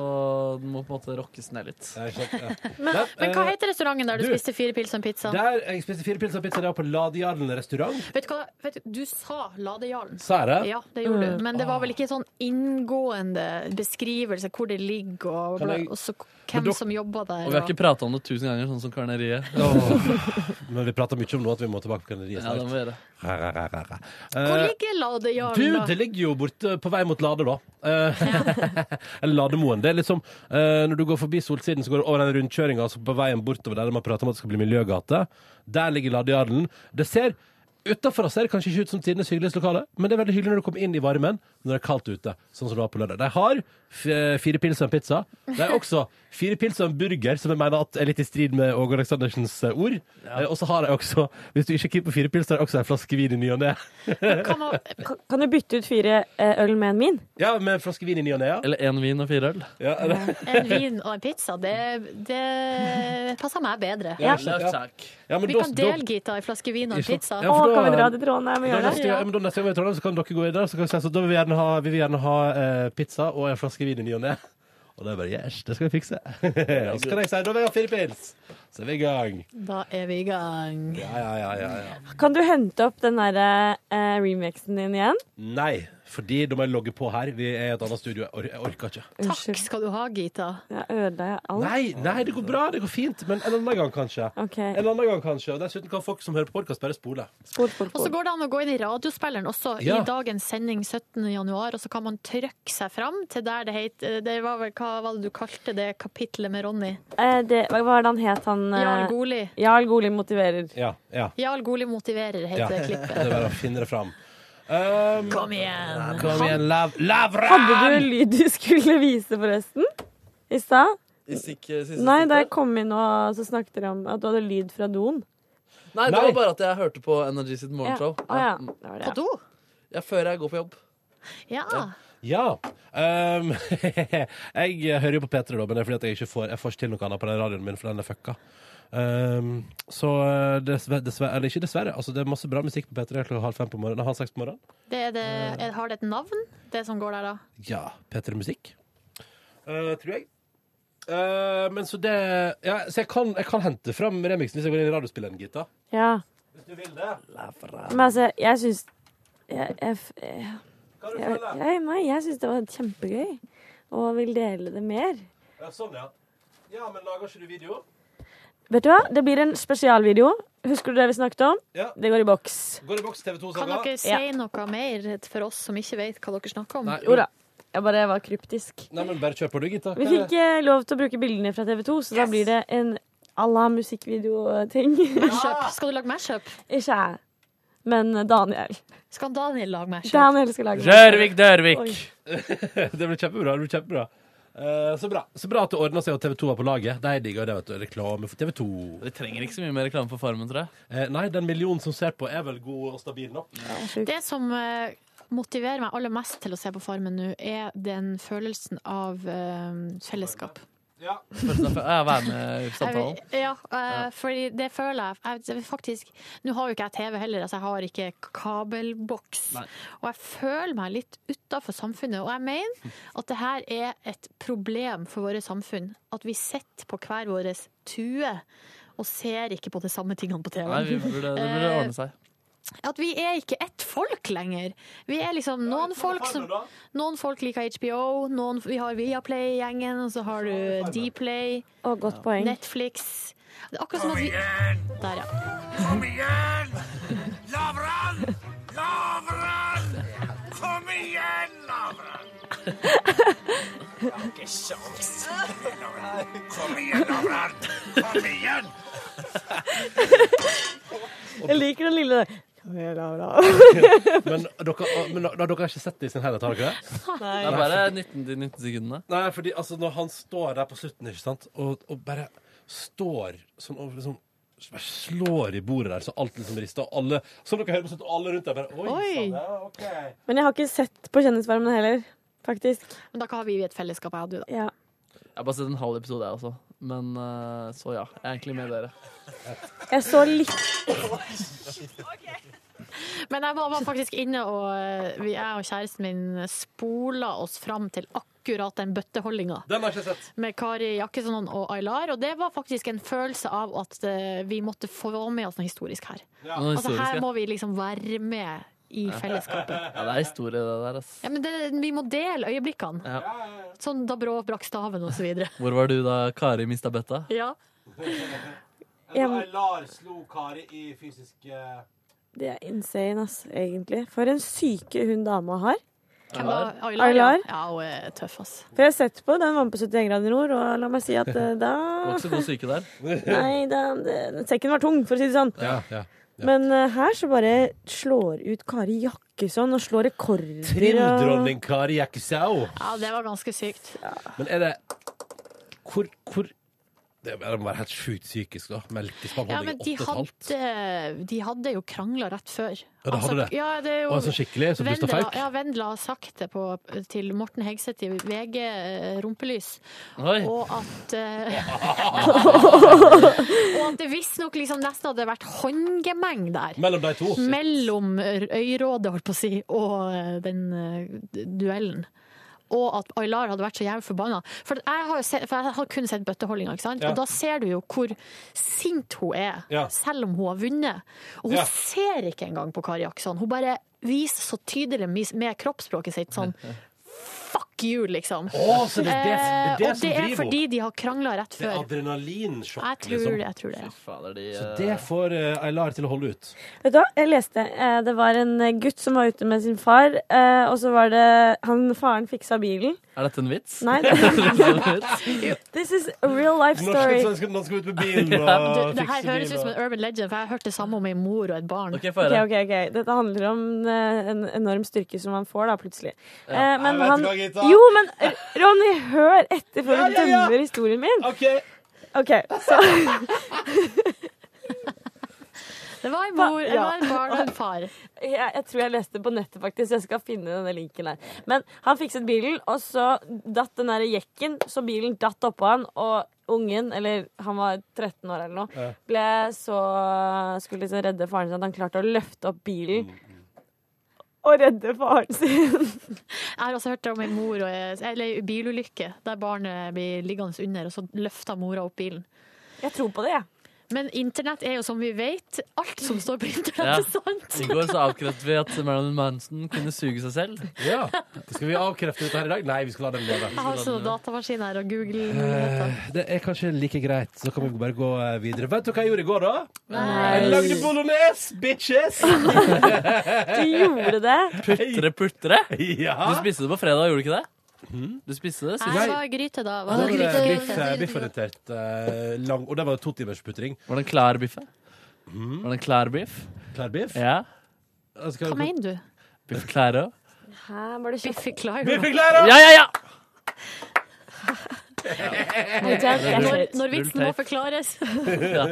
Speaker 5: den må på en måte rockes ned litt.
Speaker 4: men, men hva
Speaker 2: eh,
Speaker 4: heter restauranten der du,
Speaker 2: du,
Speaker 4: spiste fire pils og en pizza?
Speaker 2: Der jeg spiste fire pils og pizza, det var på Ladejarlen restaurant.
Speaker 4: Vet du hva? Vet du, du sa Ladejarlen.
Speaker 2: Sa jeg det?
Speaker 4: Ja, det gjorde
Speaker 2: Mm.
Speaker 4: du. Men det var vel ikke sånn inngående beskrivelse hvor det ligger, og,
Speaker 5: Kan
Speaker 4: bla,
Speaker 5: jeg-
Speaker 4: og så
Speaker 5: Men
Speaker 4: hvem
Speaker 5: dere-
Speaker 4: som jobber der.
Speaker 5: Og vi har ikke prata om det tusen ganger, sånn som Karneriet.
Speaker 2: Men vi prata mye om nå at vi må tilbake på Kanariet
Speaker 5: Ja, det må vi gjøre.
Speaker 4: Hvor
Speaker 2: Eh,
Speaker 4: ligger Ladejarlen,
Speaker 2: Du,
Speaker 4: da?
Speaker 2: det ligger jo borte på vei mot Lade, da. Eh, Eller Lademoen. Det er liksom eh, Når du går forbi Solsiden, så går du over den rundkjøringa altså på veien bortover der man prater om at det skal bli miljøgate. Der ligger Ladejarlen. Det ser Utenfor ser det kanskje ikke ut som tidenes hyggeligste lokale, men det er veldig hyggelig når du kommer inn i varmen når det er kaldt ute, sånn som det var på lørdag. De har f- eh, fire pils og en pizza. De har også fire pils og en burger, som jeg mener at er litt i strid med Åge Aleksandersens eh, ord. Eh, Og så har de også, hvis du ikke er keen på fire pils, så har de også en flaske vin i ny og ne.
Speaker 14: Kan, kan du bytte ut fire eh, øl med en min?
Speaker 2: Ja, med en flaske vin i ny og ne, ja.
Speaker 5: Eller én vin og fire øl.
Speaker 2: Ja, eller?
Speaker 4: En vin og en pizza, det, det passer meg bedre.
Speaker 2: Ja, ja. Ja, men
Speaker 4: vi
Speaker 2: da-
Speaker 4: kan
Speaker 2: da-
Speaker 4: dele, Gita, en flaske vin og en
Speaker 2: Ikke sant?
Speaker 4: pizza.
Speaker 2: Ja, for da-
Speaker 14: Trondheim og
Speaker 2: Da
Speaker 14: gjøre det?
Speaker 2: neste, gang- ja. men da neste gang vi er i Trondheim, så kan dere gå inn der. Så kan vi si, så da vil vi gjerne ha, vi vil gjerne ha eh, pizza og en flaske vin i ny og ne. Og da er det bare yes, det skal vi fikse. og så kan jeg si da vil jeg ha fire pils. Så er vi i gang.
Speaker 4: Da er vi i gang.
Speaker 2: Ja, ja, ja, ja, ja.
Speaker 14: Kan du hente opp den der eh, remixen din igjen?
Speaker 2: Nei, fordi da må jeg logge på her. Vi er i et annet studio. Jeg, or jeg orker ikke.
Speaker 4: Takk skal du ha, Gita.
Speaker 14: Jeg ødela alt.
Speaker 2: Nei, nei, det går bra. Det går fint. Men en annen gang, kanskje. En annen gang, kanskje. Og dessuten kan folk som hører på podkast, bare spole.
Speaker 4: Og så går det an å gå inn i radiospilleren også
Speaker 2: Ja.
Speaker 4: i dagens sending 17. januar, og så kan man trykke seg fram til der det het Det var vel hva var det du kalte det kapitlet med Ronny?
Speaker 14: Eh, det, hva var det han het, han eh,
Speaker 4: Jarl Goli.
Speaker 14: Jarl Goli motiverer.
Speaker 2: Ja. ja.
Speaker 4: Jarl Goli motiverer,
Speaker 2: ja.
Speaker 4: heter det
Speaker 2: Det
Speaker 4: klippet.
Speaker 2: er bare å finne det fram. Um,
Speaker 4: Kom igjen.
Speaker 2: Kom igjen, lav, lavran!
Speaker 14: Hadde du en lyd du skulle vise, forresten? I stad?
Speaker 5: I stikk- siste
Speaker 14: Nei,
Speaker 5: stikk
Speaker 14: da
Speaker 5: der.
Speaker 14: jeg kom inn, og så snakket dere om at du hadde lyd fra doen.
Speaker 5: Nei, det var bare at jeg hørte på Energy sitt morgenshow.
Speaker 14: Ja. Å, ja.
Speaker 5: Mm.
Speaker 14: Det var det, ja. På
Speaker 4: do?
Speaker 5: Ja, før jeg går på jobb.
Speaker 4: Ja.
Speaker 2: Ja. ehm, jeg hører jo på P3, da, men det er fordi at jeg ikke får, jeg får ikke til noe annet på den radioen min, for den er fucka. Ehm, så dessverre, dessverre Eller ikke dessverre. Altså, det er masse bra musikk på P3 klokka halv fem på morgenen. Halv seks på morgenen.
Speaker 4: Det er det, er- har det et navn, det som går der da?
Speaker 2: Ja. P3 Musikk. Eh, tror jeg. Eh, men så det ja, Så jeg kan, jeg kan hente fram remixen hvis jeg går inn i radiospilleren, Gita.
Speaker 14: Ja.
Speaker 2: Hvis du vil det.
Speaker 14: Men altså, jeg syns jeg, jeg, f- jeg, jeg, jeg, nei, jeg syns det var kjempegøy, og vil dele det mer.
Speaker 2: Ja, sånn, ja. Ja, men lager ikke du video?
Speaker 14: Vet du hva? Det blir en spesialvideo. Husker du det vi snakket om?
Speaker 2: Ja.
Speaker 14: Det går i boks.
Speaker 2: Går i boks TV2
Speaker 4: Kan dere si noe mer for oss som ikke vet hva dere snakker om?
Speaker 2: Nei,
Speaker 14: Jo da. Jeg bare var kryptisk.
Speaker 2: Nei, men bare kjør på, du, Gita.
Speaker 14: Vi fikk eh, lov til å bruke bildene fra TV 2, så da blir det en à la musikkvideo-ting.
Speaker 4: Mashup. Skal du lage mashup?
Speaker 14: Ikke jeg, men eh, Daniel.
Speaker 4: Skal Daniel lage mashup?
Speaker 14: Daniel skal lage
Speaker 5: Rørvik, Dørvik.
Speaker 2: det blir kjempebra. det blir kjempebra. Eh, så bra så bra at det ordna seg og TV 2 var på laget. De digger det, vet du. Reklame for TV 2.
Speaker 5: Vi trenger ikke så mye mer reklame for Farmen, tror jeg.
Speaker 2: Eh, nei, den millionen som ser på, er vel god og stabil nok.
Speaker 4: Det som eh, motiverer meg aller mest til å se på Farmen nå, er den følelsen av eh, fellesskap.
Speaker 5: Først og fremst, Jeg er med i
Speaker 4: Jeg vil-
Speaker 5: samtalen.
Speaker 4: Ja, eh, fordi det føler jeg. jeg jeg vil faktisk, nå har jo ikke jeg TV heller, altså jeg har ikke kabelboks.
Speaker 5: Nei.
Speaker 4: Og jeg føler meg litt utafor samfunnet. Og jeg mener at det her er et problem for våre samfunn. At vi sitter på hver vår tue og ser ikke på de samme tingene på TV.
Speaker 5: Nei, vi burde, det burde
Speaker 4: Eh,
Speaker 5: ordne seg.
Speaker 4: at vi er ikke ett folk lenger. Vi er liksom noen folk som Noen folk liker HBO, noen vi har Viaplay-gjengen, og så har du Dplay, Netflix Det er akkurat som
Speaker 1: Kom
Speaker 4: at vi
Speaker 1: igjen!
Speaker 4: Der, ja.
Speaker 1: Kom igjen! Lavran! Lavran! Kom igjen, Lavran! Jeg har ikke sjans. Kom igjen, Lavran! Kom igjen!
Speaker 14: Jeg liker den lille der. Kom igjen, Laura.
Speaker 2: Men dere, ah, men dere dere har ikke sett det i sin helhet, har dere det?
Speaker 5: Det er bare 19 til 90 sekundene.
Speaker 2: Nei, fordi altså, når han står der på slutten, ikke sant, og, og bare står sånn og liksom bare slår i bordet der, så alt liksom rister, og alle Som dere hører på slutten, alle rundt der bare Oi! sann, ja, ok.
Speaker 14: Men jeg har ikke sett på Kjendisvarmen heller, faktisk.
Speaker 4: Men da har vi et fellesskap, jeg og du, da.
Speaker 14: Ja.
Speaker 5: Jeg har bare sett en halv episode, jeg også. Men eh, så ja. Jeg er egentlig med dere.
Speaker 14: Jeg så litt
Speaker 4: Men jeg var, var faktisk inne og eh, vi, jeg og kjæresten min spola oss fram til akkurat den bøtteholdinga.
Speaker 2: Den har jeg ikke sett.
Speaker 4: Med Kari Jakkesson og Aylar. Og det var faktisk en følelse av at eh, vi måtte få med oss noe historisk her.
Speaker 5: Ja. Noe
Speaker 4: Altså
Speaker 5: historisk, ja.
Speaker 4: her må vi liksom være med i fellesskapet.
Speaker 5: Ja, det er historie, det der. Ass.
Speaker 4: Ja, men det, vi må dele øyeblikkene.
Speaker 5: Ja.
Speaker 4: Sånn da Brå brakk staven og så videre.
Speaker 5: Hvor var du da Kari mista bøtta?
Speaker 4: Ja.
Speaker 2: Lar slo Kari i fysisk
Speaker 14: Det er insane, ass, egentlig. For en syke hun dama har.
Speaker 4: Hvem da? Aylar?
Speaker 14: Aylar.
Speaker 4: Ja, hun er tøff, ass.
Speaker 14: For jeg har sett på den vant på 71 grader nord, og la meg si at eh, da
Speaker 5: Var ikke så god syke der.
Speaker 14: Nei, da, det, sekken var tung, for å si det sånn. Men eh, her så bare slår ut Kari Jakkesson og slår rekorder. og...
Speaker 2: Trimdronning Kari Jakkesau.
Speaker 4: Ja, det var ganske sykt.
Speaker 2: Men er det Hvor, hvor Det må være helt sjukt psykisk, da. Melkespann
Speaker 4: Ja,
Speaker 2: hadde
Speaker 4: men de
Speaker 2: jeg åtte og et halvt.
Speaker 4: hadde, eh, de hadde jo krangla rett før.
Speaker 2: Ja,
Speaker 4: Altså,
Speaker 2: de hadde det?
Speaker 4: Ja, det er jo,
Speaker 2: Å, sånn skikkelig, så Busta
Speaker 4: Vendela-
Speaker 2: Falk?
Speaker 4: Ja, Vendela har sagt det på, til Morten Hegseth i VG eh, Rumpelys.
Speaker 5: Oi.
Speaker 4: Og at eh, Og at det visstnok liksom nesten hadde vært håndgemeng der.
Speaker 2: Mellom de to?
Speaker 4: Mellom øyrådet, holdt på å si, og eh, den eh, duellen. Og at Aylar hadde vært så jævlig forbanna. For jeg har, jo sett, for jeg har kun sett bøtteholdinga, ikke sant?
Speaker 2: Ja.
Speaker 4: Og da ser du jo hvor sint hun er,
Speaker 2: Ja.
Speaker 4: selv om hun har vunnet. Og hun
Speaker 2: Ja.
Speaker 4: ser ikke engang på Kari Jaksson. Hun bare viser så tydelig mis- med kroppsspråket sitt sånn Fuck you, liksom.
Speaker 2: Å, så det er det- det er det
Speaker 4: Eh, og
Speaker 2: som
Speaker 4: det er
Speaker 2: driver henne.
Speaker 4: fordi de har krangla rett
Speaker 2: Det er liksom.
Speaker 4: før.
Speaker 2: adrenalinsjokk,
Speaker 4: Jeg tror det. jeg tror det. ja.
Speaker 2: Så det får eh, Aylar til å holde ut.
Speaker 14: Vet du hva, jeg leste eh, Det var en eh, gutt som var ute med sin far, eh, og så var det han faren fiksa bilen.
Speaker 5: Er dette en vits?
Speaker 14: Nei,
Speaker 5: det
Speaker 14: det-
Speaker 5: er
Speaker 14: This is a real life story.
Speaker 2: Nå skal vi ut med
Speaker 5: bilen og
Speaker 4: Du, det her høres ut som en urban legend, for jeg har hørt det samme om ei mor og et barn.
Speaker 5: Ok,
Speaker 14: Ok, ok, ok. Dette handler om eh, en enorm styrke som han får, da, plutselig.
Speaker 4: Ja.
Speaker 14: Eh,
Speaker 4: Jeg
Speaker 14: men
Speaker 4: vet
Speaker 14: han
Speaker 4: hva, Gita.
Speaker 14: Jo, men R- Ronny, hør etter før
Speaker 4: Ja,
Speaker 14: du
Speaker 4: ja, ja.
Speaker 14: dømmer historien min.
Speaker 2: OK.
Speaker 14: så
Speaker 4: Det var en mor, det
Speaker 14: Ja.
Speaker 4: var en barn og en far.
Speaker 14: jeg, jeg tror jeg leste på nettet, faktisk. Jeg skal finne denne linken her. Men han fikset bilen, og så datt den der jekken, så bilen datt oppå han, og ungen, eller han var 13 år eller noe,
Speaker 12: Ja.
Speaker 14: ble så Skulle liksom redde faren sin at han klarte å løfte opp bilen. Og redde faren sin.
Speaker 4: Jeg har også hørt om en mor og, eller en bilulykke der barnet blir liggende under, og så løfter mora opp bilen.
Speaker 14: Jeg tror på det,
Speaker 4: jeg. Men internett er jo som vi vet, alt som står på
Speaker 5: Ja.
Speaker 4: internett er sant.
Speaker 5: I går så avkreftet vi at Marilyn Manson kunne suge seg selv.
Speaker 2: Ja. Skal vi avkrefte dette her i dag? Nei, vi skal la den leve.
Speaker 4: Jeg har sånn datamaskin her og Google.
Speaker 2: Eh, Det er kanskje like greit. Så kan vi bare gå eh, videre. Vet du hva jeg gjorde i går, da? Jeg lagde bolognese, bitches!
Speaker 14: Du gjorde det.
Speaker 5: Putre, putre.
Speaker 2: Ja. Mm.
Speaker 5: Du spiste det på fredag, gjorde du ikke det? Du spiste det
Speaker 4: Nei, det var gryte da.
Speaker 2: Da var det biff, eh,
Speaker 4: gryte?
Speaker 2: bifforientert. eh, lang- Og det var to timers putring.
Speaker 5: Var det en klar biff? eh?
Speaker 2: Mm.
Speaker 5: Var det en klar biff?
Speaker 2: Klar biff?
Speaker 5: Ja.
Speaker 4: Hva mener du?
Speaker 5: Biff Clara?
Speaker 14: Hæ, var det
Speaker 4: Biffi Clyro.
Speaker 2: Biffi Clyro!
Speaker 5: Ja, ja, ja!
Speaker 4: Når, når vitsen må forklares.
Speaker 2: Ja.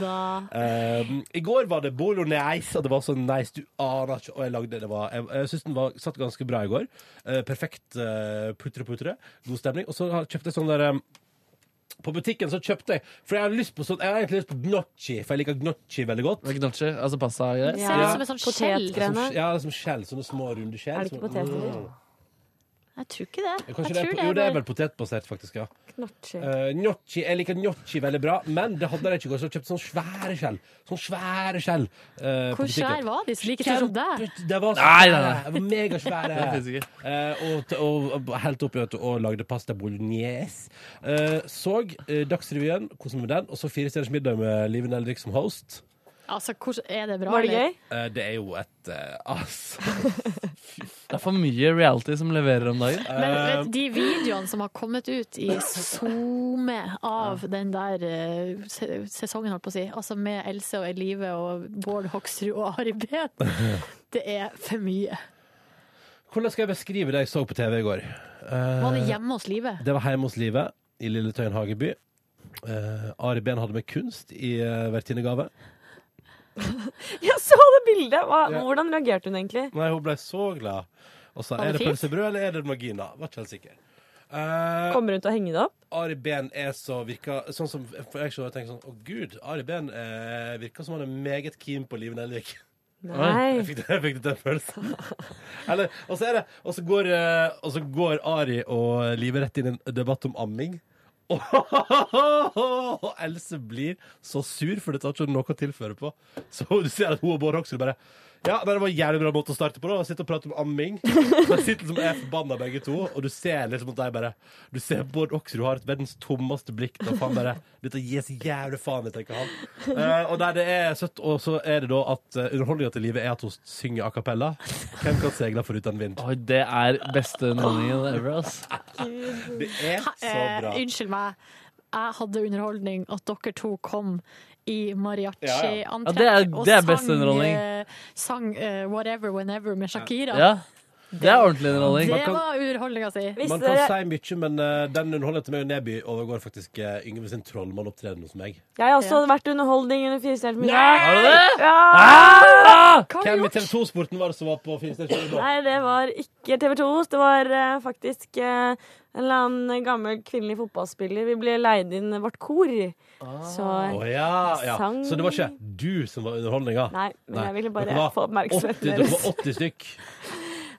Speaker 4: Da
Speaker 2: Um, I går var det bolognese, og det var så nice. Du aner ikke. Og jeg lagde det var, Jeg, jeg syns den var, satt ganske bra i går. Eh, perfekt eh, putre-putre. God stemning. Og så har- kjøpte jeg sånn der um, På butikken så kjøpte jeg For jeg har lyst på sånn Jeg har egentlig lyst på gnocchi, for jeg liker gnocchi veldig godt.
Speaker 5: Gnocchi, altså pasta?
Speaker 2: Ja.
Speaker 4: ser det ut som en sånn skjell.
Speaker 2: Som- Ja, som skjell. Sånne små, runde skjell.
Speaker 4: Er det ikke
Speaker 2: som- Mm.
Speaker 4: poteter?
Speaker 14: Jeg tror ikke det.
Speaker 2: Ja,
Speaker 14: Jeg
Speaker 2: Kanskje det er,
Speaker 14: tror
Speaker 2: po- jo, det er
Speaker 14: bare
Speaker 2: vel potetbasert, faktisk. ja
Speaker 14: knotcher.
Speaker 2: Eh, Gnocchi, Jeg liker gnocchi veldig bra, men det hadde jeg ikke i går. Så jeg kjøpte sånne svære skjell. Sånne svære skjell eh, på
Speaker 4: Hvor
Speaker 2: butikken.
Speaker 4: skjær var de som like stor som deg?
Speaker 2: Det var så
Speaker 5: Nei,
Speaker 2: svære.
Speaker 5: nei, nei.
Speaker 2: Det var megasvære.
Speaker 5: Det finnes
Speaker 2: Eh, og, t- og, og helt oppi vet du, og lagde pasta bolognese. Eh, så eh, Dagsrevyen, koste meg med den, og så Fire stjerners middag med Live Nelvik som host.
Speaker 4: Altså, hvor, er det bra?
Speaker 14: Var det
Speaker 4: eller?
Speaker 14: gøy?
Speaker 2: Eh, det er jo et eh, Altså.
Speaker 5: Det er for mye reality som leverer om dagen.
Speaker 4: Men vet,
Speaker 5: Eh,
Speaker 4: de videoene som har kommet ut i SoMe av den der eh, se- sesongen, holdt på å si, altså med Else og Elive og Bård Hoksrud og Ari Behn, det er for mye.
Speaker 2: Hvordan skal jeg beskrive det jeg så på TV i går? Eh,
Speaker 4: Var det hjemme hos Live?
Speaker 2: Det var hjemme hos Live i Lille Tøyen hageby. Eh, Ari Behn hadde med kunst i uh, vertinnegave.
Speaker 14: Jeg så det bildet! Hva,
Speaker 2: Ja.
Speaker 14: Hvordan reagerte hun egentlig?
Speaker 2: Nei, hun ble så glad. Og sa
Speaker 14: Var
Speaker 2: er
Speaker 14: det
Speaker 2: det
Speaker 14: fint?
Speaker 2: pølsebrød eller er det margina? Var ikke helt sikker. Eh,
Speaker 14: Kommer hun til å henge det opp?
Speaker 2: Ari Behn er så virka Sånn som for jeg så jeg tenker sånn Å gud, Ari Behn eh, virker som han er meget keen på Liv Nelvik.
Speaker 14: Nei.
Speaker 2: Jeg fikk, jeg fikk den følelsen. Eller, og så er det Og så går, eh, og så går Ari og Live rett inn i en debatt om amming. Og Else blir så sur, for dette har ikke hun noe å tilføre på. Så du ser at hun og Bård Hoksrud bare Ja, nei, det var en jævlig bra måte å starte på. da Sitte og prate om amming. Men sitter som er forbanna begge to, og du ser liksom at de bare Du ser Bård Hoksrud har et verdens tommeste blikk. Da, for han bare Dette gir så jævlig faen i, tenker han. Eh, og nei, det er søtt. Og så er det da at uh, underholdninga til livet er at hun synger a cappella. Hvem kan seile foruten vind?
Speaker 5: Oi, det er beste underholdningen ever, ass.
Speaker 4: Ah.
Speaker 2: Det er så
Speaker 4: Eh,
Speaker 2: bra.
Speaker 4: unnskyld meg, jeg hadde underholdning at dere to kom i
Speaker 5: Ja, det er-
Speaker 4: mariachi-antrekk
Speaker 5: det er best
Speaker 4: og sang,
Speaker 5: underholdning.
Speaker 4: eh, sang eh, Whatever Whenever med Shakira.
Speaker 5: Ja. Det er ordentlig underholdning.
Speaker 4: Det var underholdninga si.
Speaker 2: Man kan si mye, men eh, den underholdningen til meg og Neby overgår faktisk eh, Yngve sin trollmannopptreden hos meg.
Speaker 14: Jeg har også vært underholdning under Fire stjerners middag.
Speaker 2: Har du det?
Speaker 14: Ja!
Speaker 2: Hvem i TV 2-sporten var det som var på Finstad
Speaker 14: Nei, det var ikke TV 2. Det var eh, faktisk eh, en eller annen gammel kvinnelig fotballspiller. Vi ble leid inn i vårt kor.
Speaker 2: Ah.
Speaker 14: Så
Speaker 2: ja, ja.
Speaker 14: sang
Speaker 2: Så det var ikke du som var underholdninga?
Speaker 14: Nei, men jeg ville bare
Speaker 2: Dere var
Speaker 14: få
Speaker 2: 80,
Speaker 14: oppmerksomheten deres.
Speaker 2: Dere var 80 stykk.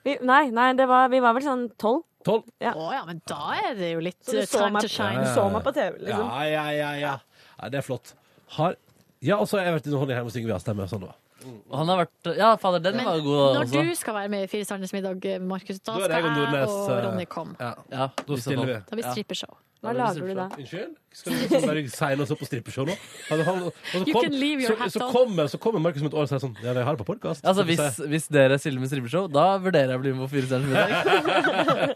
Speaker 14: vi, Nei, nei det var, vi var vel sånn tolv.
Speaker 2: Tolv?
Speaker 14: Ja.
Speaker 4: Å ja, men da er det jo litt
Speaker 14: Så du
Speaker 4: eh,
Speaker 14: så
Speaker 4: time
Speaker 14: meg-
Speaker 4: to shine.
Speaker 14: Du så meg på TV, liksom.
Speaker 2: Ja, ja, ja. ja. Nei, det er flott. Har Ja, og så har jeg vært underholdning her hos Yngve Astemme. Sånn, det var.
Speaker 5: Og Han har vært Ja, fader, den
Speaker 4: Men
Speaker 5: var god altså.
Speaker 4: når
Speaker 5: også.
Speaker 4: du skal være med i Fire stjerners middag, eh, Markus, da,
Speaker 2: Da er det jeg
Speaker 4: skal
Speaker 2: og
Speaker 4: jeg
Speaker 2: Nordnes,
Speaker 4: og
Speaker 2: eh,
Speaker 4: Ronny komme.
Speaker 2: Ja.
Speaker 5: i
Speaker 2: da
Speaker 5: så
Speaker 2: stiller
Speaker 5: fall.
Speaker 2: vi.
Speaker 4: Da blir det strippeshow.
Speaker 14: Hva lager du da?
Speaker 2: Unnskyld? Skal vi liksom bare seile oss opp på strippeshow nå? Hadde han- og så
Speaker 14: You
Speaker 2: kom-
Speaker 14: can leave your
Speaker 2: så-
Speaker 14: hat
Speaker 2: så
Speaker 14: on.
Speaker 2: kommer- Så kommer Markus om et år og sier sånn Ja, jeg har det på podkast.
Speaker 5: Altså, hvis, hvis dere stiller med strippeshow, da vurderer jeg å bli med på Fire stjerners middag.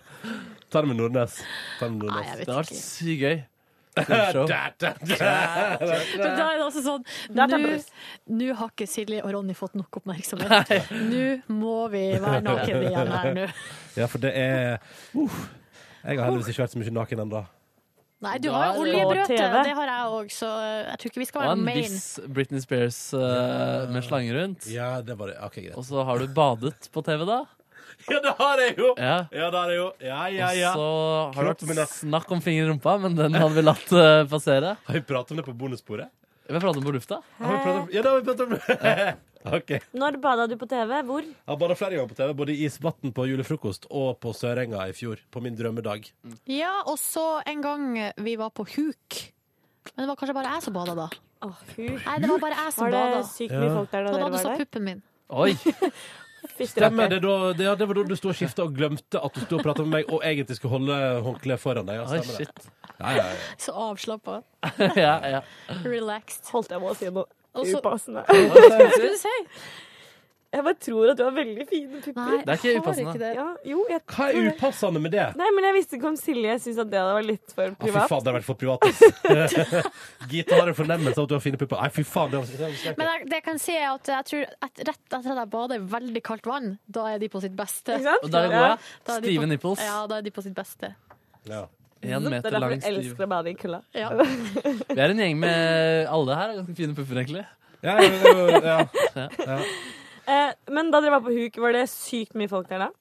Speaker 2: Ta det med Nordnes. Ta det med Nordnes.
Speaker 5: det
Speaker 4: jeg vet
Speaker 5: hadde vært
Speaker 4: ikke.
Speaker 5: sykt gøy.
Speaker 2: Da, da, da.
Speaker 4: Men da er det også sånn
Speaker 14: Da
Speaker 4: Nå
Speaker 14: tapper
Speaker 4: nå har ikke Silje og Ronny fått nok oppmerksomhet. Nå må vi være nakne igjen her nå.
Speaker 2: Ja, for det er Uff. Jeg har heldigvis ikke vært så mye naken ennå.
Speaker 4: Nei, du
Speaker 5: Da er
Speaker 4: har jo
Speaker 5: det på
Speaker 4: oljebrøte.
Speaker 5: TV.
Speaker 4: Det har jeg òg, så jeg tror ikke vi skal
Speaker 5: Og
Speaker 4: være
Speaker 5: en
Speaker 4: main.
Speaker 5: viss Britney Spears eh, med slange rundt.
Speaker 2: Ja, det var det. Ok, greit.
Speaker 5: Og så har du badet på TV, da.
Speaker 2: Ja, det har jeg jo!
Speaker 5: Ja.
Speaker 2: Ja, det har jeg jo. Ja, ja, ja.
Speaker 5: Og så har det
Speaker 2: Kroppen min er-
Speaker 5: vært snakk om finger i rumpa, men den hadde vi latt eh, passere.
Speaker 2: Har vi pratet om det på bonussporet?
Speaker 5: Vi har pratet om det på lufta.
Speaker 2: Har vi pratet om- Ja, det har vi pratet om. OK.
Speaker 14: Når bada du på TV? Hvor?
Speaker 2: Jeg har bada flere ganger på TV, både i Isvatn på julefrokost og på Sørenga i fjor. På min drømmedag.
Speaker 4: Ja, og så en gang vi var på huk. Men det var kanskje bare jeg som bada da. Nei, det var bare jeg som
Speaker 14: Var det
Speaker 4: bada.
Speaker 14: sykt mye Ja. folk der da
Speaker 4: Da
Speaker 14: dere
Speaker 4: du
Speaker 14: var
Speaker 4: så
Speaker 14: der?
Speaker 4: puppen min.
Speaker 5: Oi!
Speaker 2: Stemmer det da? Det, ja, det var da du sto og skifta og glemte at du sto og prata med meg, og egentlig skulle holde håndkleet foran deg. Ja,
Speaker 5: Oi,
Speaker 2: stemmer det. Ja, ja, ja.
Speaker 4: Så avslappa.
Speaker 5: ja, ja.
Speaker 4: Relaxed.
Speaker 14: Holdt jeg på å si noe
Speaker 4: Og så-
Speaker 14: upassende?
Speaker 2: Altså,
Speaker 4: Hva skulle du si?
Speaker 14: Jeg bare tror at du har veldig fine pupper.
Speaker 2: Det er ikke jeg har upassende. ikke det.
Speaker 14: Ja, jo, jeg
Speaker 2: Hva er
Speaker 14: tror det.
Speaker 2: upassende med det?
Speaker 14: Nei, men jeg visste ikke om Silje syntes at det var litt for
Speaker 2: Ja, fy
Speaker 14: privat.
Speaker 2: faen, det har vært for privat. ass. Gita har en fornemmelse av at du har fine pupper. Nei, fy faen. Det var, det var sterkt.
Speaker 4: Men jeg, det jeg kan si er at jeg tror at rett etter at jeg bader i veldig kaldt vann, da er de på sitt beste.
Speaker 14: Ikke sant?
Speaker 5: Og da er det gode.
Speaker 4: Da er de
Speaker 5: Stive
Speaker 4: på-
Speaker 5: nipples.
Speaker 4: Ja, da er de på sitt beste.
Speaker 5: En
Speaker 14: Det
Speaker 5: meter
Speaker 14: er derfor
Speaker 5: lang
Speaker 14: jeg
Speaker 5: stiv.
Speaker 14: elsker å bade i kulda.
Speaker 4: Ja.
Speaker 5: Vi er en gjeng med alle her. har Ganske fine pupper, egentlig.
Speaker 2: Ja, ja, ja, ja.
Speaker 5: Ja.
Speaker 14: Eh, men da dere var på huk, var det sykt mye folk der da?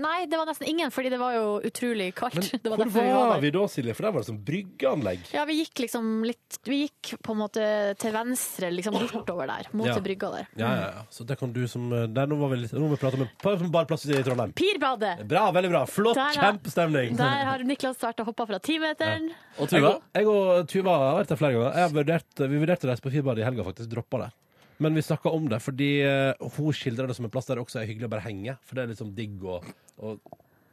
Speaker 4: Nei, det var nesten ingen, fordi det var jo utrolig kaldt. det var
Speaker 2: Hvor
Speaker 4: derfor vi var
Speaker 2: var
Speaker 4: der.
Speaker 2: vi da, Silje? For der var det sånn bryggeanlegg.
Speaker 4: Ja, vi gikk liksom litt Vi gikk på en måte til venstre, liksom bortover der, mot
Speaker 2: Ja.
Speaker 4: brygga der.
Speaker 2: Ja, ja, ja. Så det kan du som eh, Der nå var vi litt Nå må vi prate om en bare plass i Trondheim.
Speaker 4: Pirbadet!
Speaker 2: Bra, veldig bra. Flott.
Speaker 4: Der, ja.
Speaker 2: Kjempestemning.
Speaker 4: Der har Niklas starta hoppa fra timeteren.
Speaker 2: Og Tuva? Jeg og Tuva har vært der flere ganger. Jeg har vurdert, vi vurderte å reise på Firbadet i helga, faktisk. Droppa det. Men vi snakka om det, fordi eh, hun skildra det som en plass der det også er hyggelig å bare henge. For det er litt sånn digg og, og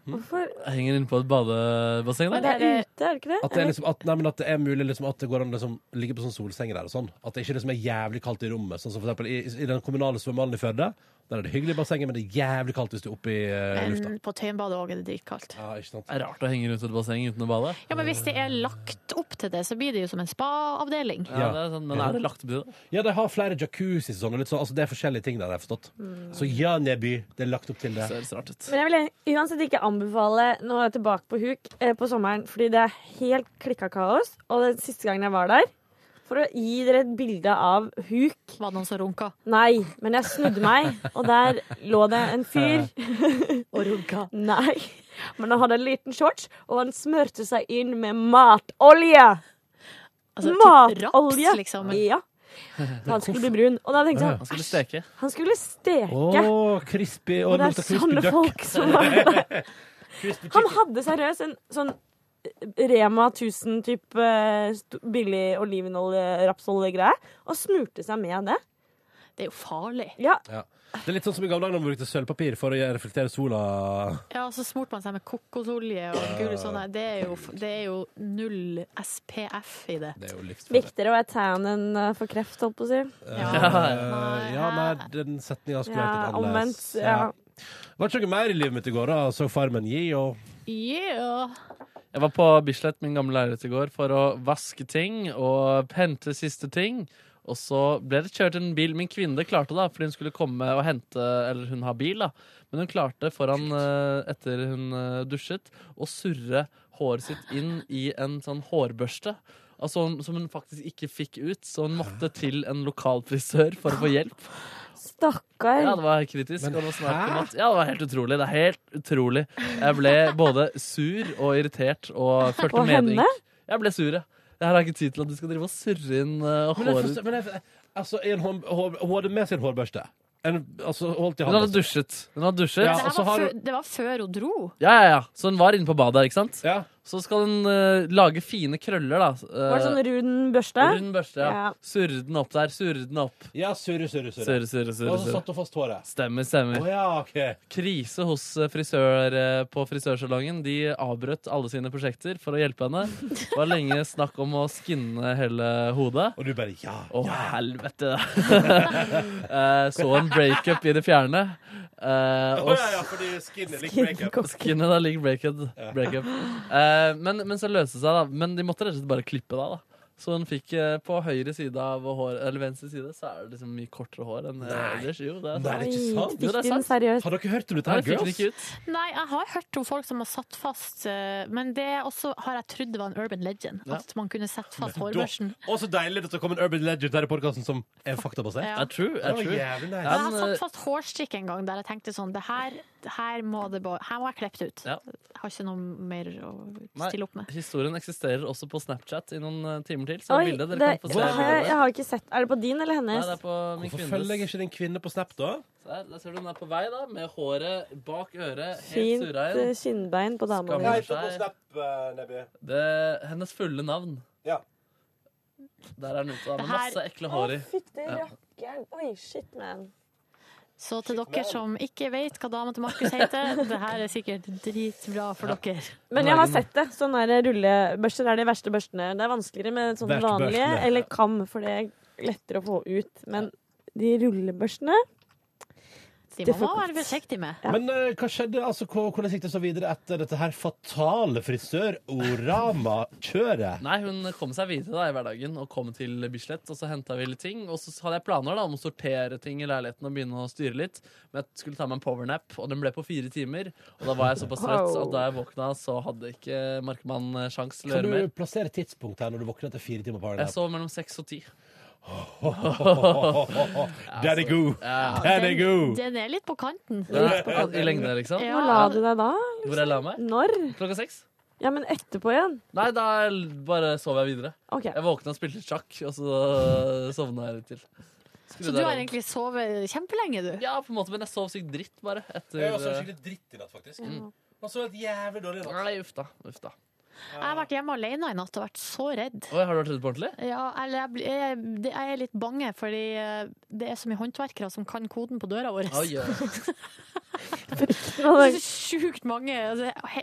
Speaker 14: Hvorfor?
Speaker 5: Jeg henger inne på et badebasseng.
Speaker 14: Men det er ute, er det ikke det?
Speaker 2: At det, er liksom, at, nei, men at det er mulig liksom, at det går an å liksom, ligge på sånn solsenger der og sånn. At det ikke liksom er jævlig kaldt i rommet. Sånn som for eksempel i, i den kommunale svømmehallen i Førde. Der er det hyggelig i bassenget, men det er jævlig kaldt hvis du er oppe i eh, lufta.
Speaker 4: Men på Tøyenbadet òg er det dritkaldt.
Speaker 2: Ja, ikke sant?
Speaker 5: Det er rart å henge rundt et basseng uten å bade.
Speaker 4: Ja, men hvis det er lagt opp til det, så blir det jo som en spa-avdeling.
Speaker 5: Ja, det er sånn, men er det lagt opp til det?
Speaker 2: Ja, de har flere jacuzzi og sånn. og Litt sånn altså, det er forskjellige ting der, har jeg forstått.
Speaker 14: Mm.
Speaker 2: Så ja, Neby, det er lagt opp til det.
Speaker 5: Ser rart ut.
Speaker 14: Men jeg vil uansett ikke anbefale nå er jeg tilbake på huk eh, på sommeren, fordi det er helt klikka kaos. Og den siste gangen jeg var der, for å gi dere et bilde av huk
Speaker 4: Var det noen som runka?
Speaker 14: Nei, men jeg snudde meg, og der lå det en fyr.
Speaker 4: og runka.
Speaker 14: Nei. Men han hadde en liten shorts, og han smørte seg inn med matolje.
Speaker 4: Altså, typ
Speaker 14: matolje!
Speaker 4: raps, liksom.
Speaker 14: Ja. Han skulle bli brun. Og da tenkte jeg sånn,
Speaker 5: Han skulle steke.
Speaker 14: Han skulle steke.
Speaker 2: Å, crispy
Speaker 14: Og
Speaker 2: og
Speaker 14: det er
Speaker 2: lukta crispy
Speaker 14: sånne folk
Speaker 2: duck.
Speaker 14: som var der. Han hadde seriøst en sånn Rema 1000-type billig olivenolje, rapsolje-greie, og smurte seg med det.
Speaker 4: Det er jo farlig.
Speaker 14: Ja.
Speaker 2: Ja. Det er litt sånn som i gamle dager når man brukte sølvpapir for å reflektere sola.
Speaker 4: Ja, og så smurte man seg med kokosolje og gul sånn. der. Det er, jo, det er jo null SPF i det.
Speaker 2: Det er jo
Speaker 14: Viktigere å være tan enn eh, for kreft, holdt på å si.
Speaker 2: Ja, Eh, ja nei, den setninga skulle vært litt
Speaker 14: Ja,
Speaker 2: annerledes.
Speaker 14: omvendt, ja.
Speaker 2: Var det ikke noe mer i livet mitt i går, da? Så Farmen gi og
Speaker 4: Yeah.
Speaker 5: Jeg var på Bislett, min gamle leilighet, i går for å vaske ting og hente siste ting. Og så ble det kjørt en bil. Min kvinne klarte det, da, fordi hun skulle komme og hente Eller hun har bil, da. Men hun klarte foran eh, etter hun eh, dusjet, å surre håret sitt inn i en sånn hårbørste. Altså, hun- som hun faktisk ikke fikk ut, så hun måtte til en lokal frisør for å få hjelp.
Speaker 14: Stakkar.
Speaker 5: Ja, det var kritisk.
Speaker 14: Men
Speaker 5: og det var snart
Speaker 14: hæ?
Speaker 5: på natt. Ja, det var helt utrolig. Det er helt utrolig. Jeg ble både sur og irritert og følte
Speaker 2: På
Speaker 5: medynk.
Speaker 2: henne?
Speaker 5: Jeg ble sur, ja. Jeg har ikke tid til at du skal drive og surre inn eh,
Speaker 2: Men jeg
Speaker 5: håret.
Speaker 2: forstår- men jeg, altså, en hår, hår, Hun hadde med sin hårbørste. En, altså, holdt i
Speaker 5: Hun
Speaker 2: hånda
Speaker 5: hadde
Speaker 2: si.
Speaker 5: dusjet. Hun hadde dusjet
Speaker 4: Men
Speaker 5: og
Speaker 4: det,
Speaker 5: så
Speaker 4: her var
Speaker 5: har
Speaker 4: før,
Speaker 5: hun
Speaker 4: det var før hun dro.
Speaker 5: ja, ja, ja. Så hun var inne på badet, ikke sant? Så skal hun eh, lage fine krøller, da. Eh,
Speaker 14: Var det sånn rund børste?
Speaker 5: Rund børste, ja. Surre den opp der. Surre den opp.
Speaker 2: Ja, surre, surre, surre.
Speaker 5: surre, surre, surre,
Speaker 2: Og så satt hun fast håret.
Speaker 5: Stemmer, stemmer.
Speaker 2: Å ja, ok.
Speaker 5: Krise hos eh, frisør eh, på frisørsalongen. De avbrøt alle sine prosjekter for å hjelpe henne. Det var lenge snakk om å skinne hele hodet.
Speaker 2: Og du bare ja,
Speaker 5: Å, helvete! Eh, Så en breakup i det fjerne. Eh, og
Speaker 2: Å ja, ja, fordi skin er lik Skin- breakup.
Speaker 5: Skinnet er lik breakup. breakup. Eh, men, men så løste det seg, da. Men de måtte rett og slett bare klippe deg, da. Så hun fikk eh, på høyre side av hår, eller venstre side, så er det liksom mye kortere hår enn eh,
Speaker 2: Nei.
Speaker 5: ellers. Jo, det er
Speaker 2: Nei, det er ikke sant.
Speaker 5: Jo, det er sant.
Speaker 2: Har dere hørt om dette her,
Speaker 5: Nei, det fikk den ikke ut.
Speaker 4: Nei, jeg har hørt om folk som har satt fast, eh, men det er også har jeg trodd det var en urban legend.
Speaker 2: Ja.
Speaker 4: At man kunne sette fast
Speaker 2: Da-
Speaker 4: hårbørsten.
Speaker 2: Og så deilig at det kom en urban legend her i podkasten som er faktabasert.
Speaker 4: Ja. Er
Speaker 2: Det
Speaker 5: true,
Speaker 2: var jævlig nice.
Speaker 4: Men
Speaker 5: eh,
Speaker 4: jeg har satt fast hårstrikk en gang der jeg tenkte sånn det her, det her, må, det bare, her må jeg klippe det ut. Jeg har ikke noe mer å
Speaker 5: Nei,
Speaker 4: stille opp med.
Speaker 5: Historien eksisterer også på Snapchat i noen eh, timer til. Så Oi, bildet, dere
Speaker 14: det-
Speaker 5: kan få se
Speaker 14: jeg, har-
Speaker 5: bildet.
Speaker 14: jeg har ikke sett Er det på din eller hennes?
Speaker 5: Nei, det er på min
Speaker 2: Hvorfor
Speaker 5: kvinnes.
Speaker 2: følger jeg ikke din kvinne på Snap, da?
Speaker 5: Se her, Der ser du hun er på vei, da, med håret bak øret, helt
Speaker 14: Fint
Speaker 5: surra
Speaker 14: eh,
Speaker 5: inn.
Speaker 14: kinnbein på dama.
Speaker 5: Skammer seg.
Speaker 2: Nebby.
Speaker 5: Det, hennes fulle navn.
Speaker 2: Ja.
Speaker 5: Der er hun ute, da, med
Speaker 14: Det her-
Speaker 5: masse ekle hår i.
Speaker 14: Å, fytti
Speaker 5: Ja.
Speaker 14: rakkeren. Oi, shit, man.
Speaker 4: Så til dere som ikke vet hva dama til Markus heter, det her er sikkert dritbra for dere.
Speaker 14: Men jeg har sett det. Sånne der rullebørster er de verste børstene. Det er vanskeligere med sånne
Speaker 4: Verste
Speaker 14: vanlige
Speaker 4: børstene.
Speaker 14: eller kam, for det er lettere å få ut. Men de rullebørstene
Speaker 4: De
Speaker 14: det
Speaker 4: må
Speaker 14: er for
Speaker 4: man være
Speaker 14: godt.
Speaker 4: forsiktig med.
Speaker 2: Men eh, hva skjedde? Altså, hva- hvordan gikk det så videre etter dette her fatale frisør-orama-kjøret?
Speaker 5: Nei, hun kom seg videre da i hverdagen og kom til Bislett. Og så henta vi litt ting. Og så hadde jeg planer da om å sortere ting i leiligheten og begynne å styre litt. Men jeg skulle ta meg en powernap, og den ble på fire timer. Og da var jeg såpass trøtt
Speaker 2: Wow.
Speaker 5: at da jeg våkna, så hadde ikke Markmann eh, sjans til å
Speaker 2: Kan
Speaker 5: gjøre
Speaker 2: du
Speaker 5: mer.
Speaker 2: plassere tidspunkt her når du våkner etter fire timer på
Speaker 5: Jeg sov mellom seks og ti.
Speaker 2: Den er god! Den er god!
Speaker 4: Den er litt på kanten.
Speaker 3: I lengde, liksom?
Speaker 14: Hvor la du deg da?
Speaker 3: Hvor jeg la meg?
Speaker 14: Når?
Speaker 3: Klokka seks?
Speaker 14: Ja, men etterpå igjen?
Speaker 3: Nei, da l- bare sov jeg videre.
Speaker 14: Ok.
Speaker 3: Jeg våkna og spilte sjakk, og så øh, sovna jeg litt til. Skru
Speaker 4: Så
Speaker 3: der
Speaker 4: du har
Speaker 3: over.
Speaker 4: egentlig sovet kjempelenge, du?
Speaker 3: Ja, på en måte, men jeg sov sykt dritt, bare. Etter,
Speaker 2: Jeg også skikkelig dritt i natt, faktisk.
Speaker 3: Mm.
Speaker 2: Man så helt jævlig dårlig i natt.
Speaker 3: Nei, uff da. Uff da.
Speaker 4: Jeg har vært hjemme alene i natt og vært så redd.
Speaker 3: Oi, har du vært redd på ordentlig?
Speaker 4: Ja, eller jeg, blir- jeg, det- jeg er litt bange, fordi eh, det er så mye håndverkere som kan koden på døra vår.
Speaker 3: Oi, oi.
Speaker 4: Det er så sjukt mange. Altså, he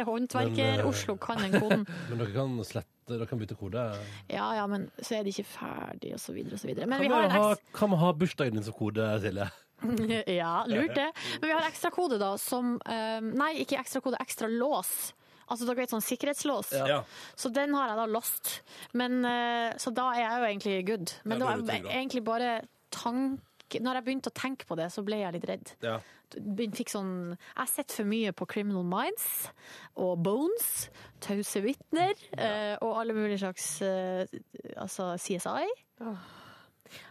Speaker 2: Men, eh,
Speaker 4: Håndverker-Oslo kan den koden.
Speaker 2: Men dere kan slette Dere kan bytte kode.
Speaker 4: Ja, ja, men så er de ikke ferdig, og så videre og så videre. Men
Speaker 2: Kan
Speaker 4: vi har
Speaker 2: man
Speaker 4: en
Speaker 2: ha,
Speaker 4: ekstra
Speaker 2: kan man ha bursdagen din som kode, Silje?
Speaker 4: Ja, lurt det. Men vi har ekstrakode, da, som eh, Nei, ikke ekstrakode, ekstra lås. Altså dere vet sånn sikkerhetslås.
Speaker 2: Ja. Ja.
Speaker 4: Så den har jeg da lost. Men, eh, så da er jeg jo egentlig good. Men
Speaker 2: Ja, da er
Speaker 4: det
Speaker 2: du
Speaker 4: var
Speaker 2: trygg, da.
Speaker 4: egentlig bare tank... Når jeg begynte å tenke på det, så ble jeg litt redd.
Speaker 2: Ja.
Speaker 4: Begynte, fikk sånn, jeg har sett for mye på Criminal Minds og Bones, Tause vitner eh, og alle mulige slags eh, altså CSI.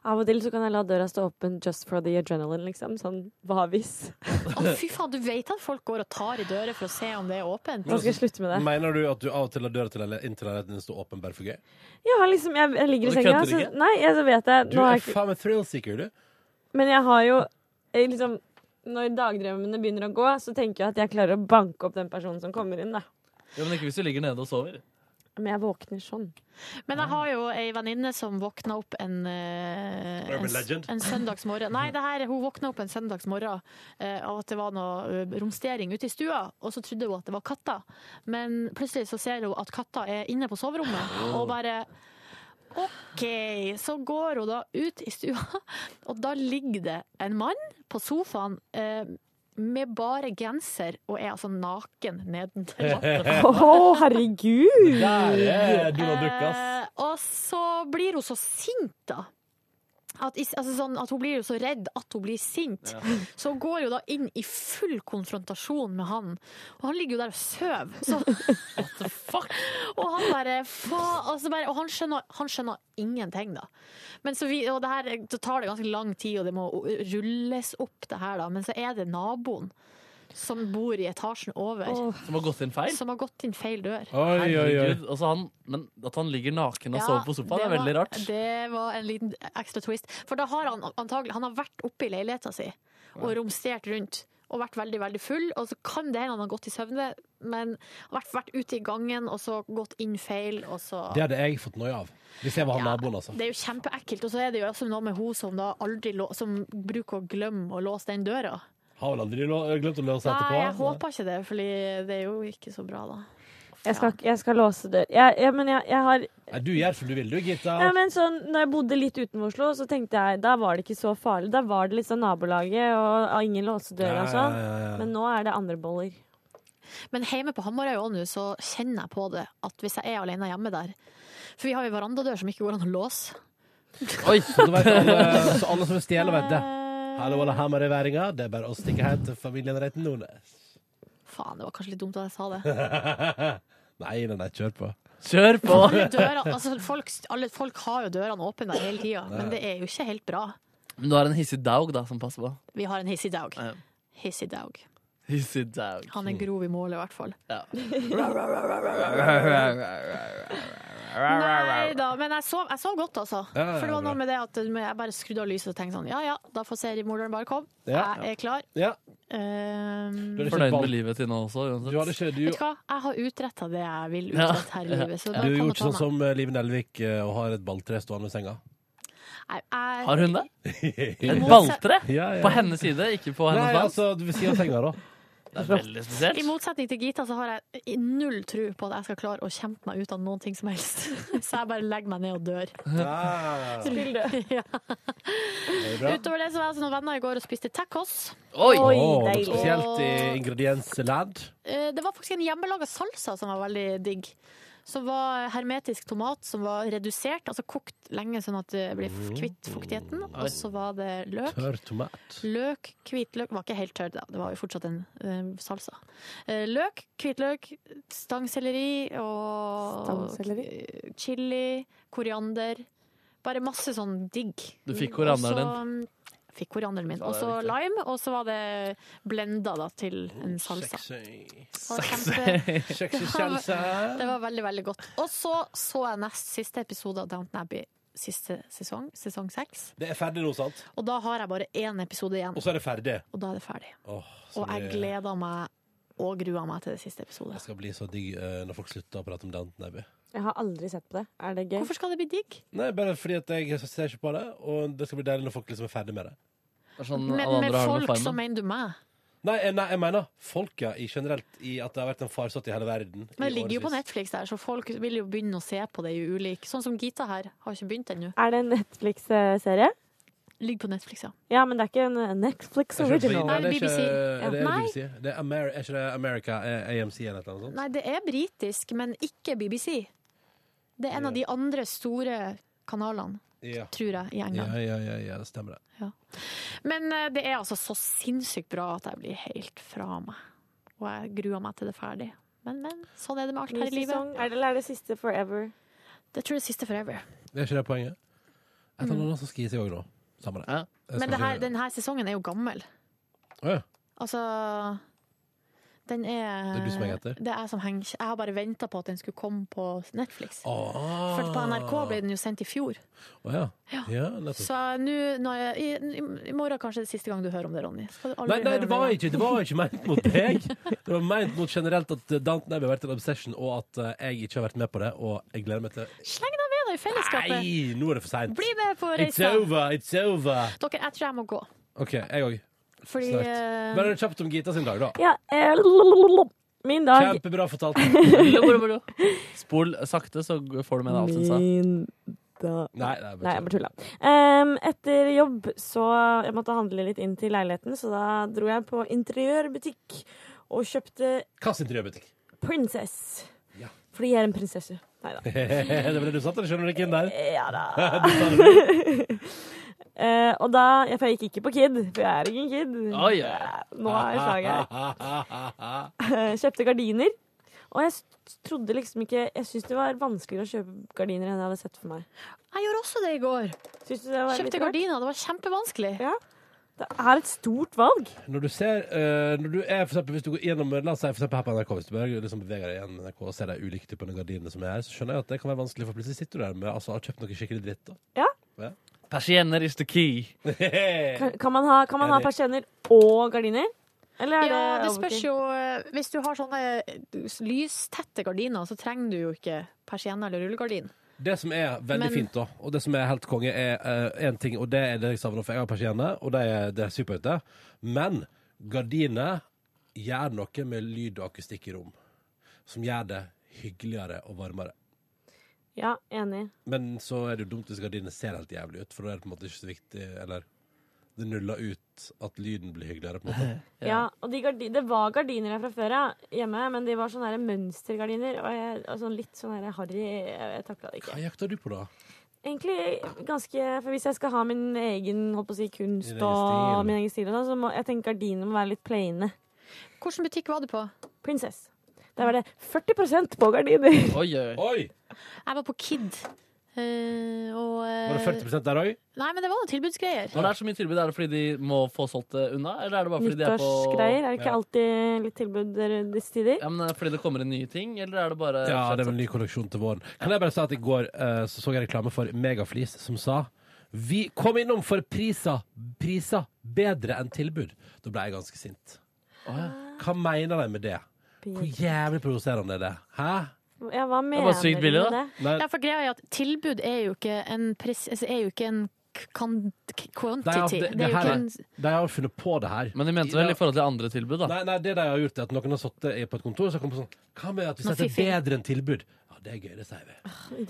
Speaker 14: Av og til så kan jeg la døra stå åpen just for the adrenaline, liksom. Sånn hva hvis?
Speaker 4: Å, fy faen, du vet at folk går og tar i dører for å se om det er åpent?
Speaker 2: Men altså, Mener du at du av og til lar døra til eller inn til leiligheten din stå åpen bare for gøy?
Speaker 14: Ja, liksom, jeg, jeg ligger i
Speaker 2: Men
Speaker 14: senga,
Speaker 2: kødder du
Speaker 14: så
Speaker 2: ikke?
Speaker 14: Nei, jeg, så vet jeg
Speaker 2: Du
Speaker 14: nå har
Speaker 2: er
Speaker 14: jeg ikke,
Speaker 2: faen meg thrillseeker, du.
Speaker 14: Men jeg har jo jeg, liksom Når dagdrømmene begynner å gå, så tenker jeg at jeg klarer å banke opp den personen som kommer inn, da.
Speaker 3: Ja, men ikke hvis du ligger nede og sover.
Speaker 14: Men jeg våkner sånn.
Speaker 4: Men jeg har jo ei venninne som våkna opp en eh,
Speaker 2: Urban
Speaker 4: en, s-
Speaker 2: legend?
Speaker 4: en søndagsmorgen. Nei, det her, hun våkna opp en søndagsmorgen eh, av at det var noe eh, romstering ute i stua, og så trodde hun at det var katta. Men plutselig så ser hun at katta er inne på soverommet, og bare OK, så går hun da ut i stua, og da ligger det en mann på sofaen eh, med bare genser, og er altså naken nedentil.
Speaker 14: Å, herregud!
Speaker 2: Der er Donald Duck, ass.
Speaker 4: Eh, og så blir hun så sint, da. At, is- altså sånn, at hun blir jo så redd at hun blir sint.
Speaker 12: Ja.
Speaker 4: Så hun går jo da inn i full konfrontasjon med han. Og han ligger jo der og sover. Så... og han bare, faen altså bare Og han skjønner, han skjønner ingenting, da. Men så vi, og det her så tar det ganske lang tid, og det må rulles opp, det her, da. Men så er det naboen som bor i etasjen over.
Speaker 3: Som har gått inn feil?
Speaker 4: Som har gått inn feil dør.
Speaker 3: Herregud, altså han, men at han ligger naken og
Speaker 4: Ja,
Speaker 3: sover på sofaen, det er veldig
Speaker 4: var-
Speaker 3: rart.
Speaker 4: Det var en liten ekstra twist. For da har han antagelig han har vært oppe i leiligheta si og romstert rundt. Og vært veldig veldig full, og så kan det hende han har gått i søvne, men har vært, vært ute i gangen og så gått inn feil, og så
Speaker 2: Det hadde jeg fått noia av. Hvis jeg var han naboen, altså.
Speaker 4: Det er jo kjempeekkelt. Og så er det jo også noe med hun som da aldri lå, som bruker å glemme å låse den døra.
Speaker 2: Har vel aldri lå- glemt å løse etterpå?
Speaker 4: Nei, jeg håper ikke det, for det er jo ikke så bra, da.
Speaker 14: Jeg skal, ikke- jeg skal låse dør. Jeg, jeg, men jeg, jeg har
Speaker 2: Nei, Du gjør som du vil, du, Gitta.
Speaker 14: Ja, men sånn, når jeg bodde litt utenfor Oslo, så tenkte jeg da var det ikke så farlig. Da var det litt sånn nabolaget og og ingen låste døra og sånn.
Speaker 4: Ja, ja, ja, ja.
Speaker 14: Men nå er det andre boller.
Speaker 4: Men hjemme på Hamarøy også nå, så kjenner jeg på det at hvis jeg er alene hjemme der For vi har jo en verandadør som ikke går an å låse.
Speaker 2: Oi, så, da vet alle, så alle som vil stjele, vet det. Hallo, alle hamarøyværinger. Det er bare å stikke hjem til familien Reiten Nordnes.
Speaker 4: Faen, det var kanskje litt dumt at jeg sa det.
Speaker 2: Nei, nei, nei, kjør på.
Speaker 3: Kjør
Speaker 4: Alle, døra, altså folk, alle folk har jo dørene åpne der hele tida, men det er jo ikke helt bra.
Speaker 3: Men du har en hissig daug da, som passer på.
Speaker 4: Vi har en hissig dag.
Speaker 3: Ja.
Speaker 4: Hissig dag.
Speaker 3: Hissig daug.
Speaker 4: Han er grov i målet, i hvert fall. Nei da, men jeg sov, jeg sov godt, altså.
Speaker 12: Ja, ja, ja,
Speaker 4: For det var
Speaker 12: bra.
Speaker 4: noe med det at jeg bare skrudde av lyset og tenkte sånn, ja ja, da får seriemorderen bare komme.
Speaker 2: Ja.
Speaker 4: Jeg er klar.
Speaker 2: Ja.
Speaker 4: Ehm,
Speaker 3: Fornøyd med livet til nå også, uansett.
Speaker 2: Du hadde ikke, du,
Speaker 4: Vet du hva, jeg har utretta det jeg vil utrette her i livet. Så
Speaker 2: du
Speaker 4: da kan
Speaker 2: gjorde
Speaker 4: man
Speaker 2: ikke
Speaker 4: ta
Speaker 2: sånn
Speaker 4: meg.
Speaker 2: som eh, Liv Nelvik eh, og har et balltre stående i senga?
Speaker 4: Nei, jeg-
Speaker 3: Har hun det? Et
Speaker 2: Ja.
Speaker 3: balltre?
Speaker 2: Ja, ja.
Speaker 3: På hennes side, ikke på hennes
Speaker 2: Nei,
Speaker 3: mann?
Speaker 2: altså, ved siden av senga, da.
Speaker 3: Det er veldig spesielt.
Speaker 4: I motsetning til Gita så har jeg i null tro på at jeg skal klare å kjempe meg ut av noen ting som helst. Så jeg bare legger meg ned og dør.
Speaker 2: Ja.
Speaker 12: Spill
Speaker 4: det. Ja.
Speaker 2: Det er bra.
Speaker 4: Utover det så var jeg hos noen venner i går og spiste tacos.
Speaker 2: Oi!
Speaker 4: Og-
Speaker 2: Åh, spesielt i ingrediensland.
Speaker 4: Eh, Det var faktisk en hjemmelaga salsa som var veldig digg. Som var hermetisk tomat som var redusert, altså kokt lenge sånn at det ble f- kvitt fuktigheten. Og så var det løk.
Speaker 2: Tørr tomat.
Speaker 4: Løk, hvitløk Var ikke helt tørr, da. det var jo fortsatt en eh, salsa. Eh, løk, hvitløk, stangselleri og
Speaker 14: Stangselleri?
Speaker 4: eh, chili, koriander, Bare masse sånn digg.
Speaker 5: Du fikk koranderen
Speaker 4: din? Fikk koranderen min.
Speaker 5: Ja,
Speaker 4: Og
Speaker 5: det er
Speaker 4: så
Speaker 5: viktig.
Speaker 4: lime, og så var det blenda da, til en salsa. Det var kjempe-
Speaker 2: Sexy. Sexy
Speaker 4: Det var-
Speaker 2: salsa.
Speaker 4: Det var veldig, veldig godt. Og så så jeg nest siste episode av Downton Abbey siste sesong, sesong seks.
Speaker 2: Det er ferdig nå, sant?
Speaker 4: Og da har jeg bare én episode igjen,
Speaker 2: Og så er det ferdig.
Speaker 4: og da er det ferdig.
Speaker 2: Åh, så
Speaker 4: Og jeg
Speaker 2: det-
Speaker 4: gleder meg og gruer meg til det siste episode.
Speaker 2: Det skal bli så digg eh, når folk slutter å prate om Downton Abbey.
Speaker 14: Jeg har aldri sett på det. Er det gøy?
Speaker 4: Hvorfor skal det bli digg?
Speaker 2: Nei, bare fordi at jeg ser ikke på det, og det skal bli deilig når folk liksom er ferdig med det.
Speaker 5: sånn
Speaker 4: Men med folk, så mener du meg.
Speaker 2: Nei, eh, nei, jeg mener folka i generelt, i at det har vært en farsott i hele verden.
Speaker 4: Men det
Speaker 2: i
Speaker 4: ligger jo på
Speaker 2: årevis.
Speaker 4: Netflix der, så folk vil jo begynne å se på det i ulik. Sånn som Gita her, har ikke begynt ennå.
Speaker 14: Er det en Netflix-serie?
Speaker 4: Ligger på Netflix, ja.
Speaker 14: Ja, men det er ikke en eh, Netflix
Speaker 2: Er ikke det
Speaker 14: original.
Speaker 2: Britney? Nei, det er ikke-
Speaker 4: Ja.
Speaker 2: er det
Speaker 4: Nei.
Speaker 2: BBC? Det er, Amer er ikke det America eh, AMC eller noe sånt?
Speaker 4: Nei, det er britisk, men ikke BBC. Det er en av de andre store kanalene,
Speaker 2: Ja.
Speaker 4: tror jeg, i
Speaker 2: Ja,
Speaker 4: England.
Speaker 2: ja, ja, ja, det stemmer det.
Speaker 4: Men eh, det er altså så sinnssykt bra at jeg blir helt fra meg. Og jeg gruer meg til det er ferdig. Men, men, sånn er det med alt
Speaker 14: Ny
Speaker 4: her i
Speaker 14: sesong,
Speaker 4: livet.
Speaker 14: er det, eller er det siste Forever?
Speaker 4: Det tror jeg er siste forever.
Speaker 2: Det er ikke det poenget? Jeg tar noen som skal gi seg òg nå. Samme det. Jeg skal
Speaker 4: Mm. Men det her,
Speaker 2: ikke-
Speaker 4: denne sesongen er jo gammel.
Speaker 2: Å, ja.
Speaker 4: Altså den er,
Speaker 2: Det er du som henger etter?
Speaker 4: Det er jeg som henger. Jeg har bare venta på at den skulle komme på Netflix.
Speaker 2: Ah.
Speaker 4: For på NRK ble den jo sendt i fjor.
Speaker 2: Å, ja. ja, nettopp.
Speaker 4: Så nå, når jeg, i, i- i morgen kanskje det siste gang du hører om det, Ronny. Så Skal du aldri
Speaker 2: Nei, nei
Speaker 4: høre om
Speaker 2: det, var ikke, det var ikke ment mot deg. Det var ment mot generelt at Downton Abbey har vært en obsession, og at eh, jeg ikke har vært med på det. Og jeg gleder meg til
Speaker 4: Sleng deg med deg i fellesskapet!
Speaker 2: Nei, nå er det for seint.
Speaker 4: Bli med på
Speaker 2: It's
Speaker 4: reisa! Dere,
Speaker 2: over, it's over.
Speaker 4: jeg tror jeg må gå.
Speaker 2: OK, jeg òg.
Speaker 4: Fordi eh,
Speaker 2: Bare kjapt om Gita sin dag, da.
Speaker 14: Ja, eh, lalalala. min dag
Speaker 2: Kjempebra fortalt.
Speaker 5: Spol sakte, så får du med deg alt hun sa.
Speaker 14: Min da.
Speaker 5: Nei, det er bare
Speaker 14: Nei, jeg bare tulla. Ehm, etter jobb så Jeg måtte handle litt inn til leiligheten, så da dro jeg på interiørbutikk og kjøpte
Speaker 2: Hva sin drømmebutikk?
Speaker 14: Princess.
Speaker 2: Ja.
Speaker 14: Fordi jeg er en prinsesse. Nei da.
Speaker 2: det var det du satt der, skjønner du ikke inn der?
Speaker 14: Ja da.
Speaker 2: du sa det bra.
Speaker 14: Eh, og da ja, For jeg gikk ikke på Kid, for jeg er ikke en kid.
Speaker 5: Oi, oi, oi.
Speaker 14: Nå er slaget her. Eh, Kjøpte gardiner. Og jeg s- trodde liksom ikke Jeg syntes det var vanskeligere å kjøpe gardiner enn jeg hadde sett for meg.
Speaker 4: jeg gjorde også det i går.
Speaker 14: Syns du det var litt
Speaker 4: Kjøpte
Speaker 14: rart?
Speaker 4: gardiner. Det var kjempevanskelig.
Speaker 14: Det er et stort valg.
Speaker 2: Når du ser eh, når du er, for eksempel, Hvis du går gjennom La oss si for eksempel her på NRK Hvis du bare liksom beveger deg gjennom NRK og ser de ulike typene gardiner som er her, så skjønner jeg at det kan være vanskelig, for plutselig sitter du der med altså, har kjøpt noe skikkelig dritt. da
Speaker 14: Ja.
Speaker 2: Ja.
Speaker 5: Persienner is the key.
Speaker 14: Kan, kan man ha, kan man ha
Speaker 5: Enig.
Speaker 14: persienner og gardiner? Eller er
Speaker 4: ja, det
Speaker 14: overkill?
Speaker 4: spørs jo eh, Hvis du har sånne eh, lystette gardiner, så trenger du jo ikke persienne eller rullegardin.
Speaker 2: Det som er veldig
Speaker 4: Men-
Speaker 2: fint, da, og det som er helt konge, er én ting, og det er det jeg savner, for jeg har persienne, og det er, det er superhøyte, men gardiner gjør noe med lyd og akustikk i rom, som gjør det hyggeligere og varmere.
Speaker 14: Ja, enig.
Speaker 2: Men så er det jo dumt hvis gardinene ser helt jævlig ut, for da er det på en måte ikke så viktig, eller det nuller ut at lyden blir hyggeligere, på en måte.
Speaker 14: Ja, og de gardi Det var gardiner her fra før ja, hjemme, men de var sånne her mønstergardiner. Og, jeg, og sånn litt sånn her harry Jeg, jeg takla det
Speaker 2: Hva
Speaker 14: ikke.
Speaker 2: jakter du på, da?
Speaker 14: Egentlig ganske For hvis jeg skal ha min egen holdt på å si, kunst
Speaker 2: Din egen
Speaker 14: og
Speaker 2: stil.
Speaker 14: min egen stil, og sånn, så må jeg tenke gardinene må være litt plaine.
Speaker 4: Hvilken butikk var du på?
Speaker 14: Princess.
Speaker 2: Mm.
Speaker 14: Der var det 40 på gardiner.
Speaker 5: Oi,
Speaker 2: Oi!
Speaker 4: Jeg var på Kid. eh, og eh,
Speaker 5: Var det
Speaker 2: 40% der òg?
Speaker 4: Nei, men det var noen tilbudsgreier.
Speaker 5: Når det er så mye tilbud, er det fordi de må få solgt det unna? Eller er det bare fordi de er på
Speaker 14: Nyttårsgreier. Er det ikke
Speaker 5: Ja.
Speaker 14: alltid litt tilbud der- disse tider?
Speaker 5: Ja, men er det fordi det kommer inn nye ting, eller er det bare
Speaker 2: Ja, det er vel en ny kolleksjon til våren. Kan jeg bare si at i går eh, så, så jeg reklame for Megaflis som sa Vi kom innom for priser, priser bedre enn tilbud. Da ble jeg ganske sint. Hva mener de med det? Hvor jævlig provoserende er det? Hæ?
Speaker 14: Ja, hva
Speaker 2: Det
Speaker 14: mener
Speaker 2: var sykt billig, da. Nei.
Speaker 4: Ja, for greia er at tilbud er jo ikke en, pres, altså, er jo ikke en k- kan- k-
Speaker 2: De har,
Speaker 4: quantity.
Speaker 2: det,
Speaker 4: Det
Speaker 2: det
Speaker 4: er jo
Speaker 2: her,
Speaker 4: ikke
Speaker 2: er-
Speaker 4: en
Speaker 2: de har funnet på det her. Men de
Speaker 5: mente vel i forhold til andre tilbud, da?
Speaker 2: Nei, nei, det de har gjort, er at noen har sittet på et kontor og så kommer sånn Hva med at vi
Speaker 4: Nå,
Speaker 2: setter
Speaker 4: fiffig.
Speaker 2: bedre enn tilbud? Ja, det er gøy, det sier vi.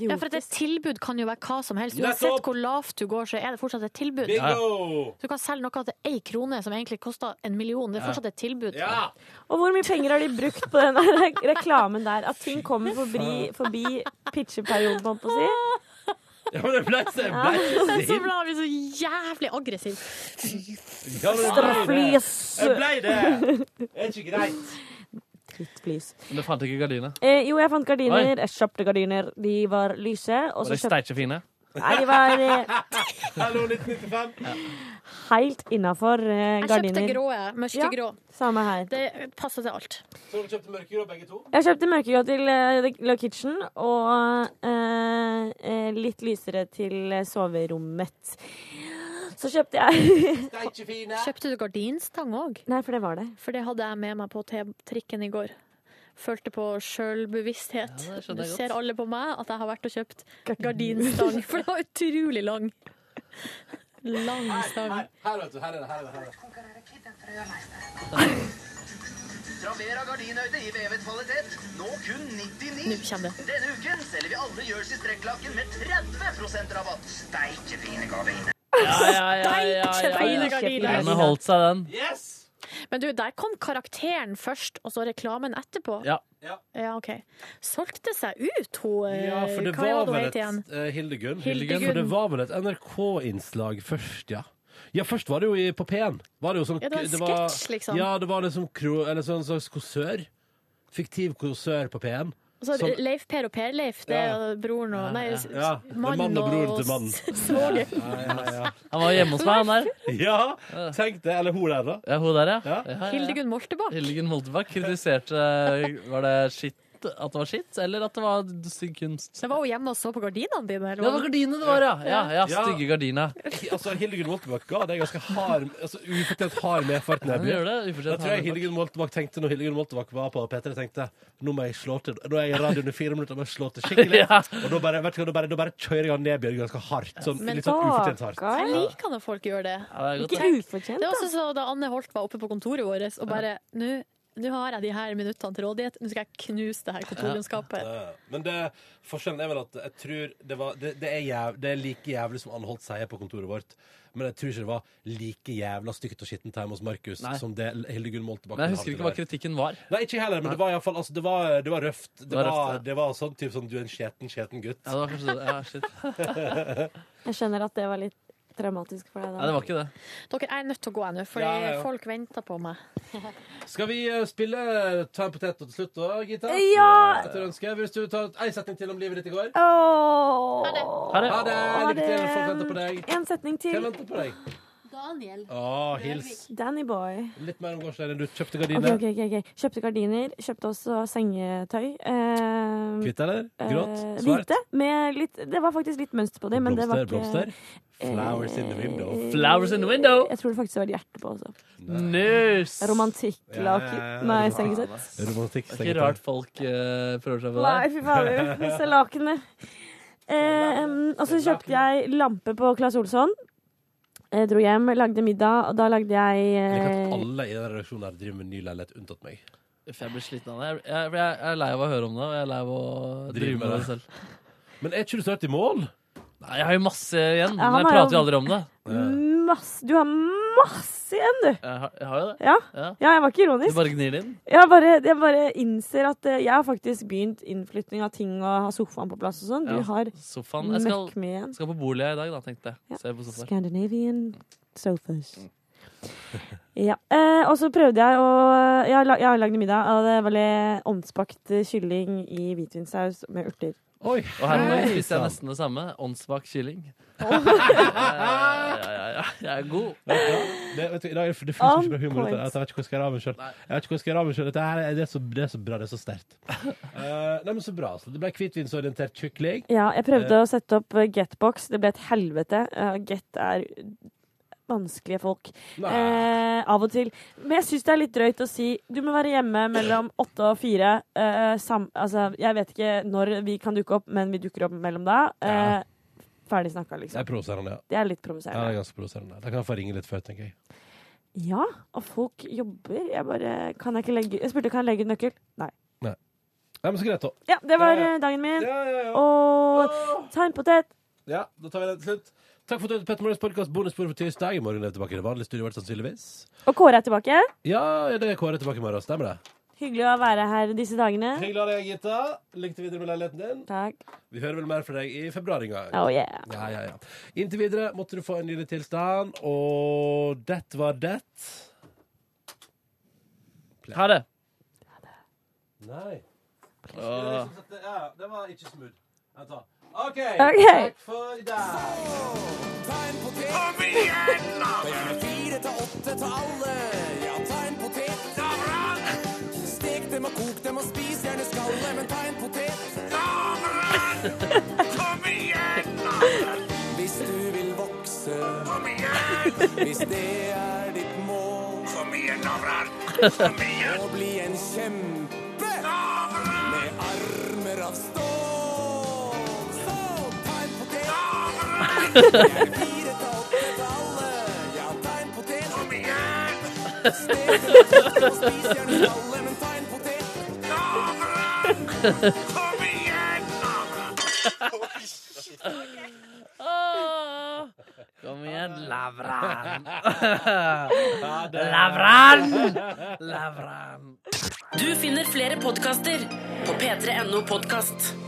Speaker 4: ja, for at Et tilbud kan jo være hva som helst. Uansett
Speaker 2: Nettopp!
Speaker 4: hvor lavt du går, så er det fortsatt et tilbud.
Speaker 2: Bingo!
Speaker 4: Så Du kan selge noe til ei krone som egentlig koster en million. Det er
Speaker 14: Ja.
Speaker 4: fortsatt et tilbud.
Speaker 14: Og hvor mye penger har de brukt på den re reklamen der? At ting kommer forbi, forbi pitcheperioden, holdt på å
Speaker 5: Ah.
Speaker 14: si.
Speaker 2: Ja, men jeg ble så jeg ble så
Speaker 4: Det er så
Speaker 2: sint.
Speaker 4: bra, han blir så jævlig aggressiv.
Speaker 2: Ja, men jeg ble det. Jeg ble det! Det er ikke greit.
Speaker 5: Men du fant ikke gardiner?
Speaker 14: Eh, jo, jeg fant gardiner.
Speaker 5: Oi.
Speaker 14: Jeg kjøpte gardiner. De var lyse. Og
Speaker 5: Var de
Speaker 14: så kjøpte
Speaker 5: steikje fine?
Speaker 14: Nei, det var eh,
Speaker 2: Hallo, 1995.
Speaker 14: helt innafor eh,
Speaker 4: Jeg
Speaker 14: gardiner.
Speaker 4: kjøpte grå, jeg. Mørkegrå.
Speaker 14: Samme her.
Speaker 4: Det passer til alt.
Speaker 2: Så har du kjøpt mørkegrå, begge to?
Speaker 14: Jeg kjøpte mørkegrå til eh, The Glow Kitchen og eh, eh, litt lysere til eh, soverommet. Så kjøpte jeg
Speaker 4: Kjøpte du gardinstang òg?
Speaker 14: Nei, for det var det.
Speaker 4: For det hadde jeg med meg på T- trikken i går. Følte på sjølbevissthet.
Speaker 14: Ja, det skjønner
Speaker 4: du
Speaker 14: jeg godt.
Speaker 4: ser alle på meg at jeg har vært og kjøpt gardinstang, for det var utrolig lang. Lang
Speaker 2: Her,
Speaker 4: stang.
Speaker 2: her, her, vet du. Her er det. Her er det. Her er det.
Speaker 12: Travera gardinhøyde i vevet kvalitet. Nå kun 99.
Speaker 4: Nå kommer det.
Speaker 12: Denne uken selger vi alle Jerseys trekklaken med 30 rabatt. Steike fine gardiner.
Speaker 4: Steikefine
Speaker 5: Den har
Speaker 4: gardiner.
Speaker 5: holdt seg, den.
Speaker 4: Men du, der kom karakteren først, og så reklamen etterpå.
Speaker 5: Ja.
Speaker 4: Ja, ok. Solgte seg ut, hun eh,
Speaker 2: Ja, for det
Speaker 4: Hva
Speaker 2: var
Speaker 4: var det hun
Speaker 2: vel
Speaker 4: het
Speaker 2: et
Speaker 4: igjen?
Speaker 2: eh, Hildegunn.
Speaker 4: Hildegunn.
Speaker 2: For det var vel et NRK-innslag først, ja. Ja, først var det jo i- på P1. Var det, jo sånn,
Speaker 4: Ja, det var en sketsj, liksom.
Speaker 2: Ja, det var liksom kro, eller sånn slags kosør. Fiktiv kosør på P1.
Speaker 4: Altså,
Speaker 2: som-
Speaker 4: Leif Per og Per-Leif, det er
Speaker 2: Ja.
Speaker 4: broren og Nei,
Speaker 2: ja.
Speaker 4: s-
Speaker 2: Ja, det er mann og bror til mann.
Speaker 4: svoger.
Speaker 5: Han var hjemme hos meg, han der.
Speaker 2: Ja, tenk det. Eller hun der, da.
Speaker 5: Ja, hun der, ja. ja. ja, ja.
Speaker 4: Hildegunn Moltebakk.
Speaker 5: Hildegunn Moltebakk kritiserte Var det skitt? At det var skitt, eller at det var stygg kunst?
Speaker 4: Så var hun hjemme og så på gardinene dine? eller
Speaker 5: Ja, det var gardinene det var, ja. Ja, ja,
Speaker 2: Ja.
Speaker 5: Stygge gardiner.
Speaker 2: Altså, Hildegunn Moltebakk ga det ganske hard altså, Ufortjent hard medfart nedby.
Speaker 5: Ja, hun gjør det, ufortjent
Speaker 2: Da tror jeg
Speaker 5: hard medfart.
Speaker 2: Hildegunn Moltebakk tenkte når Hildegunn Moltebakk var på P3, tenkte nå må jeg slå til. Nå er jeg i radioen i fire minutter, må jeg slå til skikkelig.
Speaker 5: Ja.
Speaker 2: Og da bare, vet du, hva, da bare, da bare kjører jeg nedbjørg ganske hardt. Sånn,
Speaker 4: Men
Speaker 2: litt sånn ufortjent hardt.
Speaker 4: Jeg liker når folk gjør det.
Speaker 2: Ja, det er godt,
Speaker 4: Tenk.
Speaker 2: det.
Speaker 14: ufortjent,
Speaker 4: Det er også så da Anne Holt var oppe på kontoret vårt og bare Nå nå har jeg de her minuttene til rådighet, nå skal jeg knuse det her kontorlandskapet.
Speaker 2: Ja. Men det, forskjellen er vel at jeg tror det, var, det, det, er, jæv, det er like jævlig som Anne Holt sier på kontoret vårt. Men jeg tror ikke det var like jævla stygt og skittent hjemme hos Markus
Speaker 5: Nei.
Speaker 2: som det Hildegunn Moltebakk
Speaker 5: Men
Speaker 2: hadde
Speaker 5: jeg husker ikke
Speaker 2: der.
Speaker 5: hva kritikken var.
Speaker 2: Nei, ikke heller, men det var i alle fall, altså, det, var, det var røft. Det,
Speaker 5: var
Speaker 2: var,
Speaker 5: røft, ja.
Speaker 2: det var sånn typ som du er en skjeten, skjeten gutt.
Speaker 5: Ja, det var kanskje det. Ja, shit.
Speaker 14: Jeg skjønner at det var litt traumatisk for deg. Da.
Speaker 5: Nei, det var ikke det.
Speaker 4: Dere jeg er nødt til å gå nå, fordi
Speaker 2: Ja, ja, ja.
Speaker 4: folk venter på meg.
Speaker 2: Skal vi eh, spille Ta en potet til slutt da, Gita?
Speaker 14: Eh, Ja!
Speaker 2: Etter ønske. Hvis du tar ei setning til om livet ditt i går.
Speaker 14: Åh.
Speaker 2: Ha det. Ha det.
Speaker 14: Ha
Speaker 2: Lykke til.
Speaker 14: det. Eh.
Speaker 2: Folk venter på deg.
Speaker 14: En setning til.
Speaker 2: Hvem venter på deg?
Speaker 4: Daniel.
Speaker 2: Å, hils.
Speaker 14: Danny boy.
Speaker 2: Litt mer om gårsdagen. Du kjøpte
Speaker 14: Ok,
Speaker 2: gardiner.
Speaker 14: ok, ok, ok. Kjøpte gardiner, kjøpte også sengetøy. Eh,
Speaker 2: Hvitt eller? Grått?
Speaker 14: eh,
Speaker 2: Svart?
Speaker 14: Hvite. Med litt, det var faktisk litt mønster på dem. Men det var
Speaker 2: Blomster?
Speaker 14: ikke, Eh,
Speaker 2: Blomster? Flowers in the window.
Speaker 5: Flowers in the window!
Speaker 14: Jeg tror det faktisk var et hjerte på også.
Speaker 5: Nus!
Speaker 14: Romantikk, laken. Nei, sengesett.
Speaker 2: Romantikk,
Speaker 5: Det er ikke rart folk eh, prøver seg på det.
Speaker 14: Nei, fy fader. Disse lakenene. Eh, og så kjøpte jeg lampe på Claes Olsson. Jeg dro hjem, lagde middag, og da lagde jeg
Speaker 2: Det er
Speaker 14: eh,
Speaker 2: klart alle i den redaksjonen her driver med ny leilighet, unntatt meg.
Speaker 5: Uff, Jeg blir sliten av det. Jeg, jeg, jeg er lei av å høre om det, og jeg er lei av å drive med det selv.
Speaker 2: Men er ikke du snart i mål?
Speaker 5: Nei, Jeg har jo masse igjen,
Speaker 14: Ja, han
Speaker 5: men jeg
Speaker 14: har jo-
Speaker 5: prater jo aldri om det.
Speaker 14: masse Du har masse igjen, du!
Speaker 5: Jeg har, jeg har jo det.
Speaker 14: Ja. ja, jeg var
Speaker 5: Du
Speaker 14: ikke ironisk.
Speaker 5: bare gnir det inn?
Speaker 14: Jeg bare, jeg bare innser at eh, jeg har faktisk begynt innflytting av ting og har sofaen på plass og sånn. Du
Speaker 5: Ja,
Speaker 14: har
Speaker 5: sofaen. Jeg skal,
Speaker 14: møkk med igjen.
Speaker 5: skal på bolig i dag, da, tenkte jeg. Se på sofaen.
Speaker 14: Scandinavian sofas. Ja. Eh, og så prøvde jeg å Jeg har la- jeg har lagd middag av det veldig ovnsbakt kylling i hvitvinssaus med urter.
Speaker 2: Oi,
Speaker 5: Og her om dagen
Speaker 14: Hei,
Speaker 5: spiser jeg
Speaker 14: sann.
Speaker 5: nesten det samme. Åndssvak kylling. Ja, ja, ja, ja. Jeg er god.
Speaker 2: Det, vet du, i dag, er det- det flyter
Speaker 5: On
Speaker 2: ikke noe humor ut av det.
Speaker 5: point.
Speaker 2: Jeg vet ikke hvor jeg skal ramme selv. Jeg vet ikke hvor jeg skal ramme selv. Dette her, er- det, er så, det er så bra, det er så sterkt. Eh, nei, men så bra. Så det ble hvitvinsorientert kykling.
Speaker 14: Ja, jeg prøvde
Speaker 2: Eh,
Speaker 14: å sette opp eh, Getbox. Det ble et helvete. Eh, Get er vanskelige folk. Eh, av og til. Men jeg syns det er litt drøyt å si du må være hjemme mellom åtte og fire. Eh, sam, altså, jeg vet ikke når vi kan dukke opp, men vi dukker opp mellom da. Eh, Ferdig snakka,
Speaker 2: Det er
Speaker 14: liksom.
Speaker 2: provoserende, ja.
Speaker 14: Det er litt
Speaker 2: Ja, det
Speaker 14: provoserende.
Speaker 2: er ganske provoserende. Da kan jeg få ringe litt før, tenker jeg.
Speaker 14: Ja, og folk jobber. Jeg bare Kan jeg ikke legge Jeg spurte kan jeg legge ut nøkkel. Nei.
Speaker 2: Nei. nei men så greit, da.
Speaker 14: Ja, det var
Speaker 2: Ja, ja.
Speaker 14: eh, dagen min.
Speaker 2: ja.
Speaker 14: Og ta en potet.
Speaker 2: Ja, da tar vi den til slutt. Takk for at du hørte på Petter Morgens podkast Bonusbord for tirsdag. I morgen er vi tilbake i det vanlige studioet vårt, sannsynligvis.
Speaker 14: Og Kåre er tilbake.
Speaker 2: Ja, ja, det er Kåre tilbake i morgen. Stemmer det?
Speaker 14: Hyggelig å være her disse dagene.
Speaker 2: Hyggelig å ha deg, Gitta. Lykke til videre med leiligheten din.
Speaker 14: Takk.
Speaker 2: Vi hører vel mer fra deg i februar en gang.
Speaker 14: Oh, yeah.
Speaker 2: ja, ja, ja. Inntil videre måtte du få en nydelig tilstand, og det var det.
Speaker 5: Ha det.
Speaker 2: Nei.
Speaker 5: Åh.
Speaker 2: Ja, det var ikke smooth. Vent da. OK.
Speaker 12: Ok.
Speaker 2: Takk for i dag.
Speaker 12: Kom igjen, da! Det er gjerne fire til åtte til alle. Ja, ta en potet. Lavran! Stek dem og kok dem og spis gjerne skallet, men ta en potet. Lavran! Kom igjen, Lavran! Hvis du vil vokse. Kom igjen! Hvis det er ditt mål. Kom igjen, Lavran! Kom igjen! Og bli en kjempe. Lavran! Med armer av stål. Så, ta en potet. Lavran!
Speaker 1: Kom igjen,
Speaker 3: Åh, Kom igjen, Lavran.
Speaker 7: Lavran!
Speaker 3: Lavran.
Speaker 7: Du finner flere podkaster på p3.no podkast.